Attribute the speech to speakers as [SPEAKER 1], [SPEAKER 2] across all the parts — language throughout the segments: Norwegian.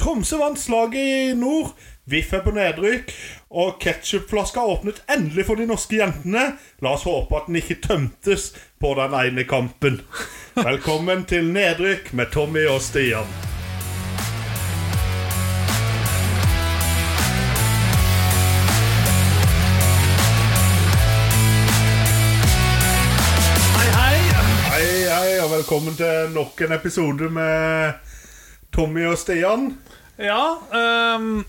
[SPEAKER 1] Tromsø vant slaget i nord. VIF er på nedrykk. Og ketsjupflaska åpnet endelig for de norske jentene. La oss håpe at den ikke tømtes på den ene kampen. Velkommen til Nedrykk med Tommy og Stian. Hei, hei, og velkommen til nok en episode med Tommy og Stian.
[SPEAKER 2] Ja ehm,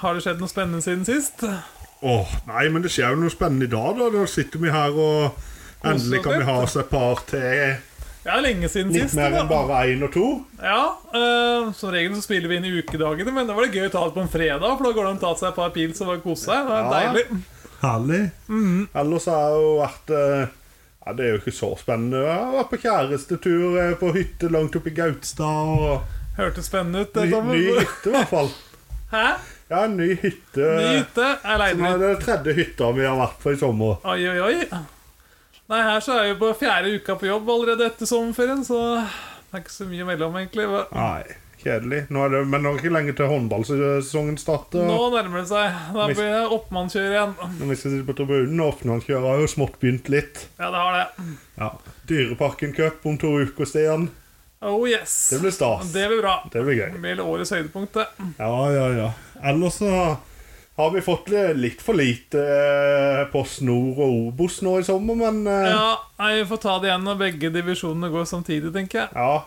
[SPEAKER 2] Har det skjedd noe spennende siden sist?
[SPEAKER 1] Åh, nei, men det skjer jo noe spennende i dag, da. Da sitter vi her og endelig kan vi ha oss et par til.
[SPEAKER 2] Ja, lenge siden
[SPEAKER 1] Litt
[SPEAKER 2] sist.
[SPEAKER 1] mer
[SPEAKER 2] da.
[SPEAKER 1] enn bare én og to.
[SPEAKER 2] Ja, ehm, Som regel så spiller vi inn i ukedagene, men da var det gøy å ta det på en fredag. For da går det an å ta seg et par pils og bare kose seg. Det er
[SPEAKER 1] Ja.
[SPEAKER 2] deilig.
[SPEAKER 1] Herlig. Mhm. Ellers har jeg jo vært eh, Ja, det er jo ikke så spennende. Jeg har vært på kjærestetur eh, på hytte langt oppe i Gautstad. Og
[SPEAKER 2] Hørtes spennende ut.
[SPEAKER 1] ny,
[SPEAKER 2] det, Tom.
[SPEAKER 1] ny hytte, i hvert fall.
[SPEAKER 2] Hæ?
[SPEAKER 1] Ja, en ny hytte.
[SPEAKER 2] Ny hytte? Jeg leide
[SPEAKER 1] Eh, Som er
[SPEAKER 2] litt.
[SPEAKER 1] den tredje hytta vi har vært på i sommer.
[SPEAKER 2] Oi, oi, oi. Nei, her så er jeg jo på fjerde uka på jobb allerede etter sommerferien, så det er ikke så mye mellom, egentlig. Hva-
[SPEAKER 1] Nei, kjedelig. Nå er det, men nå er det ikke lenge til håndballsesongen starter.
[SPEAKER 2] Nå nærmer det seg. Da blir det oppmannskjør igjen.
[SPEAKER 1] Når vi skal sitte på tribunen, åpner han kjøret. Har jo smått begynt litt.
[SPEAKER 2] Ja, det har det.
[SPEAKER 1] Ja. Dyreparken Cup om to uker, Stian.
[SPEAKER 2] Oh yes.
[SPEAKER 1] Det blir stas.
[SPEAKER 2] Det blir bra.
[SPEAKER 1] Det blir gøy.
[SPEAKER 2] Det blir årets høydepunkt, det.
[SPEAKER 1] Ja, ja, ja. Ellers så har vi fått li- litt for lite eh, Post Nord og Obos nå i sommer, men eh, ja.
[SPEAKER 2] Ja, nei, Vi får ta det igjen når begge divisjonene går samtidig, tenker jeg.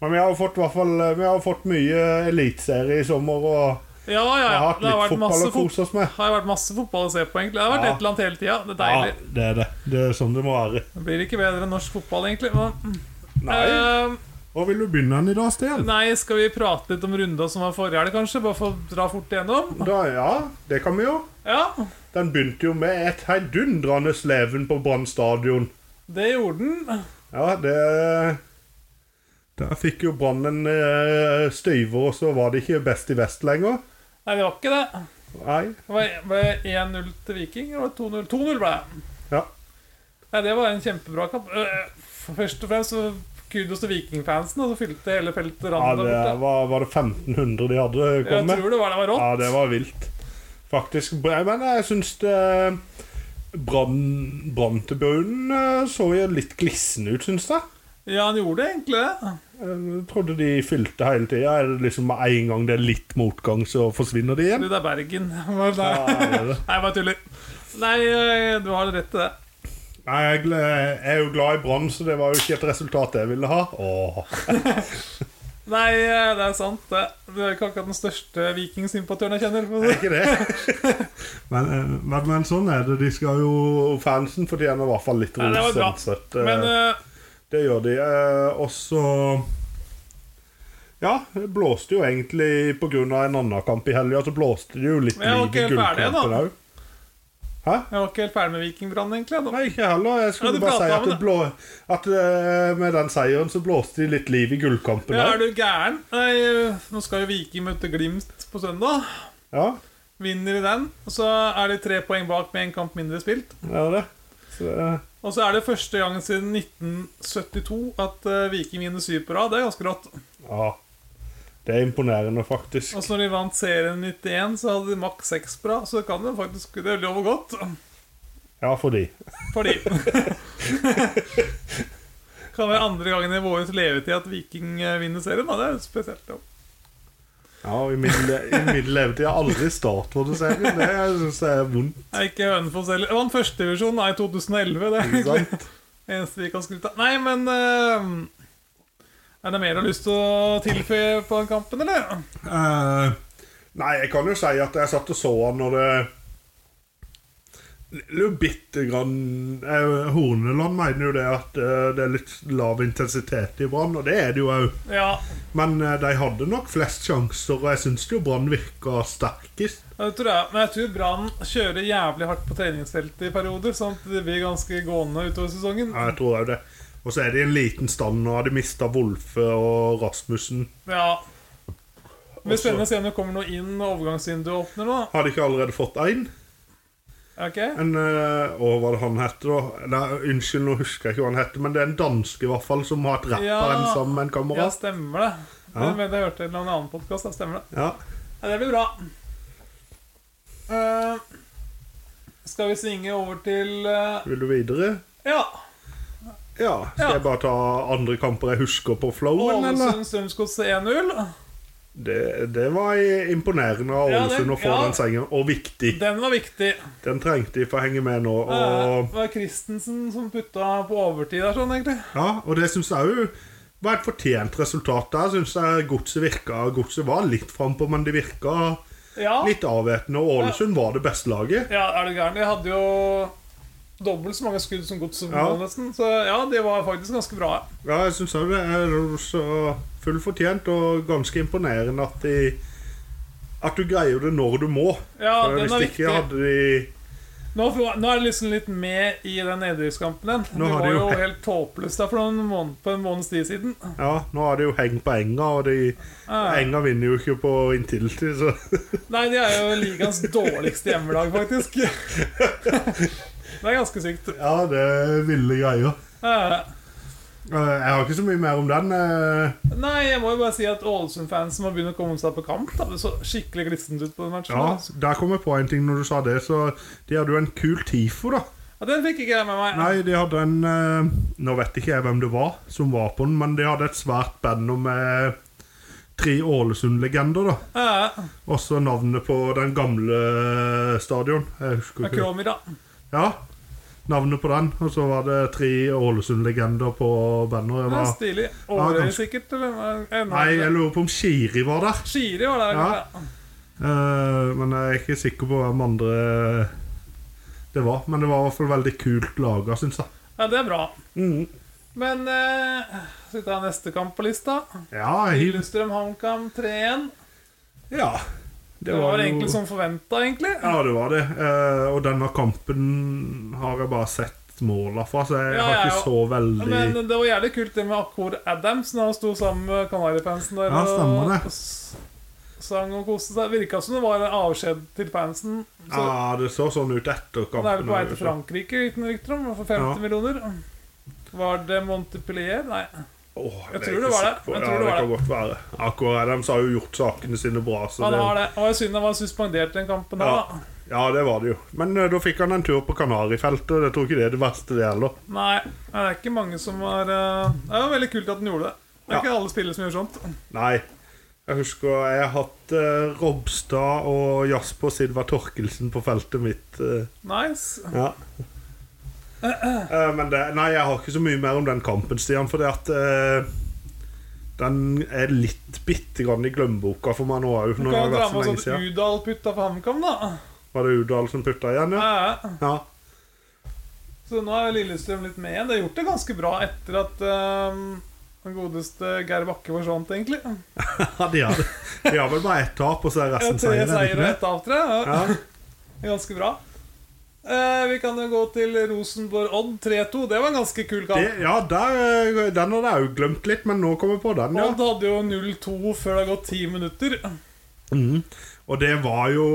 [SPEAKER 1] Men vi har jo fått, i hvert fall, eh, vi har jo fått mye eliteserie i sommer, og
[SPEAKER 2] Ja, ja,
[SPEAKER 1] vi har
[SPEAKER 2] ja.
[SPEAKER 1] hatt
[SPEAKER 2] Det har
[SPEAKER 1] litt
[SPEAKER 2] vært
[SPEAKER 1] fotball
[SPEAKER 2] masse,
[SPEAKER 1] å
[SPEAKER 2] fot
[SPEAKER 1] kose oss med.
[SPEAKER 2] har vært masse fotball å se på, egentlig. Det har vært
[SPEAKER 1] Ja.
[SPEAKER 2] et eller annet hele tida. Det er
[SPEAKER 1] Ja,
[SPEAKER 2] deilig.
[SPEAKER 1] det er det. Det er sånn det må være.
[SPEAKER 2] Det blir ikke bedre enn norsk fotball, egentlig. Men, mm.
[SPEAKER 1] Nei.
[SPEAKER 2] Eh,
[SPEAKER 1] Hva vil du begynne den i dag, Stian?
[SPEAKER 2] nei, skal vi prate litt om runda som var forrige helg, kanskje? Bare for å dra fort igjennom?
[SPEAKER 1] Da, ja, det kan vi jo.
[SPEAKER 2] Ja,
[SPEAKER 1] Den begynte jo med et heidundrende leven på Brann stadion.
[SPEAKER 2] det gjorde den.
[SPEAKER 1] Ja, det Der fikk jo Brann en eh, støyver, og så var det ikke best i vest lenger.
[SPEAKER 2] Nei, det var ikke det.
[SPEAKER 1] Nei.
[SPEAKER 2] Det var- ble 1-0 til Viking. Eller var det 2-0? 2-0 ble det.
[SPEAKER 1] Ja.
[SPEAKER 2] Nei, det var en kjempebra kamp. Eh, Først og fremst så kudos til vikingfansen, og så fylte hele feltet
[SPEAKER 1] ja
[SPEAKER 2] randet der
[SPEAKER 1] det
[SPEAKER 2] borte.
[SPEAKER 1] var, var det 1500 de hadde
[SPEAKER 2] Jeg
[SPEAKER 1] kommet med?
[SPEAKER 2] tror det var, det var rått.
[SPEAKER 1] Ja, det var vilt. Faktisk. Men jeg syns det Brann- Branntribunen eh, så jo litt glissen ut, syns jeg. Eh,
[SPEAKER 2] Ja, han gjorde egentlig det.
[SPEAKER 1] Jeg trodde de fylte hele tida. Er det liksom med en gang det er litt motgang, så forsvinner de igjen?
[SPEAKER 2] Du, det er Bergen. Hva er det?
[SPEAKER 1] Ja, det er det.
[SPEAKER 2] Nei, jeg bare tuller. Nei, eh, du har rett til det.
[SPEAKER 1] Nei, jeg, gle- jeg er jo glad i Brann, så det var jo ikke et resultat jeg ville ha. Åh.
[SPEAKER 2] Nei, eh, det er sant, det. Du er ikke akkurat den største vikingsympatøren jeg kjenner. for å
[SPEAKER 1] Det
[SPEAKER 2] si.
[SPEAKER 1] er ikke det. men, eh, men, men sånn er det. De skal jo, fansen fortjener i hvert fall litt
[SPEAKER 2] Nei, det var
[SPEAKER 1] ros.
[SPEAKER 2] bra.
[SPEAKER 1] sånn sett. Eh,
[SPEAKER 2] Men eh,
[SPEAKER 1] Det gjør de. Eh, Og så Ja, det blåste jo egentlig pga. en annen kamp i helga, så blåste det jo litt
[SPEAKER 2] Men jeg var
[SPEAKER 1] liv
[SPEAKER 2] ikke
[SPEAKER 1] i
[SPEAKER 2] helt ferdig,
[SPEAKER 1] gullkampen
[SPEAKER 2] da.
[SPEAKER 1] òg. Hæ?
[SPEAKER 2] jeg var ikke helt ferdig med Vikingbrann, egentlig. Da.
[SPEAKER 1] Nei, ikke jeg heller. Jeg
[SPEAKER 2] Ja,
[SPEAKER 1] skulle
[SPEAKER 2] du
[SPEAKER 1] bare si
[SPEAKER 2] pratet
[SPEAKER 1] at,
[SPEAKER 2] om
[SPEAKER 1] det blå, at eh, med den seieren så blåste de litt liv i gullkampen
[SPEAKER 2] Ja,
[SPEAKER 1] òg.
[SPEAKER 2] er du gæren? Nei, eh, nå skal jo Viking møte Glimt på søndag.
[SPEAKER 1] Ja,
[SPEAKER 2] Vinner de den, så er de tre poeng bak med en kamp mindre spilt.
[SPEAKER 1] det er det. Så, eh,
[SPEAKER 2] Og så er det første gang siden 1972 at eh, Viking vinner syv på rad. Det er ganske rått.
[SPEAKER 1] ja. Det er imponerende, faktisk.
[SPEAKER 2] Og så når de vant serien 91, så hadde de maks seks på rad. Så det kan jo faktisk Det lover godt.
[SPEAKER 1] Ja, for de.
[SPEAKER 2] Fordi Kan være andre gangen i vår levetid at Viking eh, vinner serien. Da. Det er jo spesielt. Ja.
[SPEAKER 1] Ja, og I min, le- i min levetid har aldri Startwood-serien. Det syns jeg er vondt.
[SPEAKER 2] Det er ikke Hønefoss heller. Det Vant førstedivisjon i 2011. Det
[SPEAKER 1] ikke
[SPEAKER 2] er egentlig
[SPEAKER 1] sant?
[SPEAKER 2] det eneste vi kan skryte av. Nei, men eh, Er det mer du har lyst til å tilføye på den kampen, eller?
[SPEAKER 1] Eh, nei, jeg kan jo si at jeg satt og så han når det Litt bitte grann eh, Horneland mener jo det at eh, det er litt lav intensitet i Brann, og det er det jo òg.
[SPEAKER 2] Ja.
[SPEAKER 1] Men eh, de hadde nok flest sjanser, og jeg syns jo Brann virka sterkest.
[SPEAKER 2] Ja, Det tror jeg, men jeg tror Brann kjører jævlig hardt på treningsfeltet i perioder, sånn at det blir ganske gående utover sesongen.
[SPEAKER 1] Ja, jeg tror òg det. Og så er de i en liten stand nå, har de mista Wolfe og Rasmussen.
[SPEAKER 2] Ja. Det blir spennende å se om det kommer noe inn når overgangsvinduet åpner nå.
[SPEAKER 1] Har de ikke allerede fått én?
[SPEAKER 2] Ok?
[SPEAKER 1] En, eh, å, hva det han heter da? Nei, unnskyld, nå husker jeg ikke hva han heter, men det er en danske i hvert fall som har et rapper
[SPEAKER 2] Ja.
[SPEAKER 1] en sammen med en
[SPEAKER 2] Ja,
[SPEAKER 1] kamerat.
[SPEAKER 2] stemmer det.
[SPEAKER 1] Ja.
[SPEAKER 2] Jeg mener jeg hørte en eller annen podkast. Stemmer det.
[SPEAKER 1] Ja.
[SPEAKER 2] Ja, det blir bra. Eh, skal vi svinge over til eh,
[SPEAKER 1] Vil du videre?
[SPEAKER 2] Ja.
[SPEAKER 1] Ja. Skal
[SPEAKER 2] Ja.
[SPEAKER 1] jeg bare ta andre kamper jeg husker på flowen, eller?
[SPEAKER 2] Ålesund Strømsgods 1-0.
[SPEAKER 1] Det, det var imponerende av
[SPEAKER 2] Ja, det-
[SPEAKER 1] Ålesund å få
[SPEAKER 2] ja.
[SPEAKER 1] den sengen, og viktig.
[SPEAKER 2] Den var viktig.
[SPEAKER 1] Den trengte de for å henge med nå.
[SPEAKER 2] Eh,
[SPEAKER 1] Og,
[SPEAKER 2] Det var Christensen som putta på overtid der, sånn, egentlig.
[SPEAKER 1] ja, og det syns jeg òg var et fortjent resultat der. Syns jeg godset virka. Godset var litt frampå, men det virka
[SPEAKER 2] Ja.
[SPEAKER 1] litt avvæpnende. Og Ålesund var det beste laget.
[SPEAKER 2] ja, er du gæren? De hadde jo dobbelt så mange skudd som Godset,
[SPEAKER 1] Ja.
[SPEAKER 2] nesten. Så ja, de var faktisk ganske bra.
[SPEAKER 1] Ja, jeg syns òg det er så fullt fortjent og ganske imponerende at de At du greier det når du må.
[SPEAKER 2] Ja,
[SPEAKER 1] For
[SPEAKER 2] den
[SPEAKER 1] Hvis
[SPEAKER 2] er
[SPEAKER 1] ikke
[SPEAKER 2] viktig.
[SPEAKER 1] hadde de
[SPEAKER 2] Nå, nå er det liksom litt med i den nedrykkskampen igjen.
[SPEAKER 1] Nå
[SPEAKER 2] Det
[SPEAKER 1] har
[SPEAKER 2] var
[SPEAKER 1] de
[SPEAKER 2] jo
[SPEAKER 1] jo-
[SPEAKER 2] helt håpløst der for noen måned, på en måneds tid siden.
[SPEAKER 1] Ja, nå har de jo heng på enga, og de
[SPEAKER 2] Eh,
[SPEAKER 1] Enga vinner jo ikke på inntil-tid, så
[SPEAKER 2] Nei, de er jo ligaens dårligste hjemmelag, faktisk. det er ganske sykt.
[SPEAKER 1] Ja, det er ville greier.
[SPEAKER 2] Eh,
[SPEAKER 1] Eh, Jeg har ikke så mye mer om den. eh.
[SPEAKER 2] Nei, jeg må jo bare si at Ålesund-fansen må begynne å komme seg på kamp. Da. Det så skikkelig glissent ut på den matchen.
[SPEAKER 1] Ja,
[SPEAKER 2] da.
[SPEAKER 1] der kom jeg på en ting når du sa det, så de hadde jo en kul TIFO, da.
[SPEAKER 2] Ja, den fikk ikke jeg med meg.
[SPEAKER 1] Nei, de hadde en eh, Nå vet ikke jeg hvem det var som var på den, men de hadde et svært band med tre Ålesund-legender, da.
[SPEAKER 2] Eh,
[SPEAKER 1] Også navnet på den gamle eh, stadion. Jeg husker ikke.
[SPEAKER 2] Kromir, da.
[SPEAKER 1] Ja, navnet på den, og så var det tre Ålesund-legender på bandet. Det
[SPEAKER 2] Det er
[SPEAKER 1] var-
[SPEAKER 2] stilig. Årøy,
[SPEAKER 1] kanskje.
[SPEAKER 2] sikkert? Eller? Eh,
[SPEAKER 1] Nei, jeg lurer på om Shiri var der.
[SPEAKER 2] Shiri var der.
[SPEAKER 1] Ja.
[SPEAKER 2] kanskje.
[SPEAKER 1] Eh, men jeg er ikke sikker på hvem andre det var. Men det var i hvert fall veldig kult laga, syns jeg.
[SPEAKER 2] Ja, det er bra. Men eh, skal vi ta neste kamp på lista?
[SPEAKER 1] Ja, hiv.
[SPEAKER 2] Lillestrøm HamKam 3-1.
[SPEAKER 1] Ja.
[SPEAKER 2] Det var
[SPEAKER 1] jo-
[SPEAKER 2] egentlig som forventa, egentlig.
[SPEAKER 1] Ja, det var det. Eh, og denne kampen har jeg bare sett måla fra, så jeg
[SPEAKER 2] Ja,
[SPEAKER 1] har
[SPEAKER 2] ja,
[SPEAKER 1] ikke
[SPEAKER 2] ja.
[SPEAKER 1] så veldig
[SPEAKER 2] Men det var jævlig kult det med Akkor Adams når han sto sammen med Kanarifansen der
[SPEAKER 1] Ja, stemmer det.
[SPEAKER 2] og s- sang og koste seg. Virka som det var en avskjed til fansen. Så
[SPEAKER 1] Ja, det så sånn ut etter
[SPEAKER 2] den er vel
[SPEAKER 1] kampen.
[SPEAKER 2] på vei til Frankrike, uten rykter om, for 50
[SPEAKER 1] Ja. millioner.
[SPEAKER 2] millioner. Var det Montpellier? Nei.
[SPEAKER 1] jeg tror det var det. Jeg tror ja, det,
[SPEAKER 2] var
[SPEAKER 1] kan godt være. Akkurat Adams har jo gjort sakene sine bra. Så
[SPEAKER 2] Han
[SPEAKER 1] det,
[SPEAKER 2] har det. Det var synd han var suspendert den kampen
[SPEAKER 1] Ja.
[SPEAKER 2] da.
[SPEAKER 1] Ja, det var det jo. Men eh, da fikk han en tur på Kanarifeltet, og jeg tror ikke det er det verste, det heller.
[SPEAKER 2] Nei, det er ikke mange som har eh, Det var veldig kult at han gjorde det. Det er
[SPEAKER 1] Ja.
[SPEAKER 2] ikke alle spillere som gjør sånt.
[SPEAKER 1] Nei. Jeg husker jeg har hatt eh, Robstad og Jasper Sidvar Torkelsen på feltet mitt. eh.
[SPEAKER 2] Nice.
[SPEAKER 1] ja. Eh, men det, nei, jeg har ikke så mye mer om den kampen, Stian, fordi at eh, den er litt bitte grann i glemmeboka for meg nå òg.
[SPEAKER 2] Du
[SPEAKER 1] Når det
[SPEAKER 2] kan
[SPEAKER 1] har
[SPEAKER 2] dra
[SPEAKER 1] vært så
[SPEAKER 2] med sånn
[SPEAKER 1] lenge
[SPEAKER 2] oss at
[SPEAKER 1] siden.
[SPEAKER 2] Udal putta for HamKam, da.
[SPEAKER 1] Var det Udal som putta igjen, ja?
[SPEAKER 2] Ja.
[SPEAKER 1] ja?
[SPEAKER 2] Så nå er Lillestrøm litt med igjen. Det har gjort det ganske bra etter at ehm, den godeste Geir Bakke forsvant, egentlig.
[SPEAKER 1] Ja, de har, det. de har vel bare ett tap, og så er
[SPEAKER 2] Ja,
[SPEAKER 1] resten
[SPEAKER 2] Tre
[SPEAKER 1] seier. er det
[SPEAKER 2] seier
[SPEAKER 1] ikke
[SPEAKER 2] og
[SPEAKER 1] det?
[SPEAKER 2] ett av tre. Ja.
[SPEAKER 1] Ja.
[SPEAKER 2] Det er Ganske bra. Eh, vi kan jo gå til Rosenborg-Odd 3-2. Det var en ganske kul
[SPEAKER 1] Det,
[SPEAKER 2] kamp.
[SPEAKER 1] ja, der, eh, den hadde jeg jo glemt litt, men nå kommer jeg på den, ja.
[SPEAKER 2] Odd hadde jo 0-2 før det har gått ti minutter.
[SPEAKER 1] Og det var jo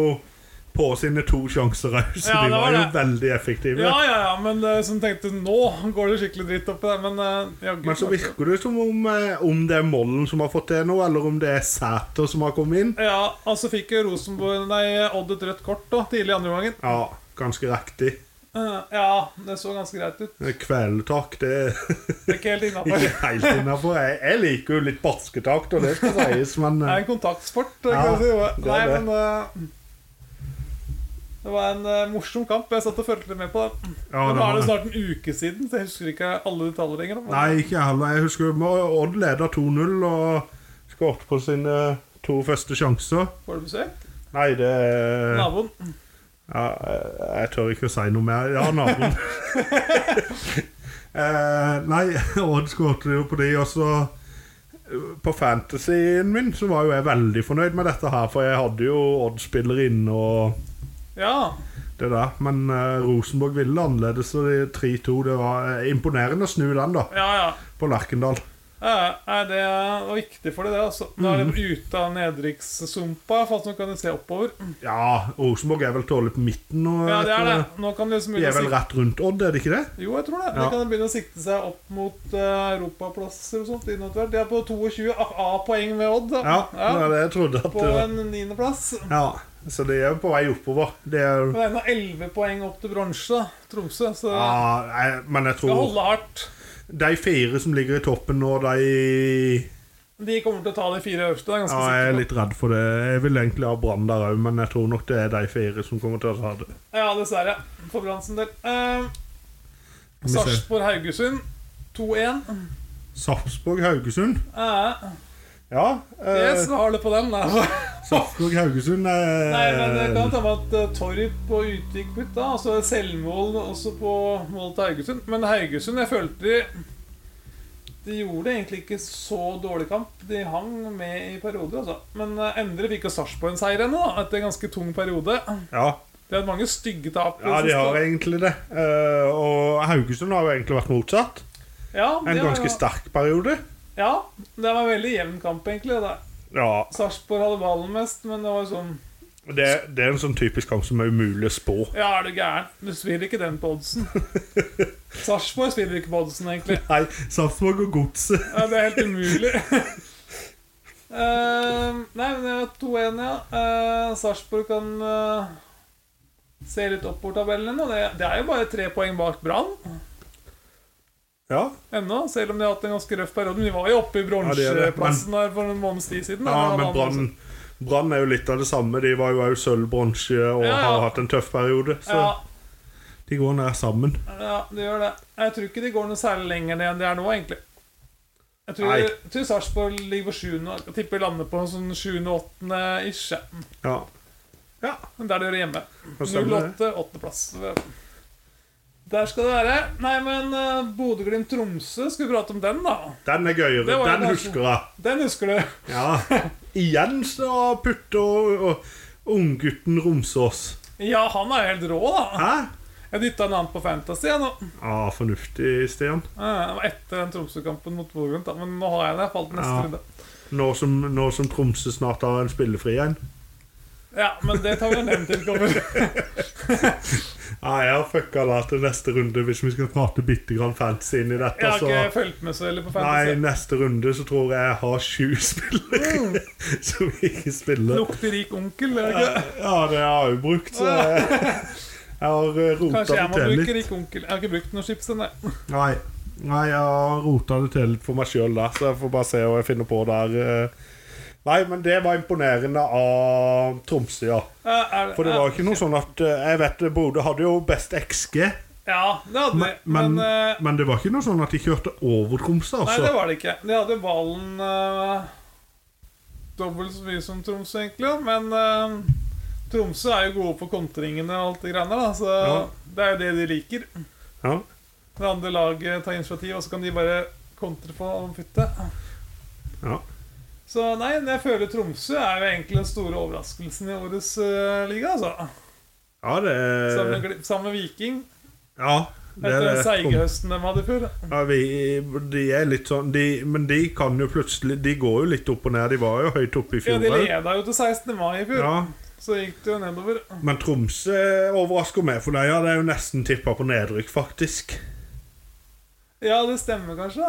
[SPEAKER 1] på sine to sjanser òg, så
[SPEAKER 2] Ja,
[SPEAKER 1] de
[SPEAKER 2] det
[SPEAKER 1] var,
[SPEAKER 2] var
[SPEAKER 1] jo
[SPEAKER 2] det.
[SPEAKER 1] veldig effektive.
[SPEAKER 2] Ja, ja, ja, men eh, som tenkte nå går det skikkelig dritt oppi der, men eh, jaggu
[SPEAKER 1] Men så
[SPEAKER 2] klarte det.
[SPEAKER 1] virker det som om, eh, om det er Mollen som har fått det nå, eller om det er Sæter som har kommet inn.
[SPEAKER 2] Ja, altså fikk jo Rosenborg Nei, Odd et rødt kort da, tidlig i andre gangen.
[SPEAKER 1] Ja, ganske riktig.
[SPEAKER 2] Eh, ja, det så ganske greit ut.
[SPEAKER 1] Kvelertak, det er
[SPEAKER 2] Det er Ikke helt innafor.
[SPEAKER 1] ikke helt innafor. Jeg, jeg liker jo litt barsketakt, og det skal sies, men
[SPEAKER 2] Det
[SPEAKER 1] eh,
[SPEAKER 2] er en kontaktsport.
[SPEAKER 1] Ja,
[SPEAKER 2] kan jeg si. Det var-
[SPEAKER 1] det er
[SPEAKER 2] Nei,
[SPEAKER 1] det.
[SPEAKER 2] men eh, Det var en eh, morsom kamp. Jeg satt og fulgte med på den.
[SPEAKER 1] Ja,
[SPEAKER 2] Men
[SPEAKER 1] det
[SPEAKER 2] Nå er
[SPEAKER 1] var
[SPEAKER 2] det
[SPEAKER 1] det.
[SPEAKER 2] snart en uke siden, så jeg husker ikke alle detaljer lenger. da.
[SPEAKER 1] Nei, ikke jeg heller. Jeg husker jo Odd leda 2-0 og skåret på sine eh, to første sjanser.
[SPEAKER 2] Får du besøk?
[SPEAKER 1] Nei, det er-
[SPEAKER 2] Naboen.
[SPEAKER 1] Ja, jeg, jeg tør ikke å si noe mer. Ja, naboen. eh, nei, Odd skåret jo på de, og så eh, På fantasyen min så var jo jeg veldig fornøyd med dette her, for jeg hadde jo Odd-spillere inne og
[SPEAKER 2] Ja.
[SPEAKER 1] det der. Men eh, Rosenborg ville annerledes, og de 3-2 Det var eh, imponerende å snu den, da,
[SPEAKER 2] Ja, ja.
[SPEAKER 1] på Lerkendal.
[SPEAKER 2] Ja, Ja, Er det var viktig for det, det altså. Nå
[SPEAKER 1] Mhm.
[SPEAKER 2] er de ute av nedrykkssumpa. Fast nå kan de se oppover.
[SPEAKER 1] Ja, Rosenborg er vel tålelig på midten nå.
[SPEAKER 2] Ja, det er det.
[SPEAKER 1] etter-
[SPEAKER 2] Nå kan de liksom
[SPEAKER 1] De Mm.
[SPEAKER 2] begynne
[SPEAKER 1] er
[SPEAKER 2] å
[SPEAKER 1] vel
[SPEAKER 2] sikte
[SPEAKER 1] rett rundt Odd, er det ikke det?
[SPEAKER 2] Jo, jeg tror det.
[SPEAKER 1] Ja.
[SPEAKER 2] De kan begynne å sikte seg opp mot eh, europaplasser og sånt. innen etter hvert. De er på 22 A-poeng med Odd. da.
[SPEAKER 1] Ja, det var det jeg trodde at
[SPEAKER 2] På
[SPEAKER 1] det var.
[SPEAKER 2] en niendeplass.
[SPEAKER 1] Ja, Så de er jo på vei oppover. Det er
[SPEAKER 2] Men det er nå 11 poeng opp til bronse, da, Tromsø. Så
[SPEAKER 1] ja, jeg, Men jeg
[SPEAKER 2] skal
[SPEAKER 1] tror
[SPEAKER 2] holde hardt.
[SPEAKER 1] de fire som ligger i toppen nå, de
[SPEAKER 2] De kommer til å ta de fire øverste. Det er jeg
[SPEAKER 1] Ja,
[SPEAKER 2] ganske
[SPEAKER 1] jeg er
[SPEAKER 2] sikker på.
[SPEAKER 1] litt redd for det. Jeg vil egentlig ha Brann der òg, men jeg tror nok det er de fire som kommer til å ta det.
[SPEAKER 2] Ja, dessverre. For Brann sin del. Eh,
[SPEAKER 1] Vi ser.
[SPEAKER 2] Sarpsborg-Haugesund 2-1.
[SPEAKER 1] Sarpsborg-Haugesund.
[SPEAKER 2] Eh,
[SPEAKER 1] Ja. Eh,
[SPEAKER 2] yes, hva har du på dem? da?
[SPEAKER 1] Sarpsborg-Haugesund eh,
[SPEAKER 2] Nei, men det kan ta med at eh, Torp og Utvik bytta. Altså selvmål også på mål til Haugesund. Men Haugesund, jeg følte de De gjorde egentlig ikke så dårlig kamp. De hang med i perioder, altså. Men eh, Endre fikk jo Sarpsborg en seier ennå, da, etter en ganske tung periode.
[SPEAKER 1] ja.
[SPEAKER 2] De hadde mange stygge tap. i det
[SPEAKER 1] ja, de
[SPEAKER 2] siste.
[SPEAKER 1] har egentlig det. Eh, og Haugesund har jo egentlig vært motsatt.
[SPEAKER 2] ja, de
[SPEAKER 1] En
[SPEAKER 2] har-
[SPEAKER 1] ganske sterk periode.
[SPEAKER 2] Ja, det var en veldig jevn kamp, egentlig. det der.
[SPEAKER 1] Ja,
[SPEAKER 2] Sarpsborg hadde ballen mest, men det var jo sånn
[SPEAKER 1] det, det er en sånn typisk kamp som er umulig å spå.
[SPEAKER 2] Ja, er du gæren? Du spiller ikke den på oddsen. Sarpsborg spiller ikke på oddsen, egentlig.
[SPEAKER 1] Nei, Sarpsborg og Godset.
[SPEAKER 2] Ja, det er helt umulig. Eh, nei, men det er 2-1, ja. Eh, Sarpsborg kan eh, se litt oppover tabellen ennå. Det, det er jo bare tre poeng bak Brann
[SPEAKER 1] Ja.
[SPEAKER 2] ennå, selv om de har hatt en ganske røff periode. Men de var jo oppe i
[SPEAKER 1] Ja, de er det,
[SPEAKER 2] bronseplassen der for en måneds tid siden.
[SPEAKER 1] ja,
[SPEAKER 2] da. altså. Det
[SPEAKER 1] men
[SPEAKER 2] hadde han
[SPEAKER 1] Brann Brann er jo litt av det samme. De var jo òg sølvbronse og
[SPEAKER 2] Ja, ja.
[SPEAKER 1] har hatt en tøff periode.
[SPEAKER 2] også.
[SPEAKER 1] Så de går ned sammen.
[SPEAKER 2] Ja, ja, det gjør det. Jeg tror ikke de går noe særlig lenger ned enn de er nå, egentlig. Jeg tror,
[SPEAKER 1] Nei.
[SPEAKER 2] jeg tror Sarpsborg ligger på sjuende og tipper lander på sånn sjuende-åttende ish. ja.
[SPEAKER 1] Ja. ja.
[SPEAKER 2] Men der det gjør det hjemme.
[SPEAKER 1] Hva stemmer det?
[SPEAKER 2] 08, åttendeplass. Der skal det være. Nei, men eh, Bodø-Glimt-Tromsø, skal vi prate om den, da?
[SPEAKER 1] Den er gøyere.
[SPEAKER 2] Det var
[SPEAKER 1] Den
[SPEAKER 2] det kanskje.
[SPEAKER 1] husker jeg.
[SPEAKER 2] Den husker du.
[SPEAKER 1] Ja. Igjen så putter og, og unggutten Romsås.
[SPEAKER 2] Ja, han er jo helt rå, da.
[SPEAKER 1] Hæ?
[SPEAKER 2] Jeg dytta en annen på Fantasy jeg, nå.
[SPEAKER 1] Ja, fornuftig, Stian.
[SPEAKER 2] Eh, Det var etter den Tromsø-kampen mot Bodø-Glimt, da. Men nå har jeg den. Jeg falt neste
[SPEAKER 1] Ja.
[SPEAKER 2] runde.
[SPEAKER 1] Nå som, nå som Tromsø snart har en spillefri en.
[SPEAKER 2] Ja, men det tar vi en nevnt til kommer.
[SPEAKER 1] Ja, jeg har fucka det til neste runde hvis vi skal prate bitte grann fancy inn i dette.
[SPEAKER 2] Jeg har
[SPEAKER 1] så-
[SPEAKER 2] ikke fulgt med så veldig på
[SPEAKER 1] Altså, Nei,
[SPEAKER 2] Fantasy.
[SPEAKER 1] neste runde så tror jeg jeg har sju spillere
[SPEAKER 2] Mm.
[SPEAKER 1] som ikke spiller.
[SPEAKER 2] Lukter rik onkel. er det ikke det?
[SPEAKER 1] Ja, det har jeg jo brukt, så jeg, jeg har eh, rota
[SPEAKER 2] Kanskje
[SPEAKER 1] det
[SPEAKER 2] jeg må
[SPEAKER 1] til
[SPEAKER 2] bruke
[SPEAKER 1] litt.
[SPEAKER 2] rik onkel. Jeg har ikke brukt noen chips ennå.
[SPEAKER 1] Nei, nei jeg har rota det til litt for meg sjøl der, så jeg får bare se hva jeg finner på der. eh. Nei, men det var imponerende av Tromsø, ja. For det var jo ikke noe sånn at eh, Jeg vet Bodø hadde jo best XG,
[SPEAKER 2] Ja, det hadde de.
[SPEAKER 1] men, men,
[SPEAKER 2] eh,
[SPEAKER 1] men det var ikke noe sånn at de kjørte over Tromsø,
[SPEAKER 2] Nei, det
[SPEAKER 1] altså.
[SPEAKER 2] var det ikke. De hadde ballen eh, dobbelt så mye som Tromsø, egentlig. ja. Men eh, Tromsø er jo gode på kontringene og alt det greiene, da. Så
[SPEAKER 1] Ja.
[SPEAKER 2] det er jo det de liker.
[SPEAKER 1] Ja.
[SPEAKER 2] Det andre laget tar initiativ, og så kan de bare kontre på og putte.
[SPEAKER 1] Ja.
[SPEAKER 2] Så nei, men jeg føler Tromsø er jo egentlig den store overraskelsen i årets eh, liga, altså.
[SPEAKER 1] Ja, det
[SPEAKER 2] Sammen med, Gli- sammen med Viking.
[SPEAKER 1] Ja, det
[SPEAKER 2] Etter den
[SPEAKER 1] er det.
[SPEAKER 2] seige høsten de hadde før. da.
[SPEAKER 1] Ja, vi, de er litt sånn de, Men de kan jo plutselig De går jo litt opp og ned. De var jo høyt oppe i
[SPEAKER 2] Ja,
[SPEAKER 1] fjor.
[SPEAKER 2] De
[SPEAKER 1] vel?
[SPEAKER 2] leda jo til 16. mai i fjor.
[SPEAKER 1] ja,
[SPEAKER 2] Så gikk det jo nedover.
[SPEAKER 1] men Tromsø overrasker meg, for de hadde jo nesten tippa på nedrykk, faktisk.
[SPEAKER 2] Ja, det stemmer kanskje.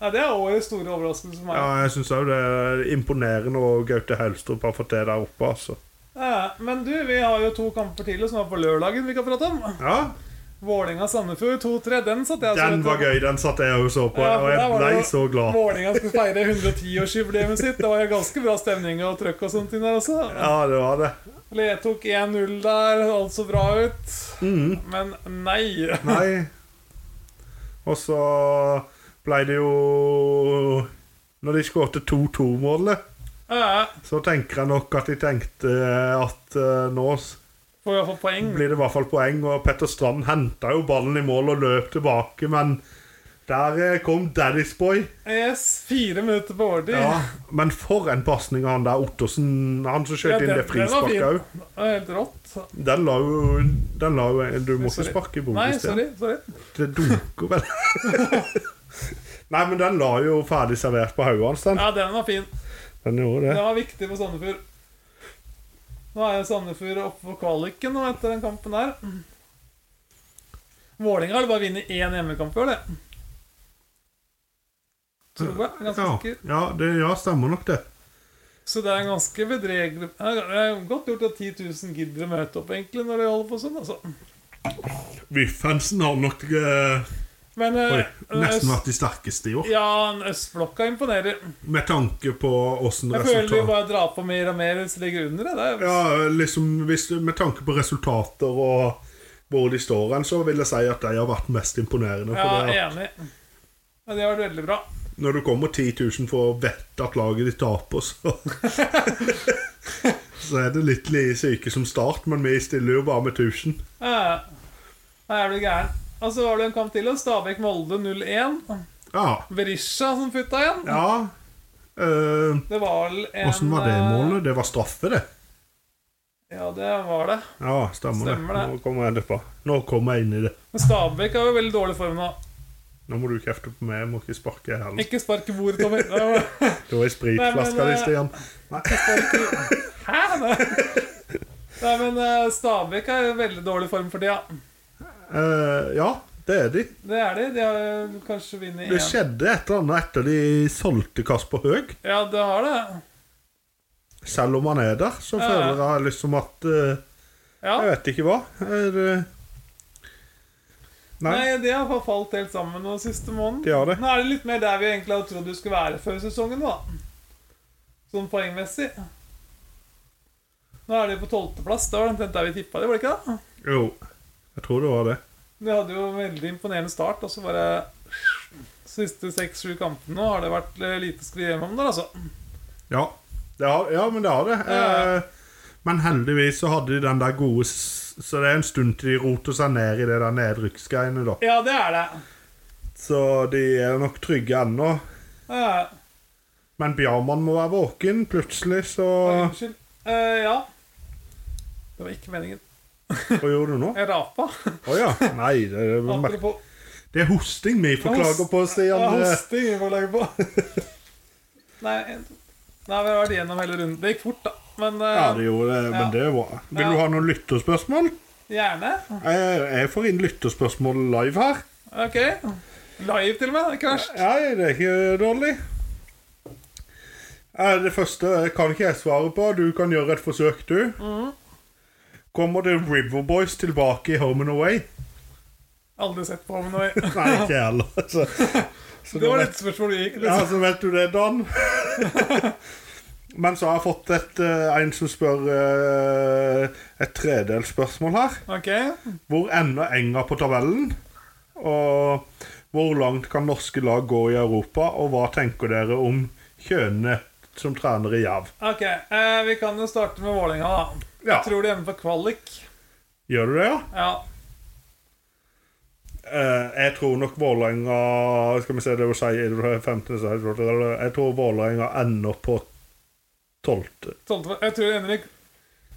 [SPEAKER 2] Ja, det er årets store overraskelse for meg.
[SPEAKER 1] Ja, Jeg syns òg det er imponerende hva Gaute Helstrup har fått til der oppe, altså.
[SPEAKER 2] Ja, Men du, vi har jo to kamper til som er på lørdagen vi kan prate om.
[SPEAKER 1] Ja,
[SPEAKER 2] Vålinga-Sandefjord 2-3. Den satt jeg
[SPEAKER 1] Den var gøy, den satt jeg og så på,
[SPEAKER 2] Ja, for
[SPEAKER 1] og jeg
[SPEAKER 2] der var det
[SPEAKER 1] ble
[SPEAKER 2] jo-
[SPEAKER 1] så glad.
[SPEAKER 2] Vålinga skulle feire 110-årsjubileet sitt. Det var jo ganske bra stemning og trøkk og sånt inn der også.
[SPEAKER 1] Ja, det var det.
[SPEAKER 2] Ledtok 1-0 der, alt så bra ut.
[SPEAKER 1] Mhm.
[SPEAKER 2] Men nei.
[SPEAKER 1] Nei. Og så ble det jo Når de skårte 2-2-målet
[SPEAKER 2] Ja,
[SPEAKER 1] Så tenker jeg nok at de tenkte at eh, nå s-
[SPEAKER 2] får i hvert fall poeng.
[SPEAKER 1] blir det i hvert fall poeng. Og Petter Strand henta jo ballen i mål og løp tilbake, men der eh, kom Daddy's Boy.
[SPEAKER 2] Yes, fire minutter på overtid.
[SPEAKER 1] Ja, men for en pasning av han der Ottosen, han som skjøt
[SPEAKER 2] Ja,
[SPEAKER 1] inn
[SPEAKER 2] den-
[SPEAKER 1] det
[SPEAKER 2] den var fin.
[SPEAKER 1] frisparket òg.
[SPEAKER 2] Det var helt rått.
[SPEAKER 1] Den la jo den la jo, Du må ikke
[SPEAKER 2] Sorry.
[SPEAKER 1] sparke i bordet
[SPEAKER 2] Nei,
[SPEAKER 1] i sted.
[SPEAKER 2] sorry. sorry.
[SPEAKER 1] Det dunker vel Nei, men den la jo ferdig servert på hodet hans, den.
[SPEAKER 2] Ja, den var fin.
[SPEAKER 1] Den gjorde
[SPEAKER 2] Den
[SPEAKER 1] det.
[SPEAKER 2] var viktig for Sandefjord. Nå er jo Sandefjord oppe på kvaliken nå etter den kampen her. Vålinga har bare vunnet én hjemmekamp før, det. Tror jeg. Ganske
[SPEAKER 1] Ja,
[SPEAKER 2] sikker.
[SPEAKER 1] ja, det ja, stemmer nok det.
[SPEAKER 2] Så det er ganske bedregelig Det er godt gjort at 10 000 gidder å møte opp, egentlig, når de holder på sånn, altså.
[SPEAKER 1] Viffensen har nok eh,
[SPEAKER 2] Men eh,
[SPEAKER 1] oi,
[SPEAKER 2] Øst-
[SPEAKER 1] nesten vært de sterkeste i år.
[SPEAKER 2] Ja, østblokka imponerer.
[SPEAKER 1] Med tanke på åssen
[SPEAKER 2] Jeg føler de
[SPEAKER 1] resultat
[SPEAKER 2] bare drar på mer og mer hvis de ligger under. Det. Det er,
[SPEAKER 1] Ja, liksom hvis, du- Med tanke på resultater og hvor de står hen, så vil jeg si at de har vært mest imponerende.
[SPEAKER 2] ja,
[SPEAKER 1] For det at
[SPEAKER 2] enig. Men det har vært veldig bra.
[SPEAKER 1] når du kommer 10 000 for å vette at laget ditt taper, så Så er det litt like syke som start, men vi stiller jo bare med 1000.
[SPEAKER 2] Ja, Nei, jeg blir gæren. Og så var det en kamp til. og Stabæk-Molde 0-1.
[SPEAKER 1] Ja.
[SPEAKER 2] Berisha som putta igjen.
[SPEAKER 1] ja. Eh,
[SPEAKER 2] Det var vel en
[SPEAKER 1] Åssen var det
[SPEAKER 2] eh,
[SPEAKER 1] målet? Det var straffe, det.
[SPEAKER 2] Ja, det var det.
[SPEAKER 1] Ja, stemmer,
[SPEAKER 2] Stemmer det.
[SPEAKER 1] det. Nå kommer jeg etterpå. Nå kommer jeg inn i det.
[SPEAKER 2] Men Stabæk har jo veldig dårlig form nå.
[SPEAKER 1] Nå må du kjefte på meg, jeg må ikke sparke i hælen.
[SPEAKER 2] Ikke spark i bordet, Tommy. Det var-
[SPEAKER 1] Det var i
[SPEAKER 2] Nei,
[SPEAKER 1] spritflaska
[SPEAKER 2] men,
[SPEAKER 1] di,
[SPEAKER 2] eh,
[SPEAKER 1] Stian.
[SPEAKER 2] Hæ? Nei, Nei men eh, Stabæk er i veldig dårlig form for tida.
[SPEAKER 1] Eh, ja, det er de.
[SPEAKER 2] Det er de. De har jo kanskje vunnet
[SPEAKER 1] Det
[SPEAKER 2] én.
[SPEAKER 1] skjedde et eller annet etter de solgte Kasper Høeg.
[SPEAKER 2] Ja, det har det.
[SPEAKER 1] Selv om han er der, så
[SPEAKER 2] Ja.
[SPEAKER 1] føler jeg liksom at eh,
[SPEAKER 2] Ja.
[SPEAKER 1] Jeg vet ikke hva. Er, det- nei,
[SPEAKER 2] Nei, de har fa- falt helt sammen nå siste måneden.
[SPEAKER 1] de har det.
[SPEAKER 2] Nå er det litt mer der vi egentlig hadde trodd du skulle være før sesongen, da. Sånn poengmessig. Nå er de på tolvteplass. Det var omtrent der vi tippa det, var det ikke det?
[SPEAKER 1] Jo, jeg tror det var det.
[SPEAKER 2] De hadde jo en veldig imponerende start, og så bare Siste seks-sju kampene nå har det vært eh, lite å skrive hjem om der, altså.
[SPEAKER 1] Ja, det har, ja men det har det.
[SPEAKER 2] Ja.
[SPEAKER 1] Eh, men heldigvis så hadde de den der gode s- Så det er en stund til de roter seg ned i det der nedrykksgreiene, da.
[SPEAKER 2] Ja, det er det.
[SPEAKER 1] Så de er nok trygge ennå.
[SPEAKER 2] Eh,
[SPEAKER 1] Men Bjarman må være våken. Plutselig så
[SPEAKER 2] unnskyld. Eh, ja. Det var ikke meningen.
[SPEAKER 1] Hva gjorde du nå?
[SPEAKER 2] Jeg rapa.
[SPEAKER 1] Å ja. Nei, det, det, det
[SPEAKER 2] Apropos
[SPEAKER 1] Det er hosting vi forklager på, Stian.
[SPEAKER 2] Ja, hosting vi får lage på. Nei, en- Nei, vi har vært gjennom hele runden. Det gikk fort, da. Men eh,
[SPEAKER 1] Ja, det gjorde det,
[SPEAKER 2] Ja.
[SPEAKER 1] men det er bra. Vil
[SPEAKER 2] Ja.
[SPEAKER 1] du ha noen lytterspørsmål?
[SPEAKER 2] gjerne.
[SPEAKER 1] Jeg, jeg får inn lytterspørsmål live her.
[SPEAKER 2] Ok. Live, til og med. Det er Ikke verst.
[SPEAKER 1] Nei, det er ikke dårlig. Eh, Det første kan ikke jeg svare på. Du kan gjøre et forsøk, du.
[SPEAKER 2] Mm.
[SPEAKER 1] Kommer The Riverboys tilbake i Home and Away?
[SPEAKER 2] Aldri sett på Home Away.
[SPEAKER 1] Nei, ikke jeg heller. Så, så
[SPEAKER 2] Det
[SPEAKER 1] da
[SPEAKER 2] var
[SPEAKER 1] vet-
[SPEAKER 2] litt spørsmål du gikk.
[SPEAKER 1] Ja,
[SPEAKER 2] Liksom.
[SPEAKER 1] så vet du det, Dan. Men så har jeg fått et, eh, en som spør eh, et tredelsspørsmål her.
[SPEAKER 2] Ok.
[SPEAKER 1] Hvor ender enga på tabellen? Og hvor langt kan norske lag gå i Europa? Og hva tenker dere om Kjøne som trener i Jerv?
[SPEAKER 2] Ok, eh, Vi kan jo starte med Vålerenga, da.
[SPEAKER 1] Ja.
[SPEAKER 2] Jeg tror de er hjemme på kvalik.
[SPEAKER 1] Gjør du det, ja?
[SPEAKER 2] Ja.
[SPEAKER 1] Eh, jeg tror nok Vålerenga Skal vi se, det var si, er det 15. så er det 12. Jeg tror Vålerenga ender på 12.
[SPEAKER 2] tolvte- Jeg tror de ender i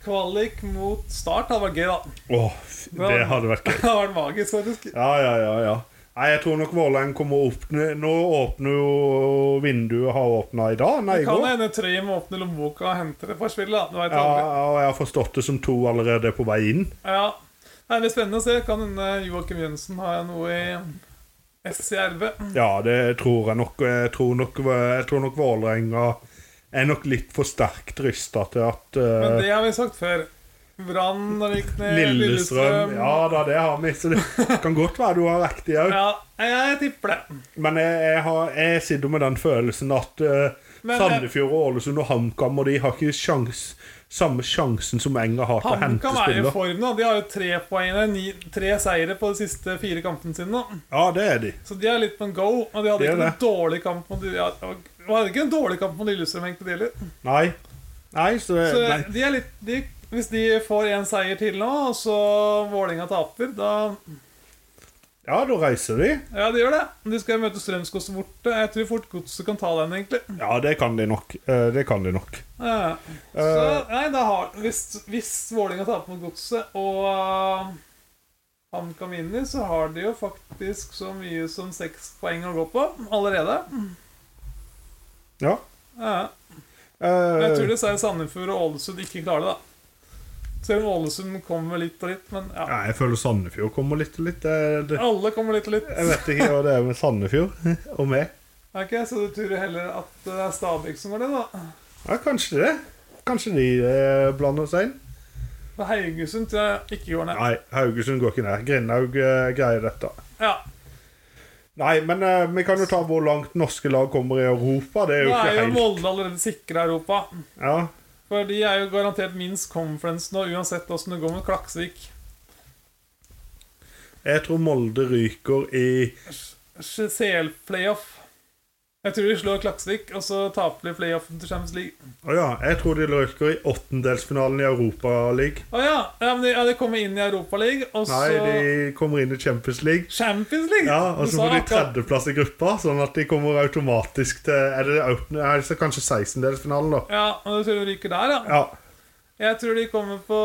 [SPEAKER 2] kvalik mot Start. Det hadde vært gøy, da.
[SPEAKER 1] Åh, fy- det hadde vært gøy.
[SPEAKER 2] Det hadde vært magisk, faktisk.
[SPEAKER 1] Ja, ja, ja. ja. Nei, jeg tror nok Vålerenga kommer å åpne Nå åpner jo vinduet har åpna i dag. Nei, i
[SPEAKER 2] Det kan
[SPEAKER 1] går.
[SPEAKER 2] hende Trøim åpner lommeboka og henter det for spillet. da. Du vet
[SPEAKER 1] Ja,
[SPEAKER 2] aldri.
[SPEAKER 1] og jeg har forstått det som to allerede er på vei inn.
[SPEAKER 2] Ja. Nei, det blir spennende å se. Kan hende Joakim Jønsen har noe i SCRV.
[SPEAKER 1] Ja, det tror jeg nok. og Jeg tror nok, jeg tror nok Vålerenga er nok litt for sterkt rysta til at
[SPEAKER 2] Men
[SPEAKER 1] eh,
[SPEAKER 2] det har vi sagt før. Brann når det gikk ned.
[SPEAKER 1] Lillestrøm Ja da, det har vi. Så det kan godt være du har riktig òg.
[SPEAKER 2] Ja, jeg, jeg tipper det.
[SPEAKER 1] Men jeg, jeg, har, jeg sitter med den følelsen at eh,
[SPEAKER 2] Men, eh,
[SPEAKER 1] Sandefjord og Ålesund og HamKam og de har ikke sjans, samme sjansen som Enga har til å hente
[SPEAKER 2] HamKam er i
[SPEAKER 1] spiller.
[SPEAKER 2] form nå. De har jo tre poeng, ni, tre seire på de siste fire kampene sine nå.
[SPEAKER 1] Ja, det er de.
[SPEAKER 2] Så de er litt på en go. Og de hadde
[SPEAKER 1] Det er
[SPEAKER 2] ikke en dårlig kamp mot ja, det var- De hadde ikke en dårlig kamp mot Lillestrøm egentlig de heller.
[SPEAKER 1] Nei. Nei, så,
[SPEAKER 2] Så
[SPEAKER 1] Eh, nei.
[SPEAKER 2] de er litt de, Hvis de får én seier til nå, og så Vålinga taper, da
[SPEAKER 1] Ja, da reiser de.
[SPEAKER 2] Ja, det gjør det. De skal møte Strømsgodset borte. Jeg tror fort godset kan ta den, egentlig.
[SPEAKER 1] Ja, det kan de nok. Eh, det kan de nok.
[SPEAKER 2] Ja. eh, Så, nei, da har Hvis, hvis Vålinga taper mot godset, og HamKam vinner, så har de jo faktisk så mye som seks poeng å gå på allerede.
[SPEAKER 1] Ja.
[SPEAKER 2] Ja. Men jeg tror
[SPEAKER 1] Eh,
[SPEAKER 2] det er Sandefjord og Ålesund ikke klarer det, da. Selv om Ålesund kommer litt og litt, men ja.
[SPEAKER 1] ja, jeg føler Sandefjord kommer litt og litt. Det, det,
[SPEAKER 2] Alle kommer litt og litt.
[SPEAKER 1] jeg vet ikke hva det er med Sandefjord og meg.
[SPEAKER 2] Ok, Så du tror heller at det er Stabæk som går ned, da?
[SPEAKER 1] Ja, kanskje det. Kanskje de eh, blander seg inn.
[SPEAKER 2] For Haugesund tror jeg ikke går ned.
[SPEAKER 1] Nei, Haugesund går ikke ned. Grindhaug eh, greier dette.
[SPEAKER 2] Ja.
[SPEAKER 1] Nei, men eh, vi kan jo ta hvor langt norske lag kommer i Europa. Det er
[SPEAKER 2] Nå
[SPEAKER 1] jo
[SPEAKER 2] er
[SPEAKER 1] ikke
[SPEAKER 2] jo
[SPEAKER 1] helt
[SPEAKER 2] Molde allerede sikra Europa.
[SPEAKER 1] ja.
[SPEAKER 2] For de er jo garantert minst conference nå, uansett åssen det går med Klaksvik.
[SPEAKER 1] Jeg tror Molde ryker i
[SPEAKER 2] CL-playoff. Jeg tror de slår Klaksvik, og så taper de playoffen til Champions League.
[SPEAKER 1] Å ja, jeg tror de ryker i åttendelsfinalen i Europaligaen.
[SPEAKER 2] Å ja! ja, men de, ja, de kommer inn i Europaligaen, og så
[SPEAKER 1] Nei, de kommer inn i Champions League.
[SPEAKER 2] Champions League!
[SPEAKER 1] Ja, Og
[SPEAKER 2] Du
[SPEAKER 1] så
[SPEAKER 2] sa
[SPEAKER 1] får de
[SPEAKER 2] akkurat-
[SPEAKER 1] tredjeplass i gruppa, sånn at de kommer automatisk til Er det, åttende- er det kanskje 16-delsfinalen, da?
[SPEAKER 2] Ja, og du tror de ryker der, ja?
[SPEAKER 1] Ja.
[SPEAKER 2] Jeg tror de kommer på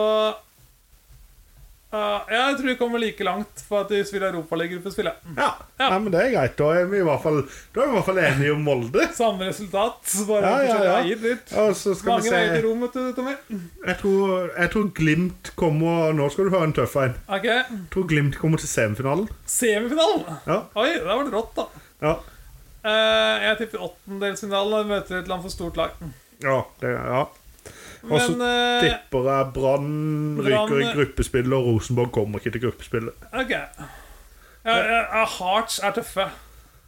[SPEAKER 2] Ja, Jeg tror de kommer like langt for at de spiller Europaliga-gruppespill. ja.
[SPEAKER 1] ja. Nei, men det er greit. Da er vi i hvert fall, da er vi i hvert fall enige om Molde.
[SPEAKER 2] Samme resultat, bare
[SPEAKER 1] Ja, ja, ja.
[SPEAKER 2] forskjellige eier litt.
[SPEAKER 1] Og så skal
[SPEAKER 2] Mange
[SPEAKER 1] vi se
[SPEAKER 2] veier til rom, vet du, Tommy.
[SPEAKER 1] Jeg tror, jeg tror Glimt kommer Nå skal du høre en tøff en.
[SPEAKER 2] Ok,
[SPEAKER 1] Jeg tror Glimt kommer til semifinalen.
[SPEAKER 2] Semifinalen!
[SPEAKER 1] Ja.
[SPEAKER 2] Oi, det var det rått, da.
[SPEAKER 1] Ja.
[SPEAKER 2] Eh, jeg tipper åttendelsfinalen når vi møter et eller annet for stort lag.
[SPEAKER 1] ja, det, ja. Og så
[SPEAKER 2] Men eh,
[SPEAKER 1] tipper jeg Brann ryker i
[SPEAKER 2] Brann- eh,
[SPEAKER 1] gruppespillet, og Rosenborg kommer ikke til gruppespillet.
[SPEAKER 2] OK. Ja, ja, ja, Hearts er tøffe.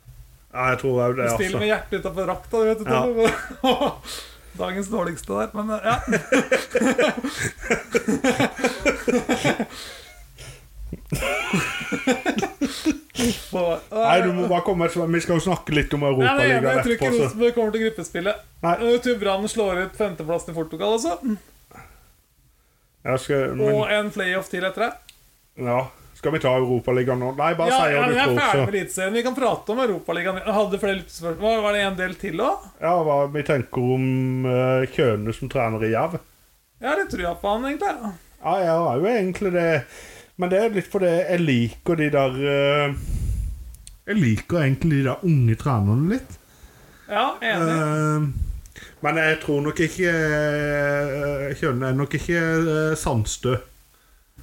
[SPEAKER 1] Ja, jeg tror òg det,
[SPEAKER 2] Spill
[SPEAKER 1] altså.
[SPEAKER 2] med hjertet utafor rakta, du vet. du, Tommy. Dagens dårligste der, men eh, ja. På-
[SPEAKER 1] Nei, du må bare komme et svar. Vi skal jo snakke litt om
[SPEAKER 2] Nei, det er enig,
[SPEAKER 1] Europaligaen
[SPEAKER 2] jeg tror ikke
[SPEAKER 1] etterpå. så-
[SPEAKER 2] Rosenborg kommer til gruppespillet.
[SPEAKER 1] Nei.
[SPEAKER 2] Jeg tror Brann slår ut femteplassen i Portugal også.
[SPEAKER 1] Jeg skal, men,
[SPEAKER 2] Og en playoff til etter det.
[SPEAKER 1] ja. skal vi ta Europaligaen nå? Nei, bare
[SPEAKER 2] Ja,
[SPEAKER 1] si hva
[SPEAKER 2] ja, men
[SPEAKER 1] du
[SPEAKER 2] jeg er ferdig med
[SPEAKER 1] tror. Så.
[SPEAKER 2] Eliteserien. Vi kan prate om Europaligaen. Jeg hadde flere lyttespørsmål. Var det en del til òg?
[SPEAKER 1] Ja, hva vi tenker om eh, Kjøne som trener i Jerv.
[SPEAKER 2] Jeg har litt trua på han, egentlig.
[SPEAKER 1] Ja, jeg har jo egentlig det. Men det er litt fordi jeg liker de der eh, Jeg liker egentlig de der unge trenerne litt.
[SPEAKER 2] Ja, enig.
[SPEAKER 1] Eh, men jeg tror nok ikke eh, Jeg Kjønner jeg nok ikke eh, Sandstø.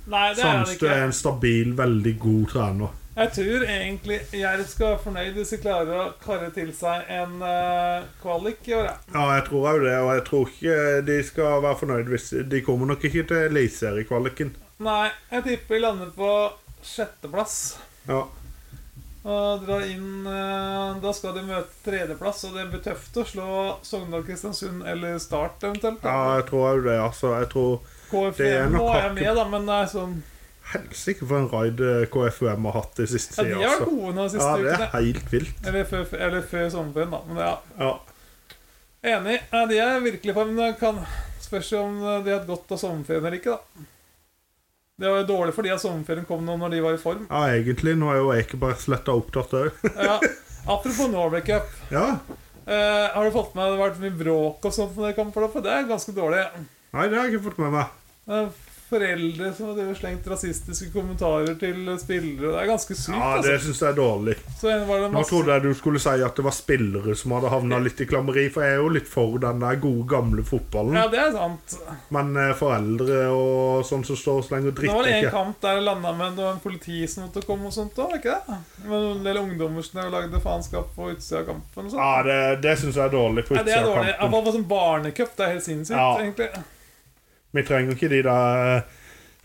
[SPEAKER 2] Nei, det er han
[SPEAKER 1] Sandstø
[SPEAKER 2] ikke.
[SPEAKER 1] er en stabil, veldig god trener.
[SPEAKER 2] Jeg tror egentlig Jerv skal være fornøyd hvis de klarer å karre til seg en eh, kvalik i år. ja.
[SPEAKER 1] Ja, jeg tror òg det, og jeg tror ikke de skal være fornøyd hvis De kommer nok ikke til eliteseriekvaliken.
[SPEAKER 2] Nei, jeg tipper de lander på sjetteplass.
[SPEAKER 1] Ja.
[SPEAKER 2] Og drar inn eh, Da skal de møte tredjeplass, og det blir tøft å slå Sogndal, Kristiansund eller Start eventuelt.
[SPEAKER 1] ja,
[SPEAKER 2] da.
[SPEAKER 1] jeg tror òg det, altså. Jeg tror det er
[SPEAKER 2] KFM
[SPEAKER 1] nok
[SPEAKER 2] nå er jeg
[SPEAKER 1] hakket-
[SPEAKER 2] med, da, men det er sånn
[SPEAKER 1] Helsike for en raid eh, KFUM har hatt de siste
[SPEAKER 2] Ja,
[SPEAKER 1] tida.
[SPEAKER 2] de har vært
[SPEAKER 1] altså.
[SPEAKER 2] gode nå de siste
[SPEAKER 1] Ja, det er
[SPEAKER 2] ukene.
[SPEAKER 1] helt vilt.
[SPEAKER 2] Eller før, eller før sommerferien, da. Men ja.
[SPEAKER 1] Ja.
[SPEAKER 2] Enig. Ja, de er virkelig på, men det kan spørs jo om de har hatt godt av sommerferien eller ikke, da. Det var jo dårlig for de at sommerferien kom nå når de var i form.
[SPEAKER 1] ja, egentlig. Nå er jo Ekeberg sletta opptatt òg.
[SPEAKER 2] Ja. Apropos Norway Cup.
[SPEAKER 1] ja.
[SPEAKER 2] Eh, har du fått med at det har vært mye bråk og sånt når det kamper oppe? Det er ganske dårlig.
[SPEAKER 1] Nei, det har jeg ikke fått med meg.
[SPEAKER 2] Det er Foreldre som har drevet slengt rasistiske kommentarer til spillere. Det er ganske sykt,
[SPEAKER 1] Ja, Det syns jeg er dårlig.
[SPEAKER 2] altså. Så var det
[SPEAKER 1] Nå
[SPEAKER 2] masse...
[SPEAKER 1] trodde jeg du skulle si at det var spillere som hadde havna litt i klammeri, for jeg er jo litt for den der gode, gamle
[SPEAKER 2] Ja,
[SPEAKER 1] fotballen.
[SPEAKER 2] det er sant.
[SPEAKER 1] Men eh, foreldre og sånn som står så lenge og
[SPEAKER 2] Det var det
[SPEAKER 1] dritter
[SPEAKER 2] en
[SPEAKER 1] ikke.
[SPEAKER 2] kamp der det landa med det var en politi som måtte komme og sånt òg, ikke det? Med en del ungdommer som drev og lagde faenskap på utsida av kampen og sånt.
[SPEAKER 1] Ja, det, det syns jeg er dårlig på
[SPEAKER 2] Nei, det
[SPEAKER 1] Ah, utsida
[SPEAKER 2] er
[SPEAKER 1] av
[SPEAKER 2] dårlig.
[SPEAKER 1] kampen.
[SPEAKER 2] Iallfall på sånn barnecup. Det er helt sinnssykt,
[SPEAKER 1] Ja.
[SPEAKER 2] egentlig.
[SPEAKER 1] Vi trenger ikke de der eh,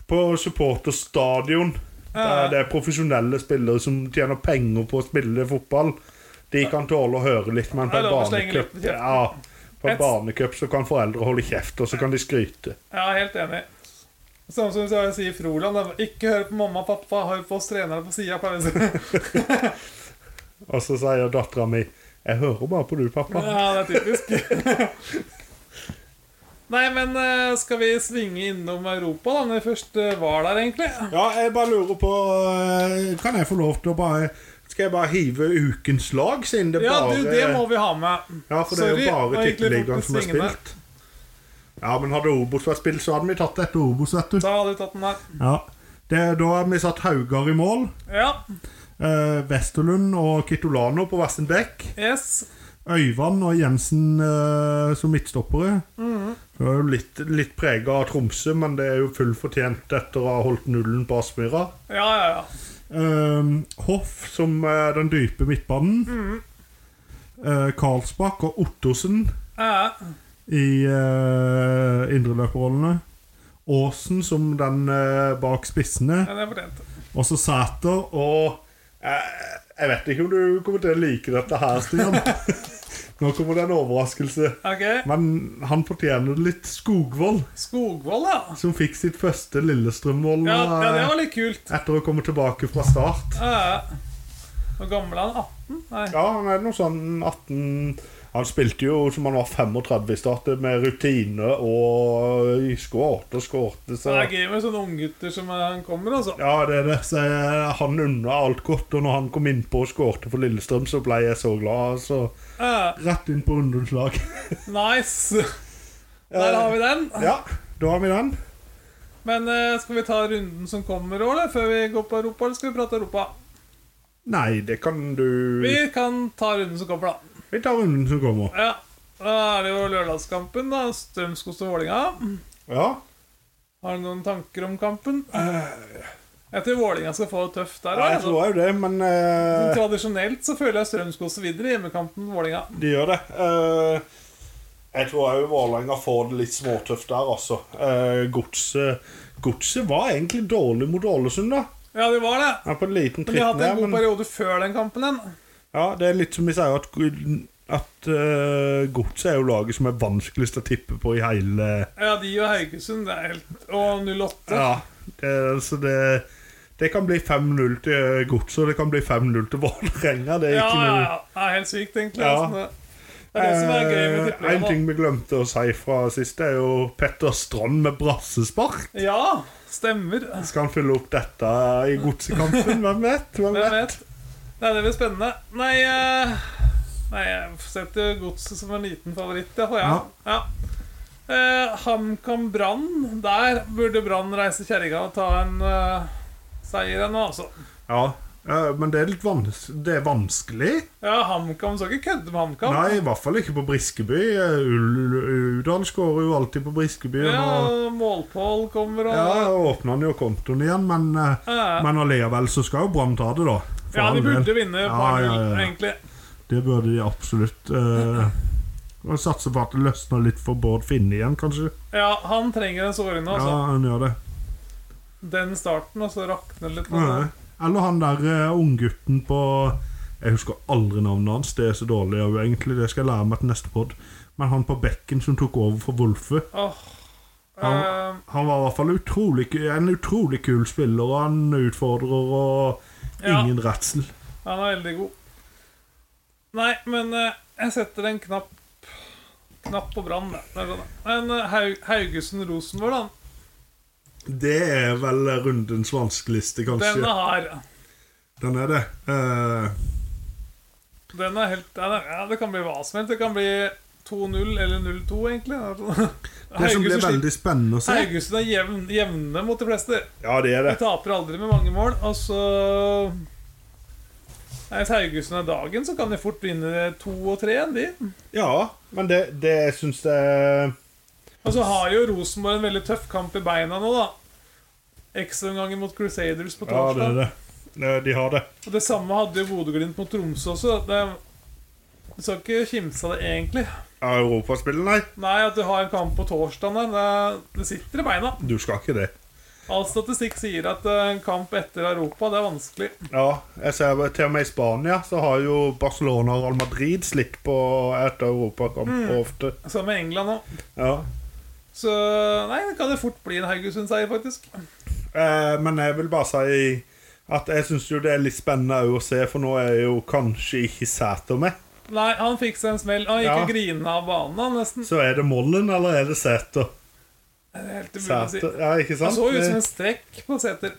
[SPEAKER 1] på supporterstadion. Der det er profesjonelle spillere som tjener penger på å spille fotball. De kan tåle å høre litt, men på
[SPEAKER 2] Det er
[SPEAKER 1] en
[SPEAKER 2] lov å slenge
[SPEAKER 1] barnecup
[SPEAKER 2] litt med kjeften.
[SPEAKER 1] ja, På en
[SPEAKER 2] Et-
[SPEAKER 1] barnecup så kan foreldre holde kjeft, og så kan de skryte.
[SPEAKER 2] Ja, helt enig. Samme som jeg sier i Froland. da. Ikke hør på mamma og pappa, hør på oss trenere på sida. Ja,
[SPEAKER 1] Og så sier dattera mi 'Jeg hører bare på du, pappa'.
[SPEAKER 2] det er typisk. Nei, men eh, skal vi svinge innom Europa, da, når vi først eh, var der, egentlig?
[SPEAKER 1] Ja, jeg bare lurer på eh, Kan jeg få lov til å bare Skal jeg bare hive ukens lag, siden det
[SPEAKER 2] Ja,
[SPEAKER 1] bare
[SPEAKER 2] du, det må vi ha med.
[SPEAKER 1] Ja, for det er
[SPEAKER 2] Sorry,
[SPEAKER 1] jo bare
[SPEAKER 2] og egentlig
[SPEAKER 1] tippeligaen
[SPEAKER 2] tok
[SPEAKER 1] som er
[SPEAKER 2] det svingende.
[SPEAKER 1] spilt. Ja, men hadde Obos vært spilt, så hadde vi tatt etter Obos, vet du.
[SPEAKER 2] Da hadde vi tatt den her.
[SPEAKER 1] Ja. Det, da har vi satt Haugar i mål.
[SPEAKER 2] Ja.
[SPEAKER 1] Eh, Westerlund og Kitolano på hver sin bekk.
[SPEAKER 2] Yes.
[SPEAKER 1] Øyvand og Jensen eh, som midtstoppere. Det var jo litt, litt prega av Tromsø, men det er jo fullt fortjent etter å ha holdt nullen på Aspmyra.
[SPEAKER 2] Ja, ja, ja.
[SPEAKER 1] Eh, Hoff som er den dype midtbanen. Eh, Karlsbakk og Ottosen
[SPEAKER 2] Ja,
[SPEAKER 1] i eh, indreløperrollene. Aasen som den eh, bak spissene.
[SPEAKER 2] ja, det er fortjent.
[SPEAKER 1] Og så Sæter og eh, Jeg vet ikke om du kommer til å like dette her, Stian. Nå kommer det en overraskelse.
[SPEAKER 2] Ok.
[SPEAKER 1] Men han fortjener det litt. Skogvold,
[SPEAKER 2] Skogvold, ja.
[SPEAKER 1] som fikk sitt første Lillestrøm-mål
[SPEAKER 2] ja. Ja, det
[SPEAKER 1] eh,
[SPEAKER 2] var litt kult.
[SPEAKER 1] etter å komme tilbake fra start.
[SPEAKER 2] Ja, ja. Hvor gammel er han? 18? Nei.
[SPEAKER 1] Ja, han er noe sånn 18 Han spilte jo som han var 35 i start, med rutine og skårte og skårte.
[SPEAKER 2] Så
[SPEAKER 1] Så
[SPEAKER 2] det er gøy med sånne unggutter som eh, han kommer, altså.
[SPEAKER 1] Ja, det er det. Så jeg, han unna alt godt. Og når han kom innpå og skårte for Lillestrøm, så ble jeg så glad. Så
[SPEAKER 2] Ja,
[SPEAKER 1] rett inn på ungdomslag.
[SPEAKER 2] nice. Der har vi den.
[SPEAKER 1] Ja, da har vi den.
[SPEAKER 2] Men eh, skal vi ta runden som kommer òg, før vi går på Europa? Eller skal vi prate Europa?
[SPEAKER 1] Nei, det kan du
[SPEAKER 2] Vi kan ta runden som kommer, da.
[SPEAKER 1] Vi tar runden som kommer.
[SPEAKER 2] Ja. Da er det jo lørdagskampen, da. Strømskog og Vålinga.
[SPEAKER 1] Ja.
[SPEAKER 2] Har du noen tanker om kampen? Jeg tror Vålinga skal få det tøft der.
[SPEAKER 1] Ja, jeg
[SPEAKER 2] altså.
[SPEAKER 1] tror jo det, men eh,
[SPEAKER 2] Tradisjonelt så føler jeg Strømskog så videre i hjemmekampen Vålinga.
[SPEAKER 1] de gjør det. Eh, jeg tror òg Vålerenga får det litt småtøft der, altså. Eh, Godset Godset var egentlig dårlig mot Ålesund, da.
[SPEAKER 2] Ja, det var det.
[SPEAKER 1] Er på en liten
[SPEAKER 2] Men de
[SPEAKER 1] tritt
[SPEAKER 2] har hatt en
[SPEAKER 1] ned,
[SPEAKER 2] god
[SPEAKER 1] men
[SPEAKER 2] periode før den kampen. Den.
[SPEAKER 1] ja, det er litt som vi sier, at, at eh, Godset er jo laget som er vanskeligst å tippe på i hele
[SPEAKER 2] Ja, de og Haugesund det er helt Og 08.
[SPEAKER 1] Ja, det, så det Det kan bli 5-0 til Godset, og det kan bli 5-0 til Vålerenga. Det
[SPEAKER 2] Ja,
[SPEAKER 1] er
[SPEAKER 2] ja,
[SPEAKER 1] ikke noe
[SPEAKER 2] ja. Det er helt sykt, egentlig.
[SPEAKER 1] Ja.
[SPEAKER 2] altså, Det det er det som er gøy
[SPEAKER 1] Eh,
[SPEAKER 2] med
[SPEAKER 1] En
[SPEAKER 2] tippeligaen.
[SPEAKER 1] ting vi glemte å si fra sist, er jo Petter Strand med brassespark.
[SPEAKER 2] da. Ja, stemmer.
[SPEAKER 1] Skal han fylle opp dette i godsekampen? Hvem vet? Hvem
[SPEAKER 2] Hvem
[SPEAKER 1] vet?
[SPEAKER 2] vet? Nei, det blir spennende. Nei, eh, nei jeg setter Godset som en liten favoritt, ja, for jeg. Ja. Eh, HamKam Brann. Der burde Brann reise kjerringa og ta en eh, seier ennå, altså.
[SPEAKER 1] Ja, eh, men det er litt vans det er vanskelig.
[SPEAKER 2] Ja, HamKam skal ikke kødde med HamKam.
[SPEAKER 1] Nei, i hvert fall ikke på Briskeby. Eh, Ull- Udal skårer jo alltid på Briskeby. og
[SPEAKER 2] Ja,
[SPEAKER 1] nå-
[SPEAKER 2] Målpål kommer og
[SPEAKER 1] Ja, åpna han jo kontoen igjen, men, eh,
[SPEAKER 2] Ja.
[SPEAKER 1] men allikevel så skal jo Brann ta det, da. For
[SPEAKER 2] Ja, de
[SPEAKER 1] all del.
[SPEAKER 2] burde vinne
[SPEAKER 1] Ja,
[SPEAKER 2] par
[SPEAKER 1] ja, ja,
[SPEAKER 2] null,
[SPEAKER 1] ja.
[SPEAKER 2] egentlig.
[SPEAKER 1] Det burde de absolutt. eh, og satse på at det løsner litt for Bård Finne igjen, kanskje.
[SPEAKER 2] Ja, han trenger en såring nå, altså.
[SPEAKER 1] Ja, han gjør det.
[SPEAKER 2] Den starten, og så rakner det litt.
[SPEAKER 1] Ja. Eller han der eh, unggutten på Jeg husker aldri navnet hans, det er så dårlig av egentlig. Det skal jeg lære meg til neste pod. Men han på bekken som tok over for Wolfe,
[SPEAKER 2] Åh.
[SPEAKER 1] Ja.
[SPEAKER 2] Eh,
[SPEAKER 1] han var i hvert fall utrolig, ku- en utrolig kul spiller. og Han utfordrer og
[SPEAKER 2] Ja.
[SPEAKER 1] ingen redsel.
[SPEAKER 2] Han er veldig god. Nei, men eh, jeg setter en knapp Knapp på Brann. det. Det er sånn, da. Men eh, Haug Haugesund-Rosenborg, da.
[SPEAKER 1] Det er vel rundens vanskeligste, kanskje.
[SPEAKER 2] Denne har
[SPEAKER 1] Den er det. Eh,
[SPEAKER 2] Den er helt den er, ja, Det kan bli hva som helst. Det kan bli 2-0 eller 0-2, egentlig. Det er sånn.
[SPEAKER 1] det som blir
[SPEAKER 2] Haugesund,
[SPEAKER 1] veldig spennende å se
[SPEAKER 2] Haugesund er jevn, jevne mot de fleste.
[SPEAKER 1] Ja, det er
[SPEAKER 2] De taper aldri med mange mål. Og så Nei, Hvis Haugesund er dagen, så kan de fort vinne 2 og 3 enn de.
[SPEAKER 1] Ja, men det, det syns jeg
[SPEAKER 2] Og så har jo Rosenborg en veldig tøff kamp i beina nå, da. Ekstraomganger mot Crusaders på
[SPEAKER 1] Ja, det
[SPEAKER 2] torsdag.
[SPEAKER 1] er det. Eh, De har det.
[SPEAKER 2] Og det samme hadde jo Bodø-Glimt mot Tromsø også. Det, du skal ikke kimse av det, egentlig.
[SPEAKER 1] Ja, Europaspill, nei.
[SPEAKER 2] Nei, at du har en kamp på torsdag der, det, det sitter i beina.
[SPEAKER 1] Du skal ikke det.
[SPEAKER 2] All statistikk sier at eh, en kamp etter Europa, det er vanskelig.
[SPEAKER 1] Ja, jeg ser bare- til og med i Spania så har jo Barcelona og Real Madrid slitt på etter europakamp
[SPEAKER 2] Mm.
[SPEAKER 1] ofte.
[SPEAKER 2] Samme med England òg.
[SPEAKER 1] Ja.
[SPEAKER 2] Så nei, det kan det fort bli en Haugesund-seier, faktisk.
[SPEAKER 1] Eh, men jeg vil bare si at jeg syns jo det er litt spennende òg å se, for nå er jo kanskje ikke Sæter med.
[SPEAKER 2] Nei, han fikk seg en smell. Han gikk
[SPEAKER 1] Ja.
[SPEAKER 2] og grina av banen, han, nesten.
[SPEAKER 1] Så er det Mollen, eller er det Sæter?
[SPEAKER 2] Det er helt umulig å si.
[SPEAKER 1] Sæter, ja, ikke
[SPEAKER 2] Han
[SPEAKER 1] sant?
[SPEAKER 2] så ut som en strekk på Sæter.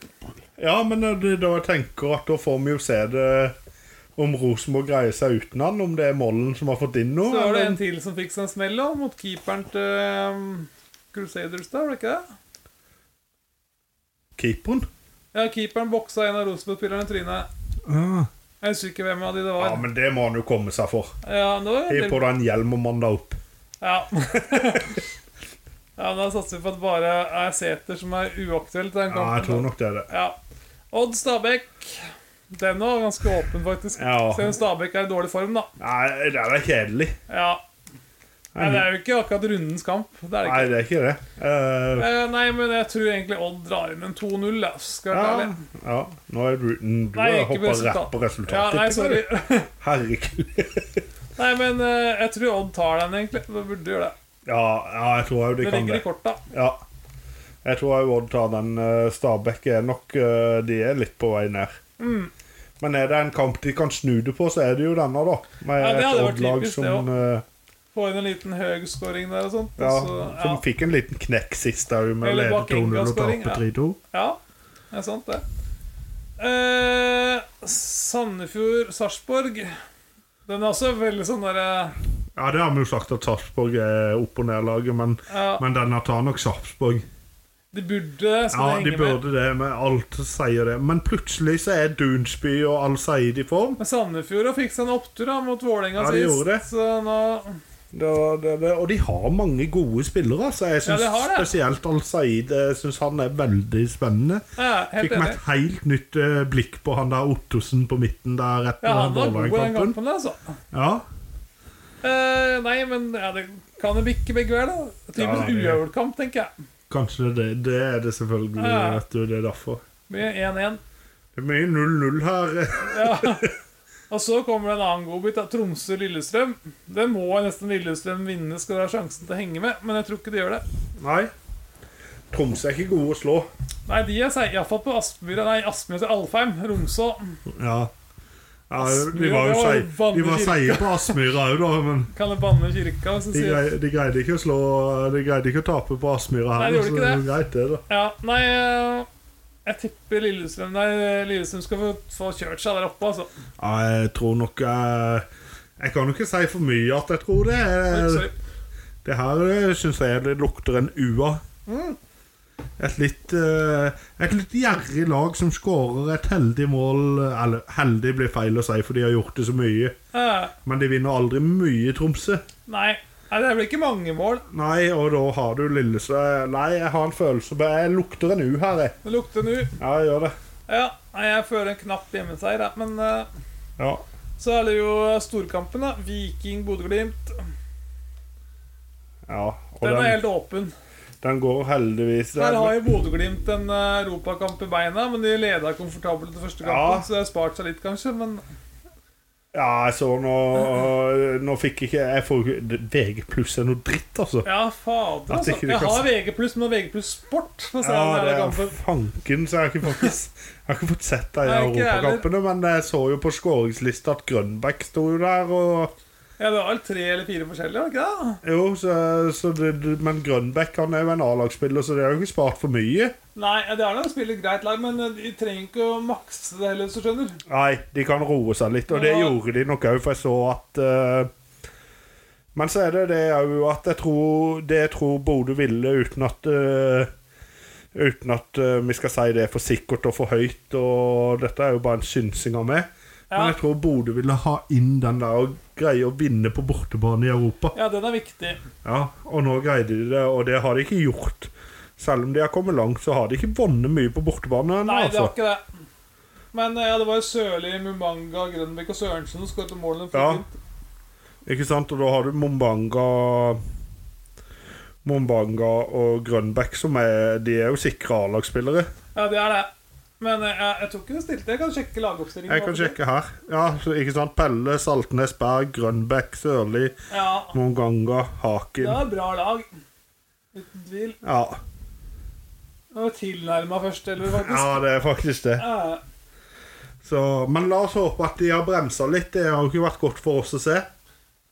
[SPEAKER 1] Ja, men eh, det- da jeg tenker at da får vi jo se det om Rosenborg greier seg uten han, om det er Mollen som har fått inn noe.
[SPEAKER 2] Så var det
[SPEAKER 1] eller-
[SPEAKER 2] en til som fikk seg en smell også, mot keeperen til um, ehm, Crusaders, da, var det ikke det?
[SPEAKER 1] Keeperen?
[SPEAKER 2] Ja, keeperen boksa en av Rosenborg-spillerne i trynet. Jeg husker ikke hvem av de det
[SPEAKER 1] Ja,
[SPEAKER 2] var.
[SPEAKER 1] men det må han jo komme seg for.
[SPEAKER 2] Ja, det var
[SPEAKER 1] Hiv på deg en hjelm og mann deg opp.
[SPEAKER 2] Ja. ja, da satser vi på at det bare er Sæter som er uaktuelt. i Den
[SPEAKER 1] Ja, jeg tror
[SPEAKER 2] kampen.
[SPEAKER 1] nok det er det.
[SPEAKER 2] Ja. Odd Stabæk. Den var ganske åpen, faktisk.
[SPEAKER 1] Ja.
[SPEAKER 2] Selv om Stabæk er i dårlig form, da.
[SPEAKER 1] Nei, det er da kjedelig.
[SPEAKER 2] Ja. Nei, det er jo ikke akkurat rundens kamp. Det er det ikke.
[SPEAKER 1] Nei, det er ikke det. Eh,
[SPEAKER 2] Eh, Nei, men jeg tror egentlig Odd drar inn en 2-0, ja, skal jeg være
[SPEAKER 1] ja,
[SPEAKER 2] ærlig.
[SPEAKER 1] ja. Nå er du, du
[SPEAKER 2] Nei,
[SPEAKER 1] har
[SPEAKER 2] ikke
[SPEAKER 1] hoppa
[SPEAKER 2] resultat.
[SPEAKER 1] rett på
[SPEAKER 2] Ja,
[SPEAKER 1] resultatet.
[SPEAKER 2] nei, sorry.
[SPEAKER 1] Herregud.
[SPEAKER 2] Nei, men eh, jeg tror Odd tar den, egentlig. Det burde gjøre det.
[SPEAKER 1] Ja, ja, jeg tror jo de
[SPEAKER 2] Det
[SPEAKER 1] kan
[SPEAKER 2] ligger
[SPEAKER 1] det.
[SPEAKER 2] i korta.
[SPEAKER 1] Ja. Jeg tror jeg Odd tar den. eh, Stabæk er nok eh, De er litt på vei ned.
[SPEAKER 2] Mm.
[SPEAKER 1] Men er det en kamp de kan snu det på, så er det jo denne, da. Med
[SPEAKER 2] Ja, det
[SPEAKER 1] et
[SPEAKER 2] hadde vært
[SPEAKER 1] Odd-lag
[SPEAKER 2] typisk, det
[SPEAKER 1] som, eh,
[SPEAKER 2] Få inn en liten høgskåring der og sånt.
[SPEAKER 1] ja,
[SPEAKER 2] og så,
[SPEAKER 1] som fikk en liten knekk sist da, med å
[SPEAKER 2] Eller
[SPEAKER 1] lede
[SPEAKER 2] bak
[SPEAKER 1] 2-0 og
[SPEAKER 2] Enga-scoring,
[SPEAKER 1] tape 3-2.
[SPEAKER 2] Ja, det er sant det. Eh, Sandefjord-Sarpsborg. Den er også veldig sånn derre
[SPEAKER 1] Ja, det har vi jo sagt at Sarpsborg er opp- og ned-laget, men,
[SPEAKER 2] Ja.
[SPEAKER 1] men denne tar nok Sarpsborg.
[SPEAKER 2] De burde skal
[SPEAKER 1] Ja,
[SPEAKER 2] det
[SPEAKER 1] de
[SPEAKER 2] henge med.
[SPEAKER 1] burde det, men alt sier det. Men plutselig så er Dunsby og Al Said i form.
[SPEAKER 2] Men Sandefjord fikk seg en opptur da mot Vålerenga
[SPEAKER 1] Ja, de
[SPEAKER 2] sist.
[SPEAKER 1] gjorde det.
[SPEAKER 2] Så nå
[SPEAKER 1] Det, det, det, og de har mange gode spillere. Så jeg syns
[SPEAKER 2] de har det.
[SPEAKER 1] spesielt Al Said jeg synes han er veldig spennende.
[SPEAKER 2] ja, Helt
[SPEAKER 1] Fikk meg
[SPEAKER 2] enig.
[SPEAKER 1] et helt nytt eh, blikk på han der Ottosen på midten der rett
[SPEAKER 2] Ja,
[SPEAKER 1] under
[SPEAKER 2] han var god i den
[SPEAKER 1] Vålerenga-kampen.
[SPEAKER 2] kampen, altså.
[SPEAKER 1] Ja.
[SPEAKER 2] Eh, nei, men ja, det kan jo bikke begge veier, da.
[SPEAKER 1] Ja,
[SPEAKER 2] Typisk
[SPEAKER 1] det-
[SPEAKER 2] uavgjort kamp, tenker jeg.
[SPEAKER 1] Kanskje det, det er det selvfølgelig.
[SPEAKER 2] Ja.
[SPEAKER 1] Vet du, det er derfor.
[SPEAKER 2] Mye 1-1.
[SPEAKER 1] Det er mye 0-0 her.
[SPEAKER 2] Og så kommer det en annen godbit. da. Tromsø-Lillestrøm. Den må nesten Lillestrøm vinne, skal de ha sjansen til å henge med. Men jeg tror ikke de gjør det.
[SPEAKER 1] Nei. Tromsø er ikke gode å slå.
[SPEAKER 2] Nei, de er seg, iallfall på Aspmyra. Nei, Aspmyra til Alfheim. Romså.
[SPEAKER 1] Ja. ja de
[SPEAKER 2] Aspmyra,
[SPEAKER 1] var jo
[SPEAKER 2] det var jo
[SPEAKER 1] seige de var
[SPEAKER 2] vanlig
[SPEAKER 1] seige på Aspmyra òg, da. Men
[SPEAKER 2] Kan det banne kirka? Hvis
[SPEAKER 1] de
[SPEAKER 2] du sier.
[SPEAKER 1] greide, de greide ikke å slå De greide ikke å tape på Aspmyra
[SPEAKER 2] Nei,
[SPEAKER 1] her.
[SPEAKER 2] de gjorde
[SPEAKER 1] så
[SPEAKER 2] ikke
[SPEAKER 1] det er
[SPEAKER 2] det.
[SPEAKER 1] jo greit, det, da.
[SPEAKER 2] Ja, nei eh, Jeg tipper Lillestrøm Nei, Lillestrøm skal få, få kjørt seg der oppe, altså.
[SPEAKER 1] Ja, jeg tror nok Jeg, jeg kan jo ikke si for mye at jeg tror det.
[SPEAKER 2] Oi, Sorry.
[SPEAKER 1] Det her eh, syns jeg det lukter en ua.
[SPEAKER 2] Mm.
[SPEAKER 1] Et litt eh, Et litt gjerrig lag som skårer et heldig mål Eller heldig blir feil å si, for de har gjort det så mye.
[SPEAKER 2] Eh,
[SPEAKER 1] Men de vinner aldri mye, Tromsø.
[SPEAKER 2] nei. nei, det blir ikke mange mål.
[SPEAKER 1] Nei, og da har du Lillestrøm Nei, jeg har en følelse Jeg lukter en U her, jeg.
[SPEAKER 2] Det lukter nå.
[SPEAKER 1] Ja, jeg gjør det.
[SPEAKER 2] Ja, nei, jeg føler en knapp hjemmeseier, jeg. Men eh,
[SPEAKER 1] Ja.
[SPEAKER 2] så er det jo storkampen, da. Viking-Bodø-Glimt.
[SPEAKER 1] ja. Og
[SPEAKER 2] Den er
[SPEAKER 1] den,
[SPEAKER 2] helt åpen.
[SPEAKER 1] den går heldigvis
[SPEAKER 2] Der har jo Bodø-Glimt en eh, europakamp i beina, men de leda komfortabelt til første
[SPEAKER 1] Ja.
[SPEAKER 2] kampen, så de har spart seg litt, kanskje. Men
[SPEAKER 1] Ja, jeg så nå Nå fikk ikke jeg får, VG pluss er noe dritt, altså.
[SPEAKER 2] Ja, fader,
[SPEAKER 1] At
[SPEAKER 2] altså.
[SPEAKER 1] ikke du
[SPEAKER 2] Jeg
[SPEAKER 1] kan
[SPEAKER 2] har VG+, men VG+, sport. For å se
[SPEAKER 1] Ja,
[SPEAKER 2] den
[SPEAKER 1] det
[SPEAKER 2] jævla
[SPEAKER 1] er
[SPEAKER 2] kampen.
[SPEAKER 1] fanken, så jeg har ikke faktisk Jeg har ikke fått sett de
[SPEAKER 2] Nei, ikke jeg heller.
[SPEAKER 1] europakampene, men jeg så jo på skåringslista at Grønbæk sto jo der, og
[SPEAKER 2] Ja, det var vel tre eller fire forskjellige, var det ikke det?
[SPEAKER 1] Jo, så, så det, Men Grønbæk han er jo en A-lagsspiller, så det er jo ikke spart for mye.
[SPEAKER 2] Nei, det er da å spille greit lag, men eh, de trenger ikke å makse det heller, hvis du skjønner.
[SPEAKER 1] Nei, de kan roe seg litt, og det
[SPEAKER 2] Ja.
[SPEAKER 1] gjorde de nok òg, for jeg så at eh, Men så er det det òg at jeg tror det jeg tror Bodø ville uten at eh, Uten at eh, vi skal si det er for sikkert og for høyt, og dette er jo bare en synsing av meg. Men
[SPEAKER 2] Ja.
[SPEAKER 1] jeg tror Bodø ville ha inn den der og greie å vinne på bortebane i Europa.
[SPEAKER 2] Ja, den er viktig.
[SPEAKER 1] Ja, Og nå greide de det, og det har de ikke gjort. Selv om de har kommet langt, så har de ikke vunnet mye på bortebane. ennå,
[SPEAKER 2] Nei, det var
[SPEAKER 1] altså.
[SPEAKER 2] ikke det. Men eh, ja, det var jo Sørli, Mumanga, Grønbekk og Sørensen som skåret målene.
[SPEAKER 1] Ja.
[SPEAKER 2] Ja.
[SPEAKER 1] Ikke sant? Og da har du Mombanga Mombanga og Grønbæk, som er De er jo sikre A-lagsspillere.
[SPEAKER 2] ja, det er det. Men eh, jeg, jeg tror ikke det stilte. Jeg kan sjekke lagoppstillingen.
[SPEAKER 1] Jeg kan
[SPEAKER 2] bare.
[SPEAKER 1] sjekke her. Ja, så, ikke sant? Pelle, Saltnes, Berg, Grønbæk, Sørli,
[SPEAKER 2] Ja,
[SPEAKER 1] Mombanga,
[SPEAKER 2] det
[SPEAKER 1] Haken.
[SPEAKER 2] er bra lag. Uten tvil.
[SPEAKER 1] Ja.
[SPEAKER 2] Det var tilnærma førsteelver,
[SPEAKER 1] ja,
[SPEAKER 2] faktisk. Eh,
[SPEAKER 1] det er faktisk det.
[SPEAKER 2] Ja.
[SPEAKER 1] Så, men la oss håpe at de har bremsa litt. Det har jo ikke vært godt for oss å se.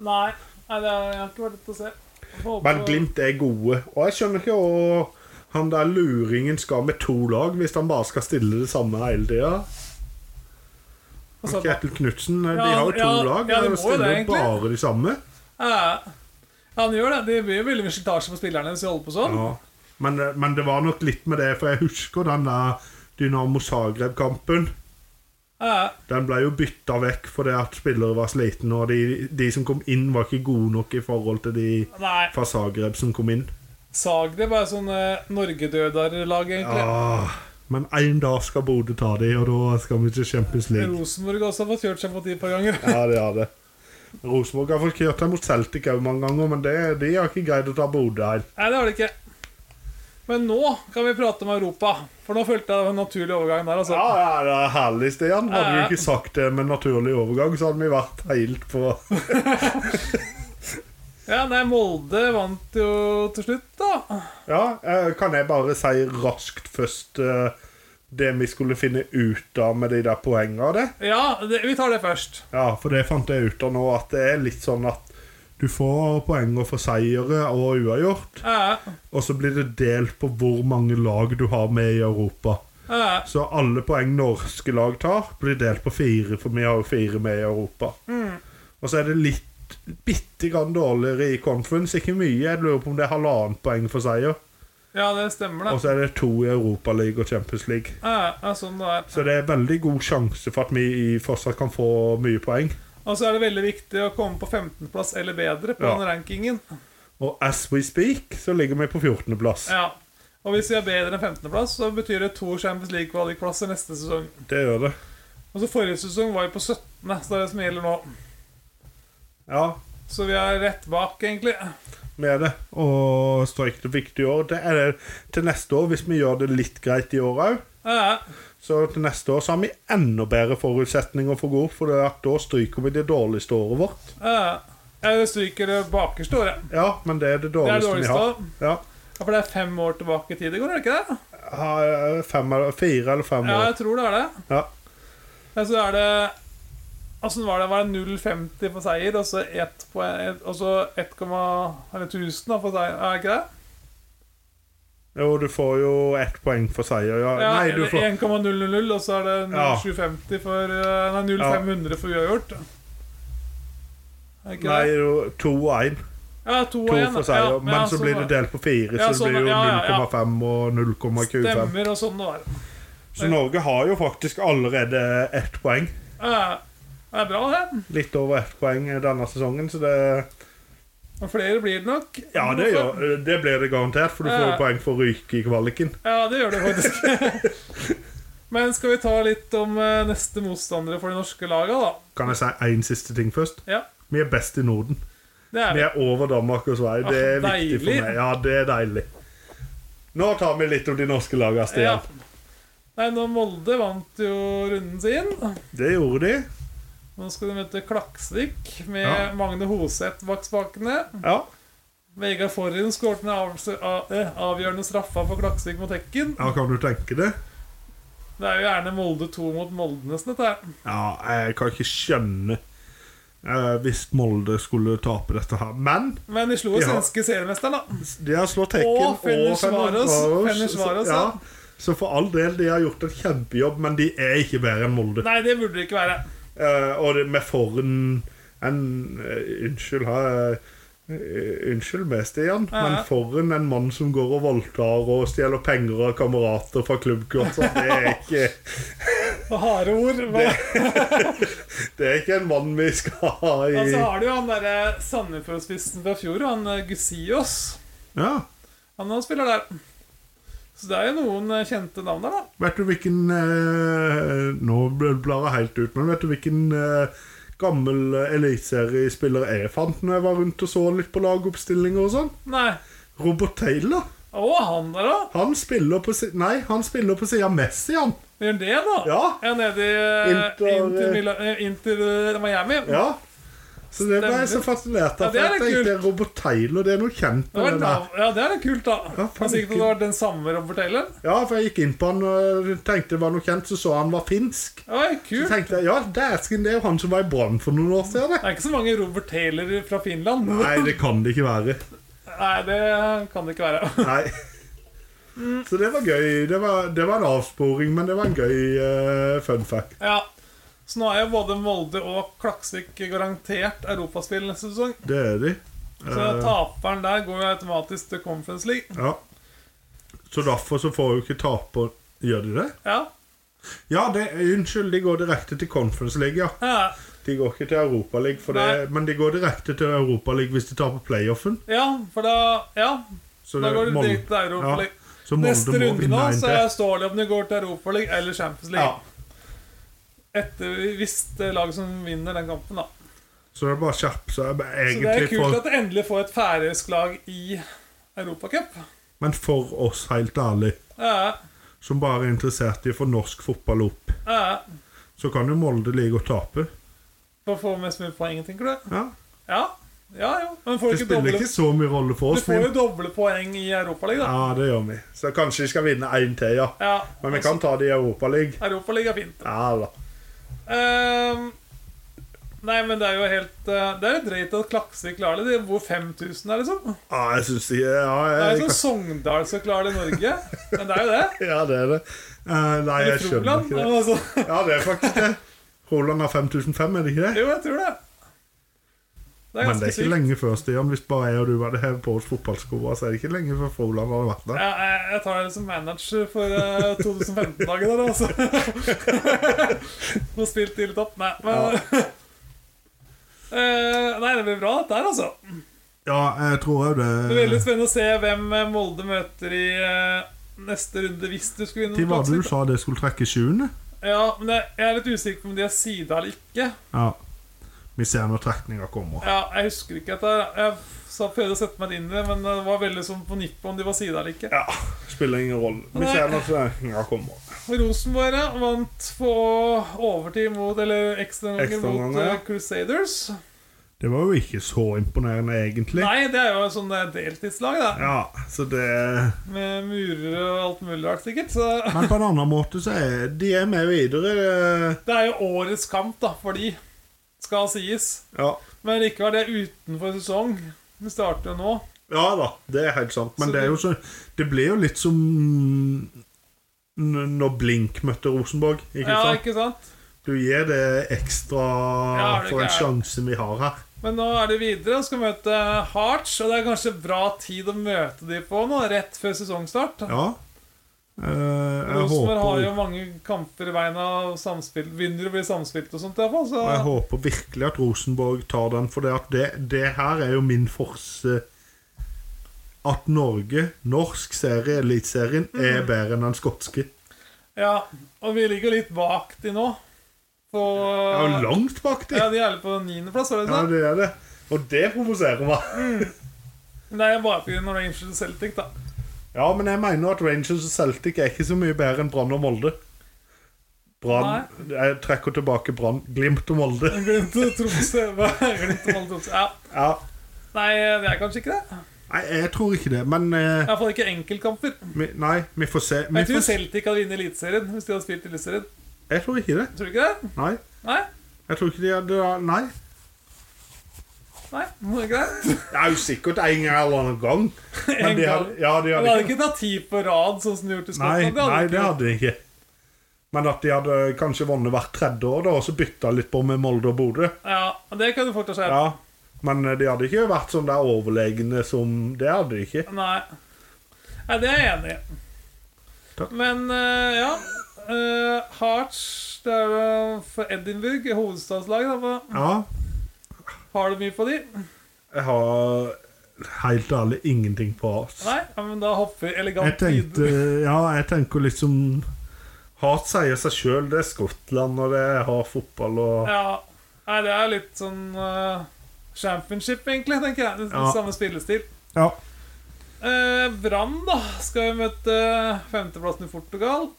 [SPEAKER 2] Nei, nei det har jeg har ikke vært lett å se. Jeg får håpe-
[SPEAKER 1] Men Glimt er gode. Og jeg skjønner ikke hva han der luringen skal med to lag, hvis han bare skal stille det samme hele tida.
[SPEAKER 2] Altså,
[SPEAKER 1] Kjetil Knutsen, eh, de
[SPEAKER 2] Ja,
[SPEAKER 1] har jo to
[SPEAKER 2] ja,
[SPEAKER 1] lag.
[SPEAKER 2] ja, de
[SPEAKER 1] de
[SPEAKER 2] må jo det,
[SPEAKER 1] stiller jo
[SPEAKER 2] egentlig.
[SPEAKER 1] bare de samme.
[SPEAKER 2] Eh, ja, han gjør det. Det blir jo veldig mye slitasje på spillerne hvis de holder på sånn.
[SPEAKER 1] eh, Ja. Men, men det var nok litt med det, for jeg husker den der Dynamo Zagreb-kampen.
[SPEAKER 2] Ja,
[SPEAKER 1] Den ble jo bytta vekk fordi at spillere var slitne, og de, de som kom inn, var ikke gode nok i forhold til de
[SPEAKER 2] nei.
[SPEAKER 1] fra Zagreb som kom inn.
[SPEAKER 2] Zagreb er sånn eh, Norgedødere-lag, egentlig.
[SPEAKER 1] Ah, men en dag skal Bodø ta de, og da skal vi til Champions League.
[SPEAKER 2] Rosenborg også har fått kjørt seg på de et par ganger.
[SPEAKER 1] Ja, det er det. Rosenborg har fått kjørt seg mot Celtic òg mange ganger, men det, de har ikke greid å ta Bodø her.
[SPEAKER 2] Nei, det har det ikke. Men nå kan vi prate om Europa, for nå følte jeg det var en naturlig overgang der. altså.
[SPEAKER 1] Ja, ja, det er herlig, Stian. Hadde
[SPEAKER 2] Ja,
[SPEAKER 1] du
[SPEAKER 2] ja.
[SPEAKER 1] ikke sagt det med naturlig overgang, så hadde vi vært helt på
[SPEAKER 2] Ja, nei, Molde vant jo til slutt, da.
[SPEAKER 1] Ja, eh, kan jeg bare si raskt først eh, det vi skulle finne ut av med de der poengene av det?
[SPEAKER 2] Ja, det, vi tar det først.
[SPEAKER 1] Ja, for det fant jeg ut av nå, at det er litt sånn at du får poenger for seire og uavgjort,
[SPEAKER 2] Ja,
[SPEAKER 1] og så blir det delt på hvor mange lag du har med i Europa.
[SPEAKER 2] ja.
[SPEAKER 1] Så alle poeng norske lag tar, blir delt på fire, for vi har jo fire med i Europa.
[SPEAKER 2] Mm.
[SPEAKER 1] Og så er det litt bitte grann dårligere i conference, ikke mye. Jeg lurer på om det er halvannet poeng for seier.
[SPEAKER 2] ja det stemmer,
[SPEAKER 1] Og
[SPEAKER 2] det.
[SPEAKER 1] så er det to i Europaligaen og Champions League.
[SPEAKER 2] Ja, ja, sånn det er.
[SPEAKER 1] Så det er veldig god sjanse for at vi fortsatt kan få mye poeng.
[SPEAKER 2] Og så er det veldig viktig å komme på 15.-plass eller bedre på
[SPEAKER 1] Ja.
[SPEAKER 2] den rankingen.
[SPEAKER 1] Og as we speak, så ligger vi på 14.-plass.
[SPEAKER 2] Ja. Og hvis vi er bedre enn 15.-plass, så betyr det to Champions League-kvalikplasser neste sesong.
[SPEAKER 1] Det gjør det.
[SPEAKER 2] Og så Forrige sesong var vi på 17., så det er det som gjelder nå.
[SPEAKER 1] Ja,
[SPEAKER 2] Så vi er rett bak, egentlig.
[SPEAKER 1] vi er det. Og strøk det fikk i år. Det er det til neste år, hvis vi gjør det litt greit i år òg.
[SPEAKER 2] Ja,
[SPEAKER 1] Så til neste år så har vi enda bedre forutsetninger for å gå opp, for det er at da stryker vi det dårligste året vårt.
[SPEAKER 2] ja. Jeg stryker det bakerste året.
[SPEAKER 1] Ja, men det er det
[SPEAKER 2] Det er
[SPEAKER 1] dårligste,
[SPEAKER 2] dårligst da.
[SPEAKER 1] vi har.
[SPEAKER 2] Ja, for det er fem år tilbake i tid det går, er det ikke det?
[SPEAKER 1] Ja. Ha- eh, Fem, eller- fire eller fem
[SPEAKER 2] Ja,
[SPEAKER 1] år.
[SPEAKER 2] jeg tror det er det.
[SPEAKER 1] Ja.
[SPEAKER 2] Ja, så er det Åssen var det? Var det 0,50 for seier, og så ett på- ett- og så 1,1000 da, for seier? Er det ikke det?
[SPEAKER 1] Jo, du får jo ett poeng for seier. Ja.
[SPEAKER 2] Ja,
[SPEAKER 1] Nei, du
[SPEAKER 2] eller
[SPEAKER 1] får
[SPEAKER 2] 1,000, og så er det
[SPEAKER 1] Ja.
[SPEAKER 2] 0750 for eh, Nei, 0500 for uavgjort. Er det ikke
[SPEAKER 1] Nei,
[SPEAKER 2] det?
[SPEAKER 1] jo, to og én.
[SPEAKER 2] Ja, to og
[SPEAKER 1] To
[SPEAKER 2] en,
[SPEAKER 1] for
[SPEAKER 2] ja,
[SPEAKER 1] seier, men
[SPEAKER 2] ja,
[SPEAKER 1] så
[SPEAKER 2] sånn
[SPEAKER 1] blir det
[SPEAKER 2] var
[SPEAKER 1] delt på fire, så
[SPEAKER 2] Ja,
[SPEAKER 1] det
[SPEAKER 2] sånn,
[SPEAKER 1] blir jo
[SPEAKER 2] ja, ja, ja.
[SPEAKER 1] 0,5 og 0,25.
[SPEAKER 2] Stemmer, og sånn det var.
[SPEAKER 1] Så Norge har jo faktisk allerede ett poeng.
[SPEAKER 2] Ja, det er bra, det.
[SPEAKER 1] Litt over ett poeng denne sesongen, så det
[SPEAKER 2] Og flere blir det nok.
[SPEAKER 1] Ja, det, gjør, det blir det garantert, for du får jo
[SPEAKER 2] Ja.
[SPEAKER 1] poeng for å ryke i kvaliken.
[SPEAKER 2] Ja, det gjør det faktisk. Men skal vi ta litt om eh, neste motstandere for de norske laga, da?
[SPEAKER 1] Kan jeg si én siste ting først?
[SPEAKER 2] Ja,
[SPEAKER 1] Vi er best i Norden.
[SPEAKER 2] det er
[SPEAKER 1] Vi
[SPEAKER 2] vi.
[SPEAKER 1] er over Danmark og Sverige. Det er
[SPEAKER 2] Ah,
[SPEAKER 1] viktig for
[SPEAKER 2] deilig.
[SPEAKER 1] meg. Ja, det er deilig. Nå tar vi litt om de norske lagene,
[SPEAKER 2] Ja.
[SPEAKER 1] Stian.
[SPEAKER 2] Nei, nå Molde vant jo runden sin.
[SPEAKER 1] Det gjorde de.
[SPEAKER 2] Nå skal de møte Klaksvik med
[SPEAKER 1] Ja.
[SPEAKER 2] Magne Hoseth bak spakene.
[SPEAKER 1] Ja.
[SPEAKER 2] Vegard Forhen skåret den avs- av- eh, avgjørende straffa for Klaksvik mot Hekken.
[SPEAKER 1] ja, kan du tenke det?
[SPEAKER 2] Det er jo gjerne Molde 2 mot Molde, nesten, dette her.
[SPEAKER 1] Ja, jeg kan ikke skjønne eh, hvis Molde skulle tape dette her. Men
[SPEAKER 2] Men de slo jo
[SPEAKER 1] Ja.
[SPEAKER 2] svenske seriemesteren, da.
[SPEAKER 1] de har slått Hekken
[SPEAKER 2] Og Fenersvaros. Fenersvaros, ja.
[SPEAKER 1] Så for all del, de har gjort en kjempejobb, men de er ikke bedre enn Molde.
[SPEAKER 2] Nei, det burde det ikke være.
[SPEAKER 1] Eh, og det med foran en eh, Unnskyld, her, eh, unnskyld meg, Stian,
[SPEAKER 2] Ja.
[SPEAKER 1] men foran en mann som går og voldtar og stjeler penger av kamerater fra klubbkort, så det er ikke
[SPEAKER 2] Og harde ord. Men,
[SPEAKER 1] Det er ikke en mann vi skal ha i
[SPEAKER 2] Og så altså, har du jo han derre Sandefjord-spissen fra fjor, han eh, Gussiås.
[SPEAKER 1] Ja.
[SPEAKER 2] Han han spiller der. Så det er jo noen eh, kjente navn der, da.
[SPEAKER 1] Vet du hvilken eh, Nå blar jeg helt ut, men vet du hvilken eh, gammel eliteseriespiller jeg fant når jeg var rundt og så litt på lagoppstillinger og sånn?
[SPEAKER 2] Nei.
[SPEAKER 1] Robert Taylor.
[SPEAKER 2] Å, han der, da.
[SPEAKER 1] Han spiller på si Nei, han spiller på sida av Messi, han.
[SPEAKER 2] Gjør det, da?
[SPEAKER 1] Ja.
[SPEAKER 2] nede i eh,
[SPEAKER 1] Inter-
[SPEAKER 2] Inter, Mila- eh, Inter eh, Miami.
[SPEAKER 1] Ja. Så det ble jeg så
[SPEAKER 2] Stemmer.
[SPEAKER 1] fascinert
[SPEAKER 2] Ja,
[SPEAKER 1] av.
[SPEAKER 2] det er
[SPEAKER 1] for jeg
[SPEAKER 2] litt
[SPEAKER 1] tenkte Robert Taylor, det er noe kjent
[SPEAKER 2] Det
[SPEAKER 1] med
[SPEAKER 2] var
[SPEAKER 1] den der.
[SPEAKER 2] navn. Ja, det er litt kult, da.
[SPEAKER 1] Ja,
[SPEAKER 2] Ja,
[SPEAKER 1] faen,
[SPEAKER 2] Sikkert
[SPEAKER 1] kult.
[SPEAKER 2] det var den samme Robert Taylor.
[SPEAKER 1] Ja, for jeg gikk inn på han og tenkte det var noe kjent, så så han var finsk.
[SPEAKER 2] Oi,
[SPEAKER 1] Så
[SPEAKER 2] kult.
[SPEAKER 1] tenkte jeg, ja, dæsken, det er jo han som var i Brann for noen år siden. det.
[SPEAKER 2] Det er ikke så mange Robert Taylor fra Finland.
[SPEAKER 1] Nei, det kan det ikke være.
[SPEAKER 2] Nei, det kan det ikke være.
[SPEAKER 1] Nei.
[SPEAKER 2] Mm.
[SPEAKER 1] Så det var gøy. Det var, det var en avsporing, men det var en gøy eh, fun fact.
[SPEAKER 2] Ja. Så nå er jo både Molde og Klaksvik garantert europaspill neste sesong.
[SPEAKER 1] Det er de.
[SPEAKER 2] Så
[SPEAKER 1] Eh,
[SPEAKER 2] taperen der går jo automatisk til Conference League.
[SPEAKER 1] ja. Så derfor så får jo ikke taper Gjør de det?
[SPEAKER 2] Ja.
[SPEAKER 1] Ja, det, unnskyld, de går direkte til Conference League, ja.
[SPEAKER 2] Ja.
[SPEAKER 1] De går ikke til Europaligaen, for det- men de går direkte til Europaligaen hvis de taper playoffen.
[SPEAKER 2] ja, for da Ja,
[SPEAKER 1] Så
[SPEAKER 2] da går det
[SPEAKER 1] Molde-
[SPEAKER 2] direkte til Europa League.
[SPEAKER 1] Ja, så Molde
[SPEAKER 2] Neste
[SPEAKER 1] må
[SPEAKER 2] runde
[SPEAKER 1] vinne
[SPEAKER 2] nå
[SPEAKER 1] en
[SPEAKER 2] så
[SPEAKER 1] til.
[SPEAKER 2] står det om de går til Europa League eller Champions
[SPEAKER 1] Ja.
[SPEAKER 2] League. Etter hvis det er lag som vinner den kampen, da.
[SPEAKER 1] Så det er bare å skjerpe seg. men
[SPEAKER 2] Så det er
[SPEAKER 1] Egentlig
[SPEAKER 2] kult
[SPEAKER 1] for,
[SPEAKER 2] at det endelig får et færøysk lag i Europacup.
[SPEAKER 1] Men for oss, helt ærlig,
[SPEAKER 2] Ja,
[SPEAKER 1] som bare er interessert i å få norsk fotball opp,
[SPEAKER 2] ja.
[SPEAKER 1] så kan jo Molde ligge og tape.
[SPEAKER 2] For å få mest mulig poeng, tenker du?
[SPEAKER 1] Ja.
[SPEAKER 2] Ja. ja jo. Men
[SPEAKER 1] Det
[SPEAKER 2] får du ikke
[SPEAKER 1] spiller
[SPEAKER 2] doble,
[SPEAKER 1] ikke så mye rolle for
[SPEAKER 2] du
[SPEAKER 1] oss.
[SPEAKER 2] får jo
[SPEAKER 1] men-
[SPEAKER 2] doble poeng i Europaligaen, da.
[SPEAKER 1] Ja, det gjør vi. Så kanskje vi skal vinne én til, ja.
[SPEAKER 2] Ja.
[SPEAKER 1] Men vi kan ta det i Europaligaen.
[SPEAKER 2] Europaligaen er fint.
[SPEAKER 1] Ja da.
[SPEAKER 2] Ehm, nei, men det er jo helt eh, Det er jo drøyt at Klaksvik klarer det. Det bor 5000 her, liksom.
[SPEAKER 1] Ja, jeg syns de ja,
[SPEAKER 2] Det er
[SPEAKER 1] jeg,
[SPEAKER 2] jo sånn Sogndal som klarer det i Norge. Men det er jo det.
[SPEAKER 1] ja, det er det. Eh, nei, jeg
[SPEAKER 2] Eller
[SPEAKER 1] skjønner
[SPEAKER 2] Froland.
[SPEAKER 1] ikke det.
[SPEAKER 2] men Altså,
[SPEAKER 1] Ja, det er faktisk det. Roland har 5005, er det ikke det?
[SPEAKER 2] jo, jeg tror det. Det er
[SPEAKER 1] Men det
[SPEAKER 2] ganske
[SPEAKER 1] er ikke
[SPEAKER 2] sykt.
[SPEAKER 1] lenge før, Stian. Hvis bare jeg og du hadde hevet på oss fotballskoa, så er det ikke lenge før Froland hadde vært der.
[SPEAKER 2] Ja, jeg, jeg tar det som manager for eh, 2015-dagen der, altså. Nå spilte de litt opp. Nei, men Eh, Nei, det blir bra, dette her, altså.
[SPEAKER 1] Ja, jeg tror òg
[SPEAKER 2] Det blir veldig
[SPEAKER 1] det.
[SPEAKER 2] spennende å se hvem eh, Molde møter i eh, neste runde, hvis du skulle vinne.
[SPEAKER 1] Til hva
[SPEAKER 2] mot
[SPEAKER 1] du
[SPEAKER 2] Klaksvik.
[SPEAKER 1] sa det skulle trekke sjuende?
[SPEAKER 2] Ja, men jeg jeg er litt usikker på om de er sida eller ikke.
[SPEAKER 1] Ja. Vi ser når trekninga kommer.
[SPEAKER 2] Ja, jeg husker ikke at jeg, jeg sa- prøvde å sette meg inn i det, men det var veldig sånn på nippet om de var sida eller ikke.
[SPEAKER 1] Ja, spiller ingen rolle. Vi ser når trekninga kommer.
[SPEAKER 2] Rosenborg ja, vant på overtid mot Eller ekstraomganger
[SPEAKER 1] Ekstraomganger,
[SPEAKER 2] mot eh,
[SPEAKER 1] ja.
[SPEAKER 2] Crusaders.
[SPEAKER 1] Det var jo ikke så imponerende, egentlig.
[SPEAKER 2] Nei, det er jo et sånt eh, deltidslag, da.
[SPEAKER 1] Ja, så det
[SPEAKER 2] Med murere og alt mulig rart, sikkert. Så
[SPEAKER 1] Men på en annen måte så er de er med videre. eh,
[SPEAKER 2] det er jo årets kamp, da, for de, skal sies.
[SPEAKER 1] Ja.
[SPEAKER 2] Men likevel, det er utenfor sesong. Vi starter jo nå.
[SPEAKER 1] ja da, det er helt sant. Men
[SPEAKER 2] Så
[SPEAKER 1] det er
[SPEAKER 2] det-
[SPEAKER 1] jo så Det blir jo litt som n- når Blink møtte Rosenborg. Ikke
[SPEAKER 2] Ja,
[SPEAKER 1] sant?
[SPEAKER 2] ikke sant?
[SPEAKER 1] Du gir det ekstra
[SPEAKER 2] Ja, er du
[SPEAKER 1] for en
[SPEAKER 2] gæren?
[SPEAKER 1] sjanse vi har her.
[SPEAKER 2] Men nå er det videre og skal møte eh, Hearts. Og det er kanskje bra tid å møte de på nå, rett før sesongstart.
[SPEAKER 1] Ja. Eh, jeg,
[SPEAKER 2] Rosenborg har jo
[SPEAKER 1] håper,
[SPEAKER 2] mange kamper i veien av samspill. Vinner og blir samspilt og sånt, iallfall. Så
[SPEAKER 1] jeg håper virkelig at Rosenborg tar den, for det, at det, det her er jo min forse At Norge, norsk serie, Eliteserien, er
[SPEAKER 2] Mhm.
[SPEAKER 1] bedre enn den skotske.
[SPEAKER 2] Ja, og vi ligger litt bak de nå. På
[SPEAKER 1] Jeg er jo langt bak
[SPEAKER 2] Ja,
[SPEAKER 1] dem!
[SPEAKER 2] de er litt på niendeplass, var det
[SPEAKER 1] Ja,
[SPEAKER 2] sånn?
[SPEAKER 1] det er det. Og det provoserer meg.
[SPEAKER 2] Men det er bare pga. Rangers og Celtic, da.
[SPEAKER 1] Ja, men jeg mener at Rangers og Celtic er ikke så mye bedre enn Brann og Molde. Brann Jeg trekker tilbake Brann, Glimt og Molde.
[SPEAKER 2] Glimt og Tromsø. Glimt og Molde Tromsø. Ja.
[SPEAKER 1] Ja.
[SPEAKER 2] Nei, det er kanskje ikke det.
[SPEAKER 1] Nei, jeg tror ikke det, men eh,
[SPEAKER 2] Iallfall ikke enkeltkamper.
[SPEAKER 1] vi, Nei, vi får se. Vi
[SPEAKER 2] Jeg tror
[SPEAKER 1] får se.
[SPEAKER 2] Celtic hadde vunnet Eliteserien hvis de hadde spilt Eliteserien.
[SPEAKER 1] Jeg tror ikke det.
[SPEAKER 2] Tror du ikke det?
[SPEAKER 1] Nei.
[SPEAKER 2] Nei?
[SPEAKER 1] Jeg tror ikke de hadde Nei.
[SPEAKER 2] Nei, det er ikke det?
[SPEAKER 1] Det er jo sikkert en gang eller annen gang. Men
[SPEAKER 2] En
[SPEAKER 1] de
[SPEAKER 2] gang.
[SPEAKER 1] hadde, ja, de
[SPEAKER 2] Men De
[SPEAKER 1] hadde
[SPEAKER 2] hadde
[SPEAKER 1] ikke
[SPEAKER 2] ikke tatt ti på rad, sånn som de gjorde i
[SPEAKER 1] Nei,
[SPEAKER 2] Skottland.
[SPEAKER 1] nei,
[SPEAKER 2] de
[SPEAKER 1] det hadde de ikke. Men at de hadde kanskje vunnet hvert tredje år, da, og så bytta litt på med Molde og Bodø.
[SPEAKER 2] Ja, og det kan du fortsatt se.
[SPEAKER 1] Ja, men de hadde ikke vært sånn der overlegne som Det hadde de ikke.
[SPEAKER 2] Nei. Nei, det er jeg enig i.
[SPEAKER 1] Takk.
[SPEAKER 2] Men eh, ja eh, Hearts Det er jo for Edinburgh, hovedstadslaget. da.
[SPEAKER 1] Ja,
[SPEAKER 2] Har du mye på de?
[SPEAKER 1] jeg har helt ærlig ingenting på oss.
[SPEAKER 2] Nei? Ja, men da hopper vi elegant
[SPEAKER 1] Jeg tenkte
[SPEAKER 2] videre.
[SPEAKER 1] Ja, jeg tenker liksom Hart sier seg sjøl, det er Skottland, og det er hard fotball og
[SPEAKER 2] Ja. Nei, det er litt sånn eh, championship, egentlig, tenker jeg. Det, er
[SPEAKER 1] Ja.
[SPEAKER 2] Samme spillestil.
[SPEAKER 1] Ja.
[SPEAKER 2] Eh, Brann, da, skal jo møte eh, femteplassen i Portugal.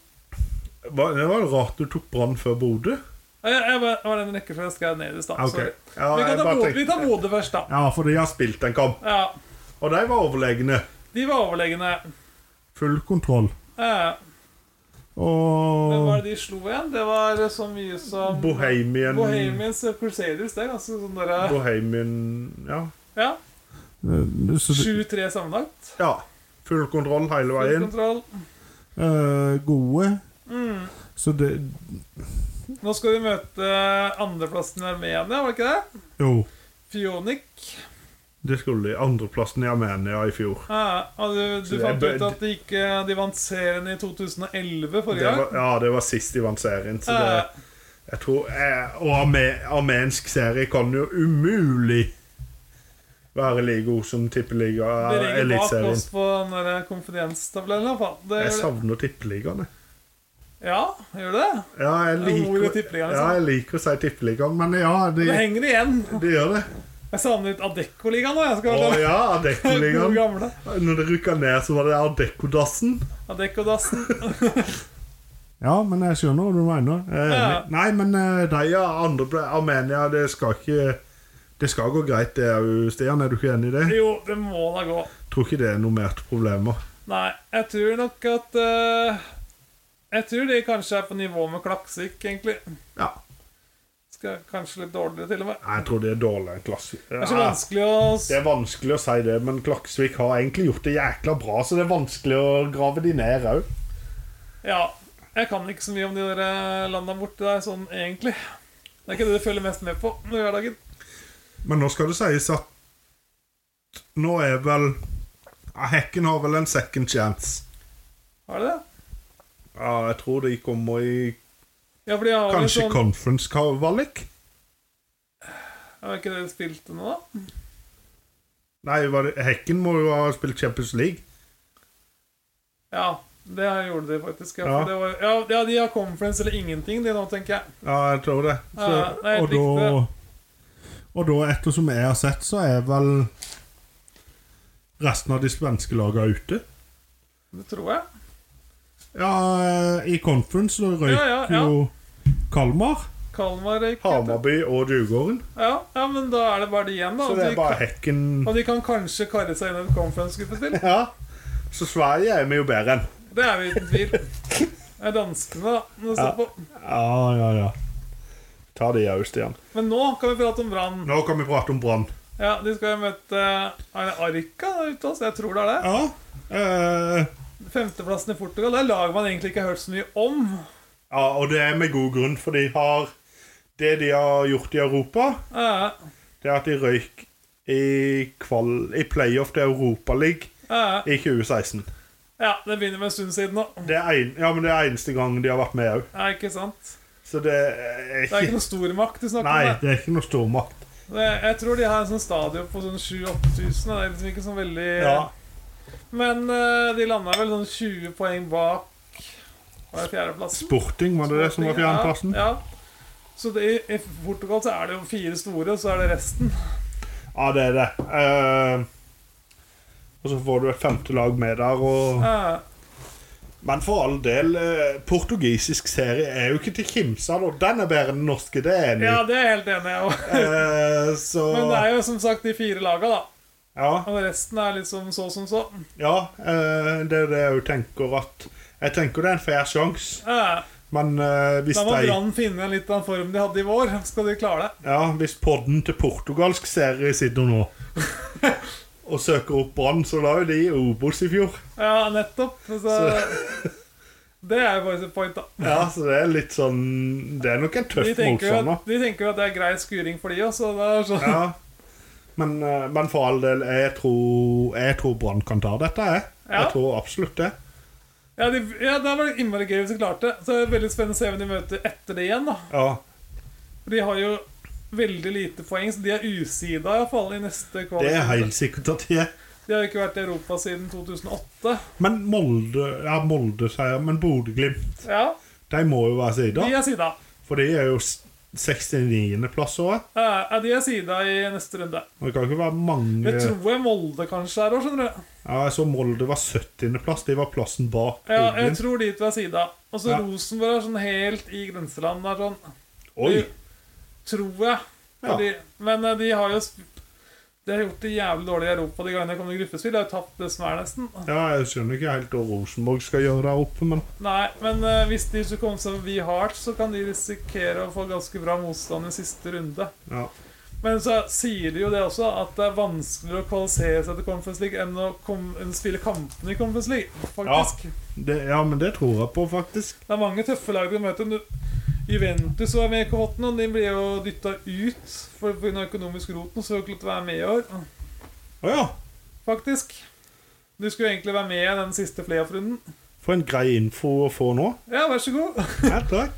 [SPEAKER 1] Hva- Det var rart du tok Brann før Bodø.
[SPEAKER 2] Eh, Jeg, jeg, bare- det var den rekkefølgen jeg skrev ned i stad.
[SPEAKER 1] Ok.
[SPEAKER 2] sorry.
[SPEAKER 1] Ja,
[SPEAKER 2] vi
[SPEAKER 1] jeg
[SPEAKER 2] kan ta
[SPEAKER 1] bare
[SPEAKER 2] Bodø-
[SPEAKER 1] tenkte-
[SPEAKER 2] vi tar Bodø først, da.
[SPEAKER 1] Ja, for de har spilt en kamp,
[SPEAKER 2] Ja,
[SPEAKER 1] og de var overlegne.
[SPEAKER 2] De var overlegne.
[SPEAKER 1] Full kontroll.
[SPEAKER 2] Eh, Hvem var
[SPEAKER 1] Og
[SPEAKER 2] det de slo igjen? Det var eh, så mye som
[SPEAKER 1] Bohemian
[SPEAKER 2] Bohemians og Crusaders. Det er ganske sånn derre
[SPEAKER 1] Bohemian Ja.
[SPEAKER 2] Ja.
[SPEAKER 1] Eh, så det-
[SPEAKER 2] 7-3 sammenlagt.
[SPEAKER 1] ja. Full kontroll hele
[SPEAKER 2] Full
[SPEAKER 1] veien.
[SPEAKER 2] kontroll.
[SPEAKER 1] eh, gode. Så det
[SPEAKER 2] Nå skal vi eh, møte andreplassen i Armenia, var det ikke det?
[SPEAKER 1] Jo.
[SPEAKER 2] Fionik.
[SPEAKER 1] Det skulle de. Andreplassen i Armenia i fjor.
[SPEAKER 2] Ja, Eh, ja, du,
[SPEAKER 1] Så
[SPEAKER 2] du
[SPEAKER 1] det
[SPEAKER 2] fant
[SPEAKER 1] er
[SPEAKER 2] ut
[SPEAKER 1] bø-
[SPEAKER 2] at de, ikke, de vant serien i 2011
[SPEAKER 1] Det
[SPEAKER 2] forrige
[SPEAKER 1] var,
[SPEAKER 2] gang?
[SPEAKER 1] ja, det var sist de vant serien. Så det,
[SPEAKER 2] Ja.
[SPEAKER 1] jeg tror, eh, og arme, armensk serie kan jo umulig være like god som tippeliga
[SPEAKER 2] De ligger bak
[SPEAKER 1] eliteserien.
[SPEAKER 2] oss på den der konfidenstabellen. i hvert fall. Det
[SPEAKER 1] Jeg
[SPEAKER 2] gjør det.
[SPEAKER 1] savner tippeligaene.
[SPEAKER 2] Ja, gjør det?
[SPEAKER 1] Ja, jeg
[SPEAKER 2] Det er ordet
[SPEAKER 1] liker,
[SPEAKER 2] tippeligaen,
[SPEAKER 1] ja, jeg liker å si tippeligaen, men ja, de,
[SPEAKER 2] Det henger igjen.
[SPEAKER 1] de gjør det.
[SPEAKER 2] Jeg savner litt Adecco-ligaen nå.
[SPEAKER 1] Å
[SPEAKER 2] jeg skal være
[SPEAKER 1] ja,
[SPEAKER 2] God
[SPEAKER 1] Adecco-ligaen.
[SPEAKER 2] gamle.
[SPEAKER 1] Når det rykka ned, så var det Adecco-dassen.
[SPEAKER 2] Adecco-dassen.
[SPEAKER 1] Ja, men jeg skjønner hva du mener. Jeg er
[SPEAKER 2] Ja.
[SPEAKER 1] enig. Nei, men eh, de ja, andre ble, Armenia, det skal ikke Det skal gå greit, det òg, Stian. Er du ikke enig i det?
[SPEAKER 2] Jo, det må da gå.
[SPEAKER 1] Tror ikke det er normerte problemer.
[SPEAKER 2] Nei, jeg tror nok at eh, Jeg tror de kanskje er på nivå med Klaksvik, egentlig.
[SPEAKER 1] Ja.
[SPEAKER 2] Skal Kanskje litt dårligere, til og med.
[SPEAKER 1] Jeg tror det er dårligere enn Klaksvik.
[SPEAKER 2] Det er så
[SPEAKER 1] Ja,
[SPEAKER 2] vanskelig å s-
[SPEAKER 1] det er vanskelig å si det, men Klaksvik har egentlig gjort det jækla bra, så det er vanskelig å grave de ned òg.
[SPEAKER 2] Ja. Jeg kan ikke så mye om de der eh, landa borti der, sånn egentlig. Det er ikke det du følger mest med på i hverdagen.
[SPEAKER 1] Men nå skal det sies at nå er vel ja, Hekken har vel en second chance.
[SPEAKER 2] Har de det?
[SPEAKER 1] Ja, jeg tror de kommer i
[SPEAKER 2] Ja, for de har jo
[SPEAKER 1] kanskje
[SPEAKER 2] sånn
[SPEAKER 1] conference-kvalik.
[SPEAKER 2] Har ikke dere spilt det nå, da?
[SPEAKER 1] Nei, var det, Hekken må jo ha spilt Champions League.
[SPEAKER 2] Ja, det gjorde de faktisk. Ja,
[SPEAKER 1] Ja.
[SPEAKER 2] For det var, ja, ja, de har conference eller ingenting, de nå, tenker jeg.
[SPEAKER 1] Ja, jeg tror det. Så,
[SPEAKER 2] Ja, det er helt
[SPEAKER 1] og, da, og da, ettersom jeg har sett, så er vel resten av de svenske lagene ute.
[SPEAKER 2] Det tror jeg.
[SPEAKER 1] Ja, eh, i conference så røyk
[SPEAKER 2] Ja, ja, ja.
[SPEAKER 1] jo Kalmar.
[SPEAKER 2] Kalmar røyk. ut.
[SPEAKER 1] Hamarby og Djurgården.
[SPEAKER 2] Ja, ja, men da er det bare de igjen, da.
[SPEAKER 1] Så
[SPEAKER 2] Og
[SPEAKER 1] det
[SPEAKER 2] de
[SPEAKER 1] er bare Hekken
[SPEAKER 2] Og de kan kanskje karre seg inn i et conference-gruppespill.
[SPEAKER 1] Ja. Så Sverige er vi jo bedre enn.
[SPEAKER 2] Det er vi uten tvil. Det er danskene, da. Nå står på.
[SPEAKER 1] Ja, ja, ja. Ta det òg, Stian.
[SPEAKER 2] Men nå kan vi prate om Brann.
[SPEAKER 1] Nå kan vi prate om Brann.
[SPEAKER 2] Ja, de skal jo møte eh, Er det Arca der ute? Altså? Jeg tror det er det.
[SPEAKER 1] Ja. eh,
[SPEAKER 2] Femteplassen i Portugal. Det er lag man egentlig ikke har hørt så mye om.
[SPEAKER 1] ja, og det er med god grunn, for de har Det de har gjort i Europa,
[SPEAKER 2] Ja,
[SPEAKER 1] det er at de røyk i, kval, i playoff til Europaligaen
[SPEAKER 2] ja,
[SPEAKER 1] i 2016.
[SPEAKER 2] ja, det begynner med en stund siden nå.
[SPEAKER 1] Det er, en, ja, men det er eneste gang de har vært med òg.
[SPEAKER 2] Ja, ikke sant?
[SPEAKER 1] Så det er
[SPEAKER 2] Det er ikke
[SPEAKER 1] ikke
[SPEAKER 2] noe stormakt du snakker
[SPEAKER 1] Nei,
[SPEAKER 2] om.
[SPEAKER 1] det er ikke noe stormakt.
[SPEAKER 2] Det. Det, jeg tror de har en sånn stadion på sånn 7000-8000. Det er liksom ikke sånn veldig
[SPEAKER 1] Ja.
[SPEAKER 2] Men eh, de landa vel sånn 20 poeng bak Var det fjerdeplassen?
[SPEAKER 1] Sporting, var det det som var fjerdeplassen?
[SPEAKER 2] Ja, ja. Så det, i- i Portugal så er det jo fire store, og så er det resten.
[SPEAKER 1] Ja, det er det. Eh, og så får du et femte lag med der. Og...
[SPEAKER 2] Ja,
[SPEAKER 1] Men for all del, eh, portugisisk serie er jo ikke til å kimse av. og Den er bedre enn den norske, det er jeg enig.
[SPEAKER 2] ja
[SPEAKER 1] i.
[SPEAKER 2] det er jeg helt enig i. og-
[SPEAKER 1] Eh, så
[SPEAKER 2] Men det er jo som sagt de fire laga, da.
[SPEAKER 1] Ja,
[SPEAKER 2] Og resten er liksom så som så.
[SPEAKER 1] ja eh, det er det jeg jo tenker at Jeg tenker det er en fair sjanse,
[SPEAKER 2] Ja,
[SPEAKER 1] men eh, hvis
[SPEAKER 2] Da må
[SPEAKER 1] de
[SPEAKER 2] Brann finne igjen litt av den formen de hadde i vår. Skal de klare det?
[SPEAKER 1] Ja, hvis podden til portugalsk serie sitter nå og søker opp Brann, så la jo de i Obos i fjor.
[SPEAKER 2] Ja, nettopp. Så, det er jo bare et point, da.
[SPEAKER 1] Ja, så det er litt sånn Det er nok en
[SPEAKER 2] De
[SPEAKER 1] tøff
[SPEAKER 2] tenker jo
[SPEAKER 1] motstander.
[SPEAKER 2] at, de tenker jo at det er grei skuring for de òg, så det er sånn
[SPEAKER 1] Ja. Men, eh, men for all del, jeg tror, jeg tror Brann kan ta dette. Jeg.
[SPEAKER 2] Ja.
[SPEAKER 1] jeg tror absolutt det.
[SPEAKER 2] Ja, de, ja, det var innmari gøy hvis de klarte det. Så det er veldig spennende å se hvem de møter etter det igjen. da
[SPEAKER 1] Ja.
[SPEAKER 2] For De har jo veldig lite poeng, så de er usida i hvert fall i neste
[SPEAKER 1] Det er
[SPEAKER 2] kvalik.
[SPEAKER 1] helt sikkert at de er.
[SPEAKER 2] De har jo ikke vært i Europa siden 2008.
[SPEAKER 1] Men Molde ja, Molde seier, men Bodø-Glimt
[SPEAKER 2] Ja,
[SPEAKER 1] De må jo være sida,
[SPEAKER 2] de er sida.
[SPEAKER 1] for de er jo 69.-plass òg.
[SPEAKER 2] Eh, Ja, de er sida i neste runde.
[SPEAKER 1] Det kan ikke være mange
[SPEAKER 2] Jeg tror jeg Molde kanskje er òg, skjønner du.
[SPEAKER 1] Ja, jeg så Molde var 70.-plass. De var plassen bak
[SPEAKER 2] Ja, jeg
[SPEAKER 1] Bodø-Glimt.
[SPEAKER 2] tror de to er sida. Og så
[SPEAKER 1] Ja.
[SPEAKER 2] Rosenborg er sånn helt i grenseland der, sånn.
[SPEAKER 1] Oi!
[SPEAKER 2] Tror jeg. Fordi, Men eh, de har jo sp- De har gjort det jævlig dårlig i Europa de gangene de kom i gruppespill. De har jo tapt det som er, nesten.
[SPEAKER 1] Ja, jeg skjønner ikke helt hva Rosenborg skal gjøre der oppe, men
[SPEAKER 2] Nei, men eh, hvis de skulle komme seg forbi hardt, så kan de risikere å få ganske bra motstand i siste runde.
[SPEAKER 1] ja.
[SPEAKER 2] Men så sier de jo det også, at det er vanskeligere å kvalifisere seg til Conference League enn å, kom, enn å spille kampene i Conference League, faktisk.
[SPEAKER 1] Det, ja, men det tror jeg på, faktisk.
[SPEAKER 2] Det er mange tøffe lag du møter. Nu- Juventus var med i kohorten, og de ble jo dytta ut for- på grunn av økonomisk rot, så de får ikke lov til å være med i år.
[SPEAKER 1] Å ja.
[SPEAKER 2] faktisk. Du skulle egentlig være med i den siste playoff-runden.
[SPEAKER 1] For en grei info å få nå.
[SPEAKER 2] Ja, vær så god.
[SPEAKER 1] Ja, takk.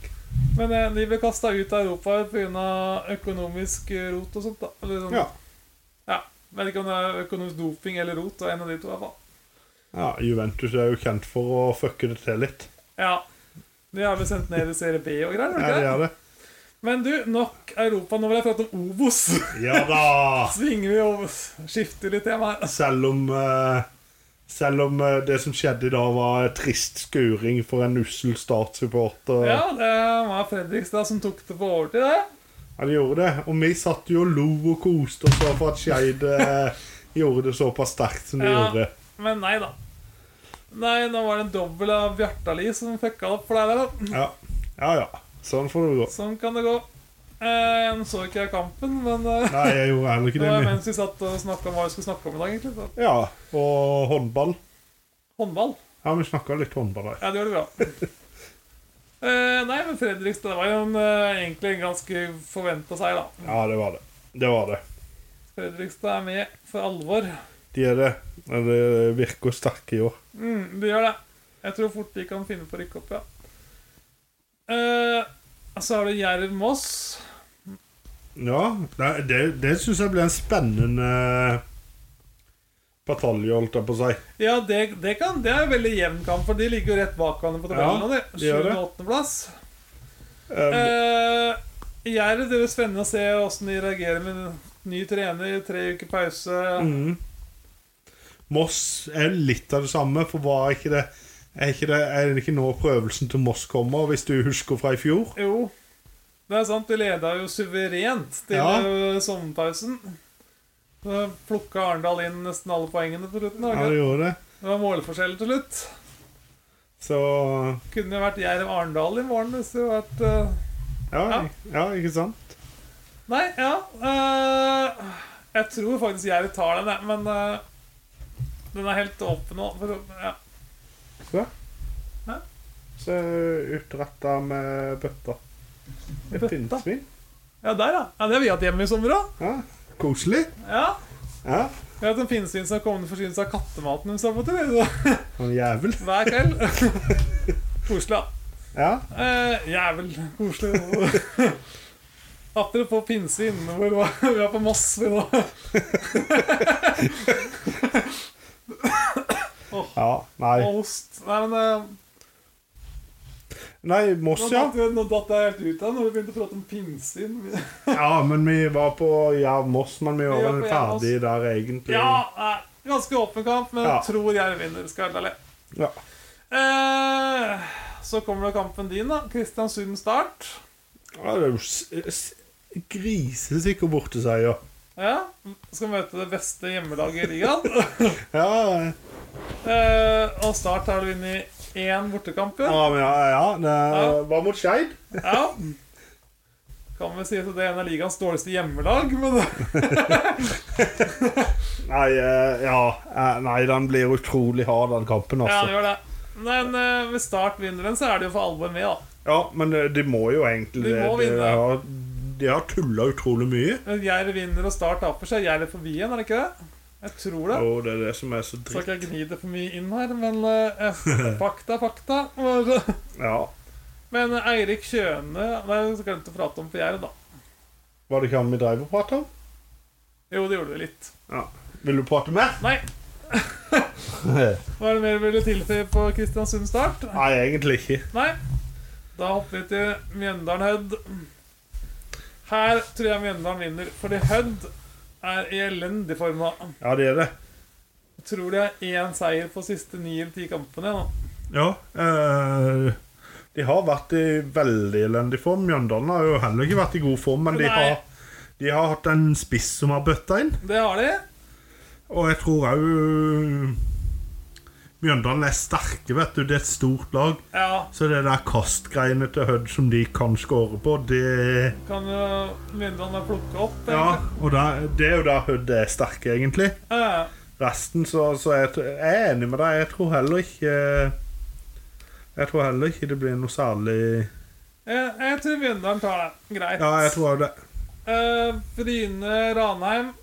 [SPEAKER 2] Men eh, de ble kasta ut av Europa pga. økonomisk eh, rot og sånt. da Eller sånn.
[SPEAKER 1] Ja.
[SPEAKER 2] Ja. Vet ikke om det er økonomisk doping eller rot. Det er En av de to, i hvert fall.
[SPEAKER 1] ja. Juventus er jo kjent for å fucke det til litt.
[SPEAKER 2] Ja. De har blitt sendt ned i serie B og greier. er det
[SPEAKER 1] Ja,
[SPEAKER 2] ikke
[SPEAKER 1] det
[SPEAKER 2] det?
[SPEAKER 1] er det.
[SPEAKER 2] Men du, nok Europa. Nå vil jeg prate om Obos.
[SPEAKER 1] Ja da!
[SPEAKER 2] Svinger vi og skifter litt tema her.
[SPEAKER 1] Selv om eh, Selv om eh, det som skjedde i dag, var en trist skuring for en ussel Start-supporter.
[SPEAKER 2] Ja, det var Fredrikstad som tok det på overtid, det.
[SPEAKER 1] Han gjorde det. Og vi satt jo og lo og koste oss over at Skeid eh, gjorde det såpass sterkt som de
[SPEAKER 2] Ja.
[SPEAKER 1] gjorde.
[SPEAKER 2] Men nei da. Nei, nå var det en dobbel av Bjartali som fucka opp for deg der, da.
[SPEAKER 1] Ja. ja ja. Sånn får det gå.
[SPEAKER 2] Sånn kan det gå. Eh, nå så ikke jeg kampen, men eh,
[SPEAKER 1] Nei, jeg gjorde heller
[SPEAKER 2] det
[SPEAKER 1] ikke
[SPEAKER 2] var
[SPEAKER 1] det.
[SPEAKER 2] mens vi satt og snakka om hva vi skulle snakke om i dag. egentlig så.
[SPEAKER 1] Ja, Og håndball.
[SPEAKER 2] Håndball.
[SPEAKER 1] Ja, vi snakka litt håndball her.
[SPEAKER 2] Ja, det gjør det bra. Eh, nei, men Fredrikstad det var jo en, eh, egentlig en ganske forventa seier, da.
[SPEAKER 1] Ja, det var det. Det var det.
[SPEAKER 2] Fredrikstad er med for alvor.
[SPEAKER 1] De er det. Men Det virker sterke i år.
[SPEAKER 2] Mm, de gjør det. Jeg tror fort de kan finne på å rykke opp, ja. Eh, så har du Jerv-Moss.
[SPEAKER 1] Ja, det, det, det syns jeg ble en spennende batalje, holdt jeg på å si.
[SPEAKER 2] Ja, det, det kan Det er en veldig jevn kamp, for de ligger jo rett bak hverandre på
[SPEAKER 1] Ja,
[SPEAKER 2] tabellen.
[SPEAKER 1] de gjør det.
[SPEAKER 2] Ja, 7.-8.-plass.
[SPEAKER 1] Um,
[SPEAKER 2] Eh, Jerv, det blir spennende å se hvordan de reagerer med ny trener, tre uker pause.
[SPEAKER 1] mm. Moss er litt av det samme, for var ikke det er ikke, det, er det ikke nå prøvelsen til Moss kommer, hvis du husker fra i fjor?
[SPEAKER 2] Jo, det er sant, de leda jo suverent til
[SPEAKER 1] Ja.
[SPEAKER 2] eh, sommerpausen. Så plukka Arendal inn nesten alle poengene på slutten. da,
[SPEAKER 1] Ja,
[SPEAKER 2] ikke?
[SPEAKER 1] det gjorde det.
[SPEAKER 2] Det var målforskjell til slutt.
[SPEAKER 1] Så
[SPEAKER 2] Kunne jo vært Jerv Arendal i morgen hvis det hadde vært eh,
[SPEAKER 1] ja,
[SPEAKER 2] Ja.
[SPEAKER 1] ja, ikke sant?
[SPEAKER 2] Nei, ja eh, Jeg tror faktisk Jerv tar den, jeg, men eh, den er helt åpen nå. For, ja.
[SPEAKER 1] Så utretta med bøtta. Et
[SPEAKER 2] Bøtta?
[SPEAKER 1] pinnsvin.
[SPEAKER 2] ja, der, ja. ja. Det har vi hatt hjemme i sommer òg.
[SPEAKER 1] Ja, koselig.
[SPEAKER 2] Ja.
[SPEAKER 1] Ja,
[SPEAKER 2] Jeg vet om pinnsvin som kommer til å forsyne seg av kattematen hun sabber til. så
[SPEAKER 1] han jævel.
[SPEAKER 2] Hver kveld. Koselig, da.
[SPEAKER 1] Ja.
[SPEAKER 2] Eh, jævel koselig. Apropos pinnsvin. Hvor var vi? er på Moss, vi nå.
[SPEAKER 1] ja. Nei.
[SPEAKER 2] Og ost. Nei, men eh,
[SPEAKER 1] Nei, Moss,
[SPEAKER 2] nå,
[SPEAKER 1] ja.
[SPEAKER 2] datt, nå datt jeg helt ut av når du begynte å prate om pinnsvin.
[SPEAKER 1] Ja, men vi var på Jerv Moss, men vi var
[SPEAKER 2] Vi var
[SPEAKER 1] vel
[SPEAKER 2] på Jerv Moss.
[SPEAKER 1] ferdig der egentlig.
[SPEAKER 2] Ja, nei, ganske åpen kamp, men
[SPEAKER 1] Ja.
[SPEAKER 2] tror jeg vinner. Skal jeg være ærlig.
[SPEAKER 1] Ja.
[SPEAKER 2] Eh, så kommer det kampen din, da. Kristiansund Start.
[SPEAKER 1] Ja, det er jo s- s- grisesikker borteseier.
[SPEAKER 2] Ja, Skal møte det beste hjemmelaget i ligaen.
[SPEAKER 1] Ja,
[SPEAKER 2] Eh, og Start har du vunnet én bortekamp, ja.
[SPEAKER 1] ja, men ja, ja.
[SPEAKER 2] Ja.
[SPEAKER 1] Det var mot Skeid.
[SPEAKER 2] ja. Kan vel si at det er en av ligaens dårligste hjemmelag, men
[SPEAKER 1] Nei, eh, ja. eh, Nei, den blir utrolig hard, den kampen,
[SPEAKER 2] ja, det
[SPEAKER 1] altså.
[SPEAKER 2] gjør det. Men eh, hvis Start vinner den, så er det jo for alvor med, da.
[SPEAKER 1] Ja, men eh, de må jo egentlig
[SPEAKER 2] De
[SPEAKER 1] det.
[SPEAKER 2] må vinne.
[SPEAKER 1] har, de har tulla utrolig mye.
[SPEAKER 2] Men Jerv vinner og Start taper, så er Jerv forbi igjen, er det ikke det? Jeg tror det.
[SPEAKER 1] Og det er det som er så
[SPEAKER 2] Så
[SPEAKER 1] dritt.
[SPEAKER 2] skal jeg gni det for mye inn her, men eh, fakta, fakta.
[SPEAKER 1] Ja.
[SPEAKER 2] Men Eirik Kjøne Nei, jeg glemte å prate om på Jerv, da.
[SPEAKER 1] Var det ikke han vi dreiv og prata om?
[SPEAKER 2] Jo, det gjorde vi litt.
[SPEAKER 1] Ja. Vil du prate mer?
[SPEAKER 2] Nei, hva er det mer du ville tilføye på Kristiansund Start?
[SPEAKER 1] Nei, egentlig ikke.
[SPEAKER 2] Nei. Da hopper vi til Mjøndalen Hødd. Her tror jeg Mjøndalen vinner, fordi Hødd er i elendig form nå.
[SPEAKER 1] Ja, det er det.
[SPEAKER 2] Jeg tror de har én seier på siste ni eller ti kampene. Nå.
[SPEAKER 1] Ja. eh, de har vært i veldig elendig form. Mjøndalen har jo heller ikke vært i god form, men de
[SPEAKER 2] Nei.
[SPEAKER 1] har, de har hatt en spiss som har bøtta inn.
[SPEAKER 2] Det har de.
[SPEAKER 1] Og jeg tror òg Mjøndalen er sterke, vet du. Det er et stort lag.
[SPEAKER 2] Ja,
[SPEAKER 1] Så det der kastgreiene til Hødd som de kan skåre på, det
[SPEAKER 2] kan jo Mjøndalen plukke opp.
[SPEAKER 1] Ja, og der, det er jo der Hødd er sterke, egentlig.
[SPEAKER 2] Ja.
[SPEAKER 1] Resten, så, så jeg, tr- jeg er enig med deg. Jeg tror heller ikke Jeg tror heller ikke det blir noe særlig
[SPEAKER 2] Jeg, jeg tror Mjøndalen tar det. Greit.
[SPEAKER 1] Ja, jeg tror det.
[SPEAKER 2] Eh, Bryne Ranheim.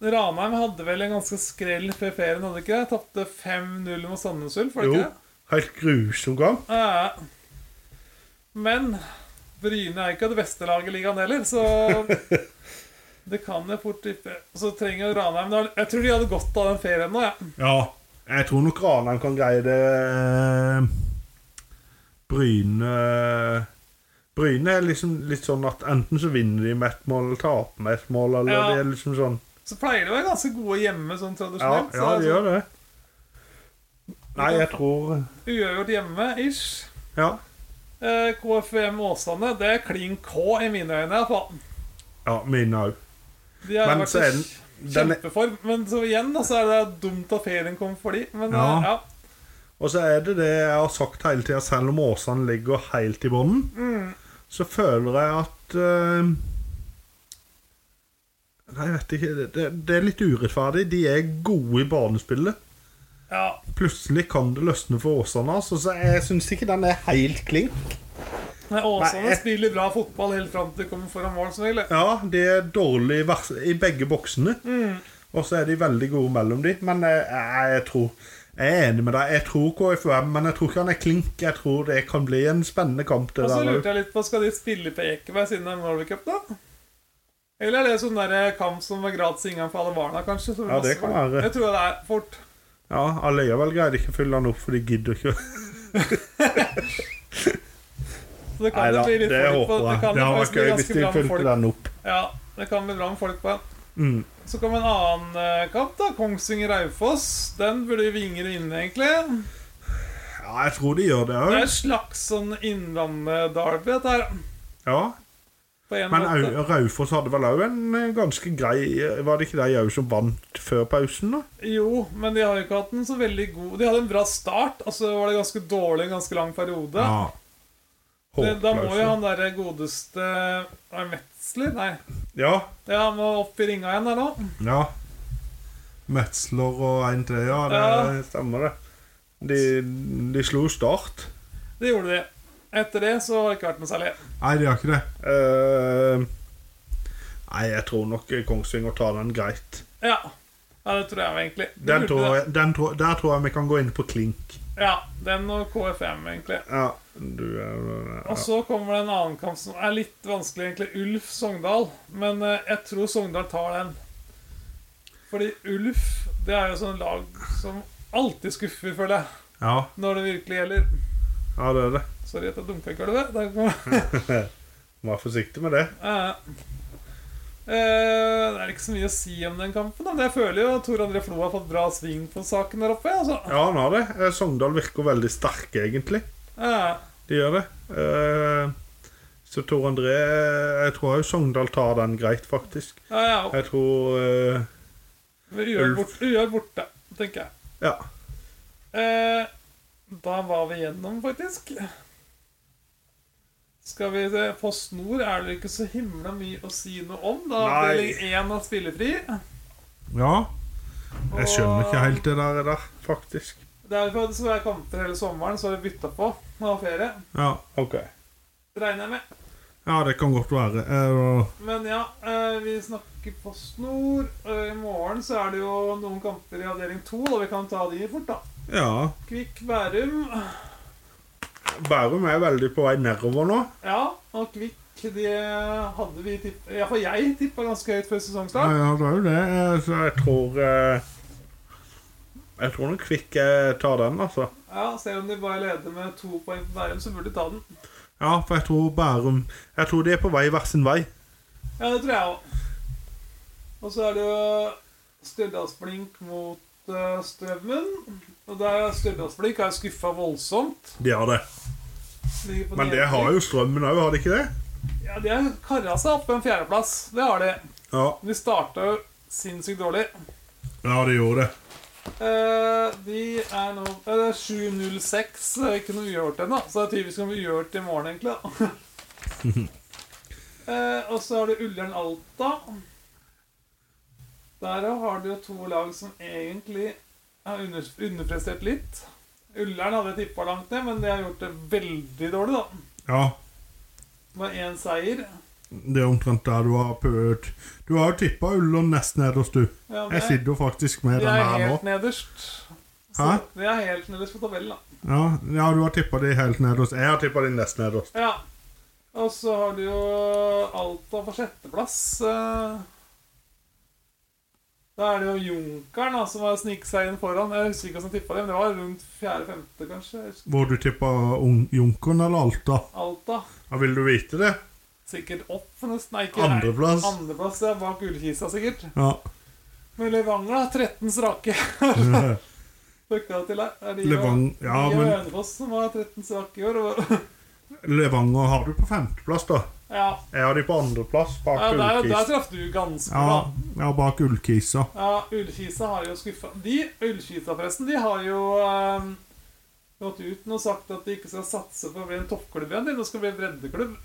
[SPEAKER 2] Ranheim hadde vel en ganske skrell PP-en, hadde ikke det? Tapte 5-0 mot Sandnes Ulf, var det
[SPEAKER 1] Jo,
[SPEAKER 2] ikke det?
[SPEAKER 1] helt grusom kamp.
[SPEAKER 2] Ja. Eh, Men Bryne er ikke det beste laget i ligaen heller, så det kan jeg fort tippe. Så trenger jo Ranheim Jeg tror de hadde godt av den ferien nå, jeg.
[SPEAKER 1] Ja, jeg tror nok Ranheim kan greie det. eh, Bryne eh, Bryne er liksom litt sånn at enten så vinner de med ett mål eller taper med ett mål, eller
[SPEAKER 2] Ja.
[SPEAKER 1] det er liksom sånn
[SPEAKER 2] Så pleier de å være ganske gode hjemme, sånn
[SPEAKER 1] Ja,
[SPEAKER 2] tradisjonelt.
[SPEAKER 1] ja de
[SPEAKER 2] så
[SPEAKER 1] gjør det. Nei, jeg tror
[SPEAKER 2] altså, uavgjort hjemme, ish.
[SPEAKER 1] Ja.
[SPEAKER 2] Eh, KFUM Åsane, det er klin K i mine øyne, iallfall.
[SPEAKER 1] Ja, mine òg.
[SPEAKER 2] De har
[SPEAKER 1] Men
[SPEAKER 2] vært
[SPEAKER 1] så er den-
[SPEAKER 2] i
[SPEAKER 1] den er-
[SPEAKER 2] kjempeform. Men så igjen, da, så er det dumt at ferien kom for de. Men ja.
[SPEAKER 1] Ja.
[SPEAKER 2] ja.
[SPEAKER 1] Og så er det det jeg har sagt hele tida, selv om Åsane ligger helt i bunnen, så føler jeg at eh, Nei, jeg vet ikke. Det, det er litt urettferdig. De er gode i banespillet.
[SPEAKER 2] ja.
[SPEAKER 1] Plutselig kan det løsne for Åsane. Altså, så jeg syns ikke den er helt klink.
[SPEAKER 2] Nei, Åsane
[SPEAKER 1] Nei, jeg-
[SPEAKER 2] spiller bra fotball helt fram til de kommer foran mål, som regel.
[SPEAKER 1] Ja, de er dårlige i vers- i begge boksene. Og så er de veldig gode mellom de. Men jeg, jeg, jeg tror Jeg er enig med deg. Jeg tror KFUM, men jeg tror ikke han er klink. Jeg tror det kan bli en spennende kamp. Det
[SPEAKER 2] Og så
[SPEAKER 1] der,
[SPEAKER 2] lurte jeg litt på, skal de spille på Ekeberg siden det er Norway Cup, da? Eller er det sånn der kamp som var gratis inngang for alle barna, kanskje? som
[SPEAKER 1] Ja, det
[SPEAKER 2] også-
[SPEAKER 1] kan være.
[SPEAKER 2] Jeg tror det er fort.
[SPEAKER 1] Ja, allikevel greide ikke å fylle han opp, for de gidder ikke.
[SPEAKER 2] Så det kan jo bli litt folk på Det kan
[SPEAKER 1] Det hadde
[SPEAKER 2] jo
[SPEAKER 1] vært
[SPEAKER 2] faktisk bli
[SPEAKER 1] gøy hvis
[SPEAKER 2] ganske
[SPEAKER 1] de
[SPEAKER 2] bra med
[SPEAKER 1] fylte
[SPEAKER 2] folk.
[SPEAKER 1] den opp.
[SPEAKER 2] Ja, det kan bli bra med folk på en.
[SPEAKER 1] Mm.
[SPEAKER 2] Så kom en annen eh, kamp, da. Kongsvinger-Raufoss. Den burde Vinger vinne, egentlig.
[SPEAKER 1] Ja, jeg tror de gjør det
[SPEAKER 2] Det er
[SPEAKER 1] òg.
[SPEAKER 2] et slags sånn Innlandet-derby, dette her.
[SPEAKER 1] Ja.
[SPEAKER 2] På en
[SPEAKER 1] Men
[SPEAKER 2] måte.
[SPEAKER 1] Au- Raufoss hadde vel òg en eh, ganske grei eh, Var det ikke de òg som vant før pausen, da?
[SPEAKER 2] Jo, men de har jo ikke hatt en så veldig god De hadde en bra start, og så var det ganske dårlig en ganske lang periode. Det, da må jo
[SPEAKER 1] Håpløse.
[SPEAKER 2] han derre godeste Er det Metzler? Nei.
[SPEAKER 1] Ja.
[SPEAKER 2] Ja, han må opp i ringa igjen der nå.
[SPEAKER 1] ja. Metzler og en til, ja. Det
[SPEAKER 2] Ja.
[SPEAKER 1] stemmer, det. De, de slo Start.
[SPEAKER 2] Det gjorde de. Etter det så har det ikke vært noe særlig.
[SPEAKER 1] Nei, de har ikke det. Eh, nei, jeg tror nok Kongsvinger tar den greit.
[SPEAKER 2] Ja. ja det tror jeg var egentlig.
[SPEAKER 1] Den
[SPEAKER 2] De burde
[SPEAKER 1] tror
[SPEAKER 2] det.
[SPEAKER 1] jeg, den tror, der tror jeg vi kan gå inn på klink.
[SPEAKER 2] Ja, den og KFM, egentlig.
[SPEAKER 1] Ja, du er
[SPEAKER 2] Og
[SPEAKER 1] ja.
[SPEAKER 2] så kommer det en annen kamp som er litt vanskelig, egentlig. Ulf Sogndal. Men eh, jeg tror Sogndal tar den. Fordi Ulf, det er jo sånn lag som alltid skuffer, føler jeg.
[SPEAKER 1] ja,
[SPEAKER 2] Når det virkelig gjelder.
[SPEAKER 1] ja, det er det.
[SPEAKER 2] Sorry at jeg dunka i gulvet. Der kom
[SPEAKER 1] Vær forsiktig med det.
[SPEAKER 2] Eh, eh, det er ikke så mye å si om den kampen, da, men jeg føler jo at Tor André Flo har fått bra sving på saken der oppe. Altså.
[SPEAKER 1] Ja, han har det. Eh, Sogndal virker veldig sterke, egentlig.
[SPEAKER 2] Eh,
[SPEAKER 1] De gjør det. Eh, så Tor André eh, Jeg tror òg Sogndal tar den greit, faktisk.
[SPEAKER 2] ja, ja,
[SPEAKER 1] Jeg tror eh,
[SPEAKER 2] Uørt bort, uavgjort borte, tenker jeg.
[SPEAKER 1] Ja.
[SPEAKER 2] Eh, da var vi gjennom, faktisk. Skal vi se Post Nord er det ikke så himla mye å si noe om. Da
[SPEAKER 1] Nei.
[SPEAKER 2] Avdeling 1 er spillefri.
[SPEAKER 1] ja. Jeg skjønner ikke helt det der, der faktisk.
[SPEAKER 2] Det er jo for at det skal være kamper hele sommeren, så har de bytta på når det er ferie.
[SPEAKER 1] Ja, OK.
[SPEAKER 2] Regner jeg med.
[SPEAKER 1] Ja, det kan godt være. Eh,
[SPEAKER 2] Men ja, eh, vi snakker Post Nord. Eh, I morgen så er det jo noen kamper i avdeling to, og vi kan ta de fort, da.
[SPEAKER 1] ja.
[SPEAKER 2] Kvikk Bærum.
[SPEAKER 1] Bærum er veldig på vei nedover nå.
[SPEAKER 2] Ja, og Kvikk de hadde vi tippa Iallfall jeg tippa ganske høyt før
[SPEAKER 1] Ja,
[SPEAKER 2] sesongstart.
[SPEAKER 1] ja, det er jo det. Eh, Så jeg tror eh, Jeg tror nok Kvikk eh, tar den, altså.
[SPEAKER 2] Ja, Selv om de bare leder med to poeng på Bærum, så burde de ta den.
[SPEAKER 1] Ja, for jeg tror Bærum Jeg tror de er på vei hver sin vei.
[SPEAKER 2] Ja, det tror jeg òg. Og så er det jo Stjørdalsblink mot eh, Strømmen. Og der er Stjørdalsblink er skuffa voldsomt.
[SPEAKER 1] De har det.
[SPEAKER 2] Ligger på
[SPEAKER 1] Men det
[SPEAKER 2] nedrykk.
[SPEAKER 1] har jo Strømmen òg, har de ikke det?
[SPEAKER 2] Ja, De har kara seg opp på en fjerdeplass. Det har de.
[SPEAKER 1] Ja,
[SPEAKER 2] De starta jo sinnssykt dårlig.
[SPEAKER 1] ja de gjorde det.
[SPEAKER 2] Eh, de er nå eh, Det er 7.06. så Det er ikke noe uavgjort ennå. Så det er typisk om uavgjort i morgen, egentlig. da. eh, og så har du Ullern Alta. Der har du jo to lag som egentlig har under, underprestert litt. Ullern hadde jeg tippa langt ned, men de har gjort det veldig dårlig, da.
[SPEAKER 1] Ja.
[SPEAKER 2] Det var én seier.
[SPEAKER 1] Det er omtrent der du har pølt Du har jo tippa Ullern nest nederst, du.
[SPEAKER 2] Ja, men
[SPEAKER 1] Jeg
[SPEAKER 2] jeg,
[SPEAKER 1] sitter jo faktisk med
[SPEAKER 2] jeg
[SPEAKER 1] denne
[SPEAKER 2] er
[SPEAKER 1] her nå.
[SPEAKER 2] helt nederst. Så
[SPEAKER 1] Hæ?
[SPEAKER 2] jeg er helt nederst på tabellen, da.
[SPEAKER 1] Ja, ja du har tippa de helt nederst. Jeg har tippa de nest nederst.
[SPEAKER 2] Ja. Og så har du jo Alta på sjetteplass. eh. Da er det jo Junkeren da, som har sniket seg inn foran. Jeg husker ikke hva som tippa det, men det var rundt fjerde-femte, kanskje. Jeg husker-
[SPEAKER 1] Hvor du tippa Junkeren eller Alta?
[SPEAKER 2] Alta.
[SPEAKER 1] Ja, vil du vite det?
[SPEAKER 2] Sikkert opp, nesten. Nei, ikke nei.
[SPEAKER 1] Andreplass.
[SPEAKER 2] Andreplass, ja. Bak Ullkisa, sikkert.
[SPEAKER 1] Ja.
[SPEAKER 2] Men Levanger, da. 13 strake. Røkka til der. Er de jo-
[SPEAKER 1] Levang- ja,
[SPEAKER 2] de og
[SPEAKER 1] men-
[SPEAKER 2] Hønefoss som har 13 strake i år. og-
[SPEAKER 1] Levanger har du på femteplass, da.
[SPEAKER 2] Ja,
[SPEAKER 1] Jeg har de på andreplass, bak
[SPEAKER 2] ja der, der
[SPEAKER 1] Ullkisa.
[SPEAKER 2] traff du ganske
[SPEAKER 1] Ja,
[SPEAKER 2] bra.
[SPEAKER 1] ja, bak Ullkisa.
[SPEAKER 2] Ja, Ullkisa har jo skuffa De, Ullkisa forresten, de har jo ehm, gått ut nå og sagt at de ikke skal satse på å bli en toppklubb igjen. De nå skal bli en breddeklubb.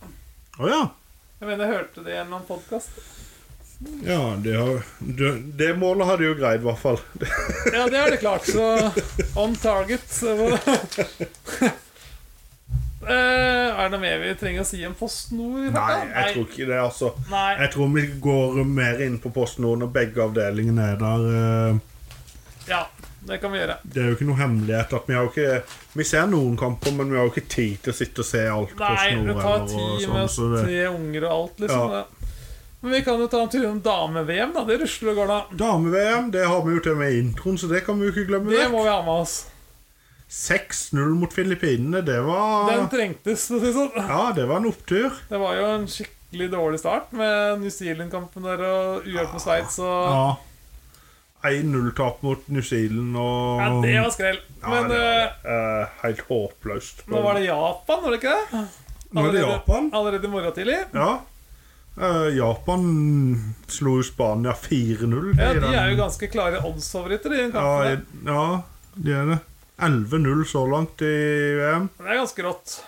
[SPEAKER 1] Å ja.
[SPEAKER 2] Jeg mener, jeg hørte det i en eller annen podkast.
[SPEAKER 1] Ja, det, har, det, det målet har de jo greid, i hvert fall.
[SPEAKER 2] Ja, det er det klart. Så on target. så må- Eh, er det noe mer vi trenger å si om Post Nord? i
[SPEAKER 1] Nei,
[SPEAKER 2] farta?
[SPEAKER 1] jeg tror ikke det, altså.
[SPEAKER 2] Nei.
[SPEAKER 1] Jeg tror vi går mer inn på Post Nord når begge avdelingene er der. eh.
[SPEAKER 2] Ja, det kan vi gjøre.
[SPEAKER 1] Det er jo ikke noe hemmelighet at vi har jo ikke Vi ser noen kamper, men vi har jo ikke tid til å sitte og se alt Post
[SPEAKER 2] Nei,
[SPEAKER 1] Nord.
[SPEAKER 2] det tar
[SPEAKER 1] eller, og
[SPEAKER 2] ti
[SPEAKER 1] sånn,
[SPEAKER 2] med
[SPEAKER 1] så det-
[SPEAKER 2] tre unger og alt, liksom.
[SPEAKER 1] Ja.
[SPEAKER 2] Men vi kan jo ta en tur om dame-VM, da. Det rusler og går, da.
[SPEAKER 1] Dame-VM, det har vi jo til og med i introen, så det kan vi jo ikke glemme.
[SPEAKER 2] Det
[SPEAKER 1] vekk.
[SPEAKER 2] må vi ha med oss.
[SPEAKER 1] 6-0 mot Filippinene, det var
[SPEAKER 2] Den trengtes, for å si det sånn.
[SPEAKER 1] Ja, det var en opptur.
[SPEAKER 2] Det var jo en skikkelig dårlig start med New Zealand-kampen der og uhjelp med Sveits og
[SPEAKER 1] Ja. 1-0-tap mot New Zealand og
[SPEAKER 2] Ja, det var skrell.
[SPEAKER 1] Ja,
[SPEAKER 2] Men
[SPEAKER 1] det var det.
[SPEAKER 2] eh,
[SPEAKER 1] Eh, Helt håpløst.
[SPEAKER 2] Nå var det Japan, var det ikke det?
[SPEAKER 1] Nå er det
[SPEAKER 2] Allerede-
[SPEAKER 1] Japan.
[SPEAKER 2] Allerede i morgen tidlig?
[SPEAKER 1] Ja. Eh, Japan slo jo Spania 4-0.
[SPEAKER 2] Ja,
[SPEAKER 1] i
[SPEAKER 2] De
[SPEAKER 1] den-
[SPEAKER 2] er jo ganske klare oddsfavoritter i den
[SPEAKER 1] ja,
[SPEAKER 2] kampen.
[SPEAKER 1] i- ja, de er det. 11-0 så langt i VM.
[SPEAKER 2] der. Det er ganske rått.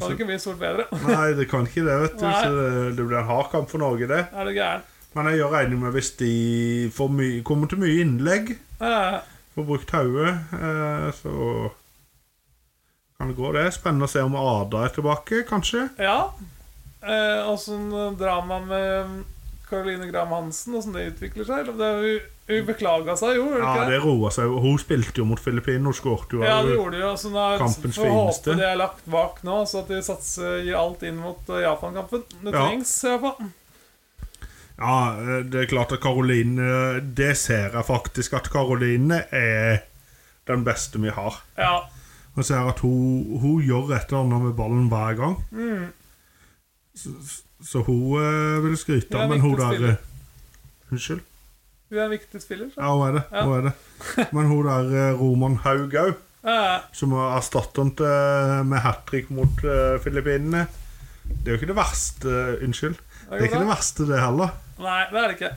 [SPEAKER 2] Kan det ikke bli stort bedre.
[SPEAKER 1] Nei, det kan ikke det, vet du.
[SPEAKER 2] Nei.
[SPEAKER 1] Så det, det blir en hard kamp for Norge, det.
[SPEAKER 2] Er du gæren?
[SPEAKER 1] Men jeg gjør regning med hvis de får mye- kommer til mye innlegg,
[SPEAKER 2] Eh,
[SPEAKER 1] får brukt hodet, eh, så kan det gå, det. Spennende å se om Ada er tilbake, kanskje.
[SPEAKER 2] Ja. Eh, Åssen drama med Caroline Graham Hansen, åssen det utvikler seg? eller? Det, er jo- hun beklaga seg jo, gjorde
[SPEAKER 1] Ja,
[SPEAKER 2] hun ikke det?
[SPEAKER 1] det roer seg jo. Hun spilte jo mot Filippinene, hun skåret jo.
[SPEAKER 2] Ja, det gjorde det jo. Så nå
[SPEAKER 1] Kampens
[SPEAKER 2] får vi håpe
[SPEAKER 1] fineste.
[SPEAKER 2] det er lagt bak nå, så at de satser, gir alt inn mot eh, Japan-kampen. Det
[SPEAKER 1] Ja.
[SPEAKER 2] trengs, i hvert fall.
[SPEAKER 1] Ja, eh, det er klart at Karoline Det ser jeg faktisk at Karoline er den beste vi har.
[SPEAKER 2] Ja.
[SPEAKER 1] Jeg ser at hun, hun gjør et eller annet med ballen hver gang.
[SPEAKER 2] Mm.
[SPEAKER 1] Så, så hun eh, vil skryte
[SPEAKER 2] Hun er
[SPEAKER 1] av,
[SPEAKER 2] en
[SPEAKER 1] men hun
[SPEAKER 2] viktig
[SPEAKER 1] der
[SPEAKER 2] spiller.
[SPEAKER 1] eh, Unnskyld?
[SPEAKER 2] Hun er en viktig spiller. Så.
[SPEAKER 1] Ja, hun er det.
[SPEAKER 2] Ja.
[SPEAKER 1] Hun er det. Men hun der eh, Roman Haug òg,
[SPEAKER 2] Eh,
[SPEAKER 1] som er erstatteren til, med hat trick mot eh, Filippinene Det er jo ikke det verste eh, Unnskyld. Det er
[SPEAKER 2] går
[SPEAKER 1] ikke det
[SPEAKER 2] bra.
[SPEAKER 1] verste, det heller.
[SPEAKER 2] Nei, det er det ikke.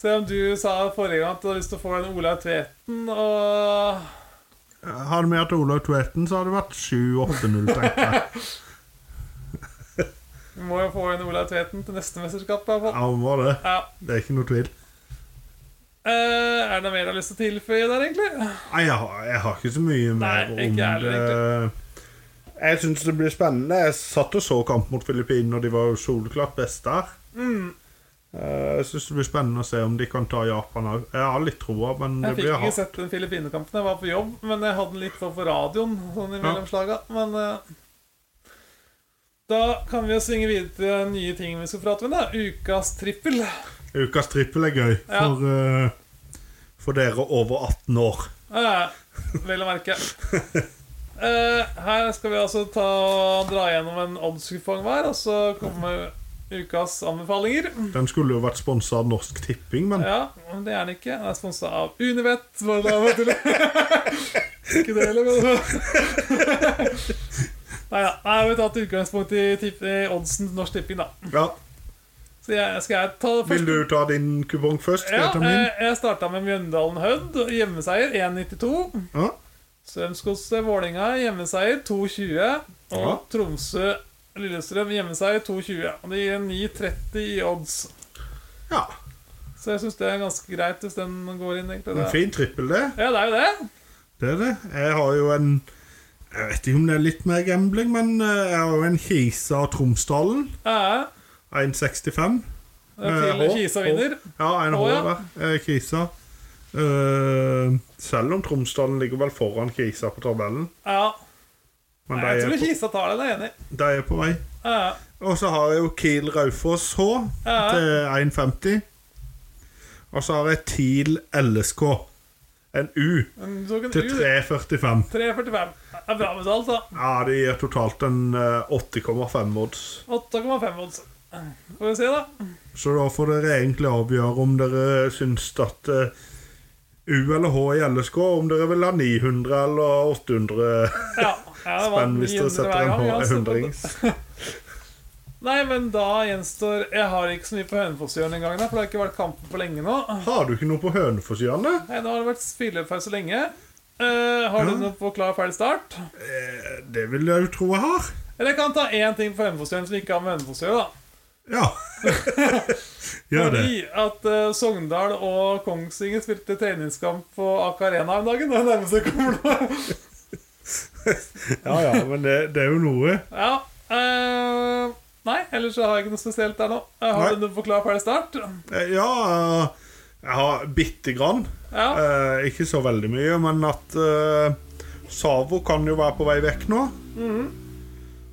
[SPEAKER 2] Selv om du sa forrige gang at hvis du får en Olaug Tveten og
[SPEAKER 1] Hadde vi hatt Olaug Tveten, så hadde det vært 7-8-0, tenkte jeg.
[SPEAKER 2] Vi må jo få en Olaug Tveten til neste mesterskap, i hvert fall.
[SPEAKER 1] Ja, hun var det.
[SPEAKER 2] Ja.
[SPEAKER 1] Det er ikke noe tvil.
[SPEAKER 2] Eh, er det noe mer du har lyst til å tilføye der, egentlig?
[SPEAKER 1] Nei, jeg har, jeg har ikke så mye mer
[SPEAKER 2] Nei, ikke jeg heller,
[SPEAKER 1] det. Jeg syns det blir spennende. Jeg satt og så kamp mot Filippinene, og de var jo soleklart best der.
[SPEAKER 2] Mm.
[SPEAKER 1] Eh, Jeg syns det blir spennende å se om de kan ta Japan òg. Jeg har litt troa, men det
[SPEAKER 2] Jeg fikk
[SPEAKER 1] blir
[SPEAKER 2] ikke
[SPEAKER 1] hardt.
[SPEAKER 2] sett den Filippine-kampen. Jeg var på jobb, men jeg hadde den litt på på radioen. Sånn i mellomslaga. Men eh, da kan vi jo svinge videre til nye ting vi skal prate om. da Ukas trippel.
[SPEAKER 1] Ukas trippel er gøy
[SPEAKER 2] Ja.
[SPEAKER 1] for, eh, for dere over 18 år.
[SPEAKER 2] Eh, vel å merke. Eh, her skal vi altså ta og dra gjennom en oddskupong hver, og så kommer ukas anbefalinger.
[SPEAKER 1] Den skulle jo vært sponsa av Norsk Tipping, men
[SPEAKER 2] Ja, men det er den ikke. Den er sponsa av Unibet. Bare da, vet du. Ikke det heller, men Nei da. Nei, vi tar til utgangspunkt i, tipp- i oddsen til Norsk Tipping, da.
[SPEAKER 1] ja.
[SPEAKER 2] Så jeg, skal jeg ta det
[SPEAKER 1] Vil
[SPEAKER 2] først?
[SPEAKER 1] du ta din kupong først? Skal
[SPEAKER 2] Ja,
[SPEAKER 1] jeg ta min?
[SPEAKER 2] eh, jeg starta med Mjøndalen Hødd, hjemmeseier 1,92.
[SPEAKER 1] Ja.
[SPEAKER 2] Strømsgodset Vålinga, hjemmeseier 2,20. Og
[SPEAKER 1] Ja.
[SPEAKER 2] Tromsø Lillestrøm, hjemmeseier 2,20. Og det gir en 9,30 i odds.
[SPEAKER 1] ja.
[SPEAKER 2] Så jeg syns det er ganske greit hvis den går inn, egentlig.
[SPEAKER 1] En
[SPEAKER 2] Det.
[SPEAKER 1] fin trippel, det.
[SPEAKER 2] Ja, det er jo det.
[SPEAKER 1] Det er det. Jeg har jo en Jeg vet ikke om det er litt mer gambling, men eh, jeg har jo en Kisa og Tromsdalen.
[SPEAKER 2] Ja,
[SPEAKER 1] Jeg 1,65.
[SPEAKER 2] Til
[SPEAKER 1] Eh, H,
[SPEAKER 2] Kisa
[SPEAKER 1] H.
[SPEAKER 2] vinner.
[SPEAKER 1] Ja, en
[SPEAKER 2] Å,
[SPEAKER 1] H
[SPEAKER 2] ja.
[SPEAKER 1] der. Eh, Kisa. Eh, selv om Tromsdalen ligger vel foran Kisa på tabellen.
[SPEAKER 2] Ja.
[SPEAKER 1] Men
[SPEAKER 2] Nei, jeg
[SPEAKER 1] de er,
[SPEAKER 2] tror
[SPEAKER 1] på,
[SPEAKER 2] Kisa tar det, jeg er enig.
[SPEAKER 1] de er på vei.
[SPEAKER 2] Ja, ja.
[SPEAKER 1] Og så har jeg jo Kiel Raufoss H
[SPEAKER 2] Ja.
[SPEAKER 1] til 1,50. Og så har jeg TIL LSK. En U
[SPEAKER 2] Men så kan
[SPEAKER 1] til
[SPEAKER 2] du-
[SPEAKER 1] 3,45.
[SPEAKER 2] 3,45. Det er bra betalt, da.
[SPEAKER 1] Ja, det gir totalt en eh, 80,5 odds.
[SPEAKER 2] 8,5 odds. Får vi se, da.
[SPEAKER 1] Så da får dere egentlig avgjøre om dere syns at eh, U eller H i LSK, om dere vil ha 900 eller 800
[SPEAKER 2] Ja, ja det var
[SPEAKER 1] spenn hvis dere
[SPEAKER 2] 900 hver
[SPEAKER 1] setter en
[SPEAKER 2] gang,
[SPEAKER 1] H-
[SPEAKER 2] ja,
[SPEAKER 1] en
[SPEAKER 2] så-
[SPEAKER 1] hundrings.
[SPEAKER 2] Nei, men da gjenstår Jeg har ikke så mye på Hønefoss-hjørnet engang, da, for det har ikke vært kamper på lenge nå.
[SPEAKER 1] Har du ikke noe på Hønefoss-hjørnet?
[SPEAKER 2] Nei, Nå har det vært spillepause lenge. Eh, har
[SPEAKER 1] Ja.
[SPEAKER 2] du noe på klar feil start?
[SPEAKER 1] Eh, Det vil jeg jo tro jeg har.
[SPEAKER 2] Eller jeg kan ta én ting på Hønefoss-hjørnet som ikke har med Hønefoss å gjøre. da.
[SPEAKER 1] Ja. Gjør det.
[SPEAKER 2] Fordi at eh, Sogndal og Kongsvinger spilte treningskamp på Aker Arena om dagen. Det er nærmest jeg kommer nå.
[SPEAKER 1] Ja, ja, men det, det er jo noe.
[SPEAKER 2] Ja. eh, nei, ellers så har jeg ikke noe spesielt der nå. Eh, har
[SPEAKER 1] Nei.
[SPEAKER 2] du noe på klar feil start?
[SPEAKER 1] Eh, Ja, eh, jeg har bitte grann.
[SPEAKER 2] Ja.
[SPEAKER 1] Eh, ikke så veldig mye, men at eh, Savo kan jo være på vei vekk nå.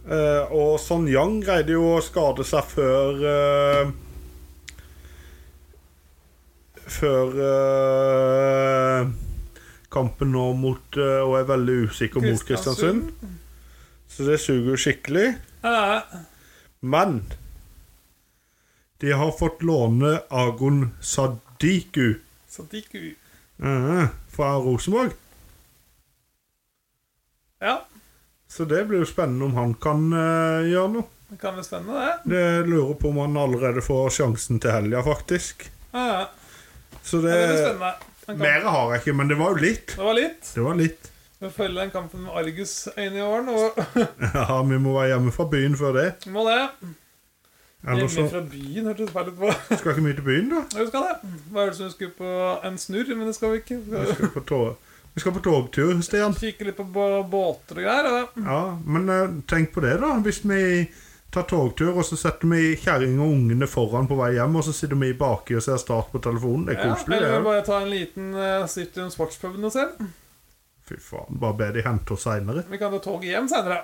[SPEAKER 1] Eh, og Son Yang greide jo å skade seg før eh, Før eh, kampen nå mot eh, Og er veldig usikker mot Kristiansund.
[SPEAKER 2] Kristiansund.
[SPEAKER 1] Så det suger jo skikkelig.
[SPEAKER 2] Eh,
[SPEAKER 1] Men de har fått låne Agon Sadiku
[SPEAKER 2] så det gikk u-
[SPEAKER 1] eh, fra Rosenborg.
[SPEAKER 2] Ja,
[SPEAKER 1] Så det blir jo spennende om han kan eh, gjøre noe.
[SPEAKER 2] det kan bli spennende, det.
[SPEAKER 1] Det lurer på om han allerede får sjansen til helga, faktisk.
[SPEAKER 2] Eh,
[SPEAKER 1] Så
[SPEAKER 2] ja,
[SPEAKER 1] det
[SPEAKER 2] det blir spennende. En kamp-
[SPEAKER 1] Mer har jeg ikke, Eh, men det var jo litt.
[SPEAKER 2] Det var litt.
[SPEAKER 1] Det var litt.
[SPEAKER 2] Vi følger den kampen med Argus øyne i åren, og
[SPEAKER 1] Ja, vi må være hjemme fra byen før det.
[SPEAKER 2] må det.
[SPEAKER 1] Ellers
[SPEAKER 2] Hjemme
[SPEAKER 1] så
[SPEAKER 2] fra byen hørtes feil ut på.
[SPEAKER 1] skal ikke vi til byen, da.
[SPEAKER 2] Jeg husker det. Hva er det som vi skulle på en snurr, men det skal vi ikke. Vi
[SPEAKER 1] Vi
[SPEAKER 2] skal
[SPEAKER 1] skal på, tog... vi skal på togtur, Stian.
[SPEAKER 2] Kikke litt på bå- båter og greier. og-
[SPEAKER 1] Ja, men eh, tenk på det, da. Hvis vi tar togtur, og så setter vi kjerringa og ungene foran på vei hjem, og så sitter vi baki og ser Start på telefonen. Det er
[SPEAKER 2] Ja,
[SPEAKER 1] koselig,
[SPEAKER 2] eller
[SPEAKER 1] det.
[SPEAKER 2] vi
[SPEAKER 1] jo.
[SPEAKER 2] bare ta en liten uh, Citium Sportspuben og se.
[SPEAKER 1] Fy faen. Bare be de hente oss seinere.
[SPEAKER 2] Vi kan ta toget hjem senere.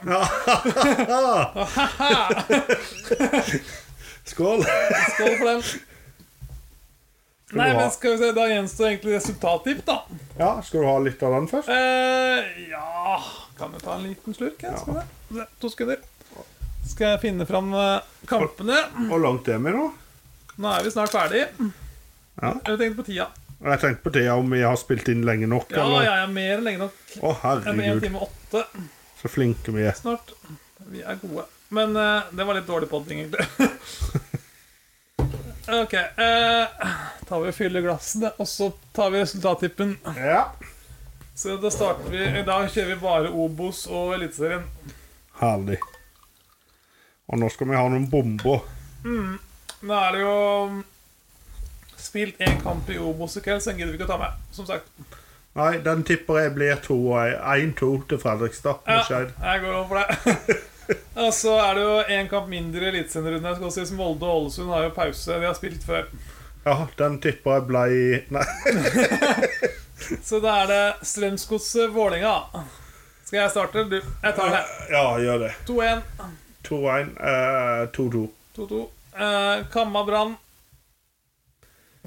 [SPEAKER 1] Skål.
[SPEAKER 2] Skål for den.
[SPEAKER 1] Skal
[SPEAKER 2] Nei,
[SPEAKER 1] du ha-
[SPEAKER 2] men skal vi se, Da gjenstår egentlig resultattipp, da.
[SPEAKER 1] Ja, skal du ha litt av den først?
[SPEAKER 2] Eh, ja Kan vi ta en liten slurk? Jeg, skal vi det? To sekunder. Skal jeg finne fram eh, kampene?
[SPEAKER 1] Hvor langt er vi nå?
[SPEAKER 2] Nå er vi snart ferdig.
[SPEAKER 1] Ja.
[SPEAKER 2] Jeg tenkte på tida.
[SPEAKER 1] Og Jeg tenkte på det om vi har spilt inn lenge nok.
[SPEAKER 2] Ja,
[SPEAKER 1] eller?
[SPEAKER 2] ja, ja, mer enn lenge nok.
[SPEAKER 1] Å,
[SPEAKER 2] Jeg er på én
[SPEAKER 1] herregud,
[SPEAKER 2] time og åtte
[SPEAKER 1] så flinke vi er.
[SPEAKER 2] snart. Vi er gode. Men eh, det var litt dårlig podding, egentlig. OK. Uh, tar vi og fyller glassene, og så tar vi resultattippen.
[SPEAKER 1] Ja.
[SPEAKER 2] Så da starter vi I dag kjører vi bare Obos og Eliteserien.
[SPEAKER 1] Herlig. Og nå skal vi ha noen bomber.
[SPEAKER 2] Nå er det jo um, spilt én kamp i Obos i kveld, så den gidder vi ikke å ta med. Som sagt.
[SPEAKER 1] Nei, den tipper jeg blir to og en- 1-2 til Fredrikstad.
[SPEAKER 2] Ja,
[SPEAKER 1] med Skeid.
[SPEAKER 2] jeg går over for det. Og så er det jo én kamp mindre i eliteserierunde. Jeg skal også si som Molde og Ålesund har jo pause. De har spilt før.
[SPEAKER 1] Ja, den tipper jeg blei Nei.
[SPEAKER 2] Så da er det Strømsgodset Vålinga. Skal jeg starte? Du, jeg tar det.
[SPEAKER 1] Ja, gjør det.
[SPEAKER 2] 2-1.
[SPEAKER 1] 2-1. Eh, 2-2.
[SPEAKER 2] 2-2. Eh, Kamma Brann.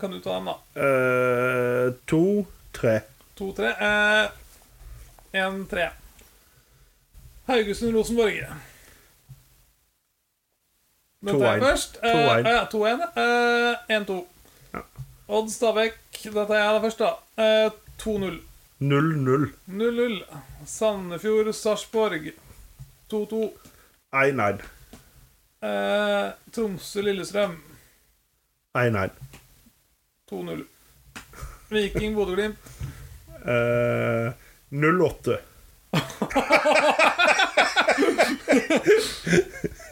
[SPEAKER 2] Kan du ta den, da?
[SPEAKER 1] Eh, 2-3.
[SPEAKER 2] 2-3. Eh, 1-3. Haugesund Rosenborg. Den tar jeg
[SPEAKER 1] 2-1.
[SPEAKER 2] først. Eh, ja, 2-1. Eh, 1-2.
[SPEAKER 1] Ja.
[SPEAKER 2] Odd Stabæk. Da tar jeg det først, da. Eh, 2-0.
[SPEAKER 1] 0-0.
[SPEAKER 2] 0-0. Sandefjord Sarpsborg. 2-2.
[SPEAKER 1] 1-1.
[SPEAKER 2] Eh, Tromsø-Lillestrøm
[SPEAKER 1] 1-1.
[SPEAKER 2] 2-0. Viking-Bodø-Glimt
[SPEAKER 1] Eh, 0-8.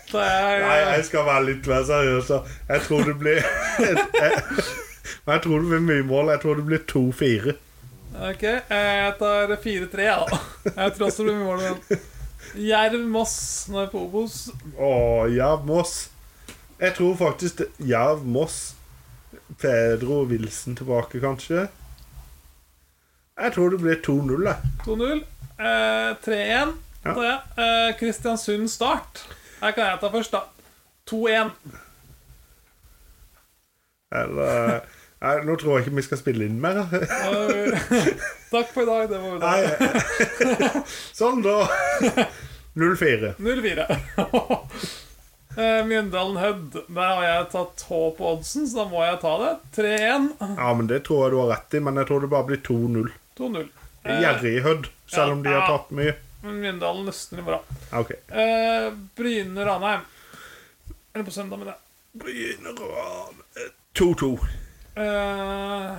[SPEAKER 2] Det er
[SPEAKER 1] Nei, jeg skal være litt mer seriøs. da. Jeg tror det blir jeg, jeg tror det blir mye mål. Jeg tror det blir 2-4.
[SPEAKER 2] Ok, eh, jeg tar 4-3, ja. Jeg tror også det blir mål. men- Jerv-Moss nå er vi på Obos.
[SPEAKER 1] Å, ja, Moss. Jeg tror faktisk det- Jerv Moss Pedro Wilson tilbake, kanskje. Jeg tror det blir 2-0, jeg.
[SPEAKER 2] 2-0. Eh, 3-1.
[SPEAKER 1] Ja.
[SPEAKER 2] tar jeg. Eh, Kristiansund Start. Her kan jeg ta først, da. 2-1.
[SPEAKER 1] Eller Nei, Nå tror jeg ikke vi skal spille inn mer.
[SPEAKER 2] Eh, Takk for i dag. Det var det.
[SPEAKER 1] Nei. Sånn, da. 0-4.
[SPEAKER 2] 0-4. Eh, Mjøndalen Hødd. Der har jeg tatt H på oddsen, så da må jeg ta det. 3-1.
[SPEAKER 1] Ja, men Det tror jeg du har rett i, men jeg tror det bare blir 2-0.
[SPEAKER 2] 2-0. Eh,
[SPEAKER 1] Gjerrig Hødd, selv om de har tapt mye.
[SPEAKER 2] Men Mjøndalen nøsner i morgen.
[SPEAKER 1] OK.
[SPEAKER 2] Eh, Bryne-Ranheim. Eller på søndag, mener jeg.
[SPEAKER 1] Begynner å ha 2-2.
[SPEAKER 2] Eh,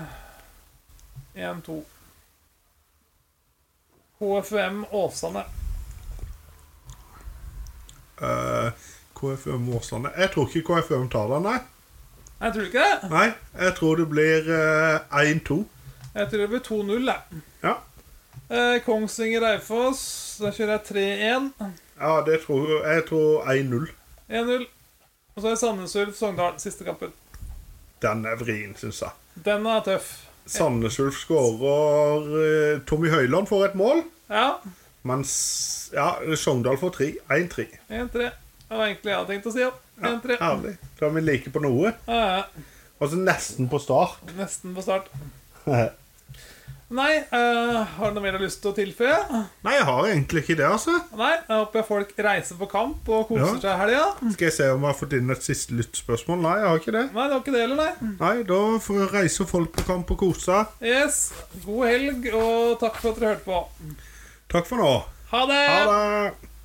[SPEAKER 2] 1-2. HFM Åsane.
[SPEAKER 1] Eh, KFUM Åsane Jeg tror ikke KFUM tar den, nei.
[SPEAKER 2] Nei, tror du ikke det?
[SPEAKER 1] Nei, jeg tror det blir eh, 1-2.
[SPEAKER 2] Jeg tror det blir 2-0. jeg.
[SPEAKER 1] Ja.
[SPEAKER 2] Eh, Kongsvinger-Raufoss. Da kjører jeg 3-1.
[SPEAKER 1] ja, det tror jeg. Jeg tror 1-0.
[SPEAKER 2] 1-0. Og så er det Sandnes Ulf Sogndal. Siste kampen.
[SPEAKER 1] Den er vrien, syns jeg.
[SPEAKER 2] Den er tøff.
[SPEAKER 1] Sandnes Ulf skårer eh, Tommy Høiland får et mål,
[SPEAKER 2] Ja.
[SPEAKER 1] mens ja, Sogndal får tre. 1-3.
[SPEAKER 2] 1-3. Det var egentlig det jeg hadde tenkt å si. ja.
[SPEAKER 1] Ja,
[SPEAKER 2] 1-3.
[SPEAKER 1] herlig. Da er vi like på noe.
[SPEAKER 2] Ja, ja.
[SPEAKER 1] Og så nesten på start.
[SPEAKER 2] Nesten på start.
[SPEAKER 1] Nei,
[SPEAKER 2] Nei, eh, har du noe mer du har lyst til å tilføye?
[SPEAKER 1] jeg har egentlig ikke det, altså.
[SPEAKER 2] Nei, jeg håper folk reiser på kamp og
[SPEAKER 1] Ja.
[SPEAKER 2] koser seg i helga.
[SPEAKER 1] Skal jeg se om jeg har fått inn et siste lyttspørsmål? Nei, jeg har ikke det.
[SPEAKER 2] Nei, det var ikke det heller, nei.
[SPEAKER 1] Nei, da får- reiser folk på kamp og koser seg.
[SPEAKER 2] Yes, god helg, og takk for at dere hørte på.
[SPEAKER 1] Takk for nå.
[SPEAKER 2] Ha det!
[SPEAKER 1] Ha det!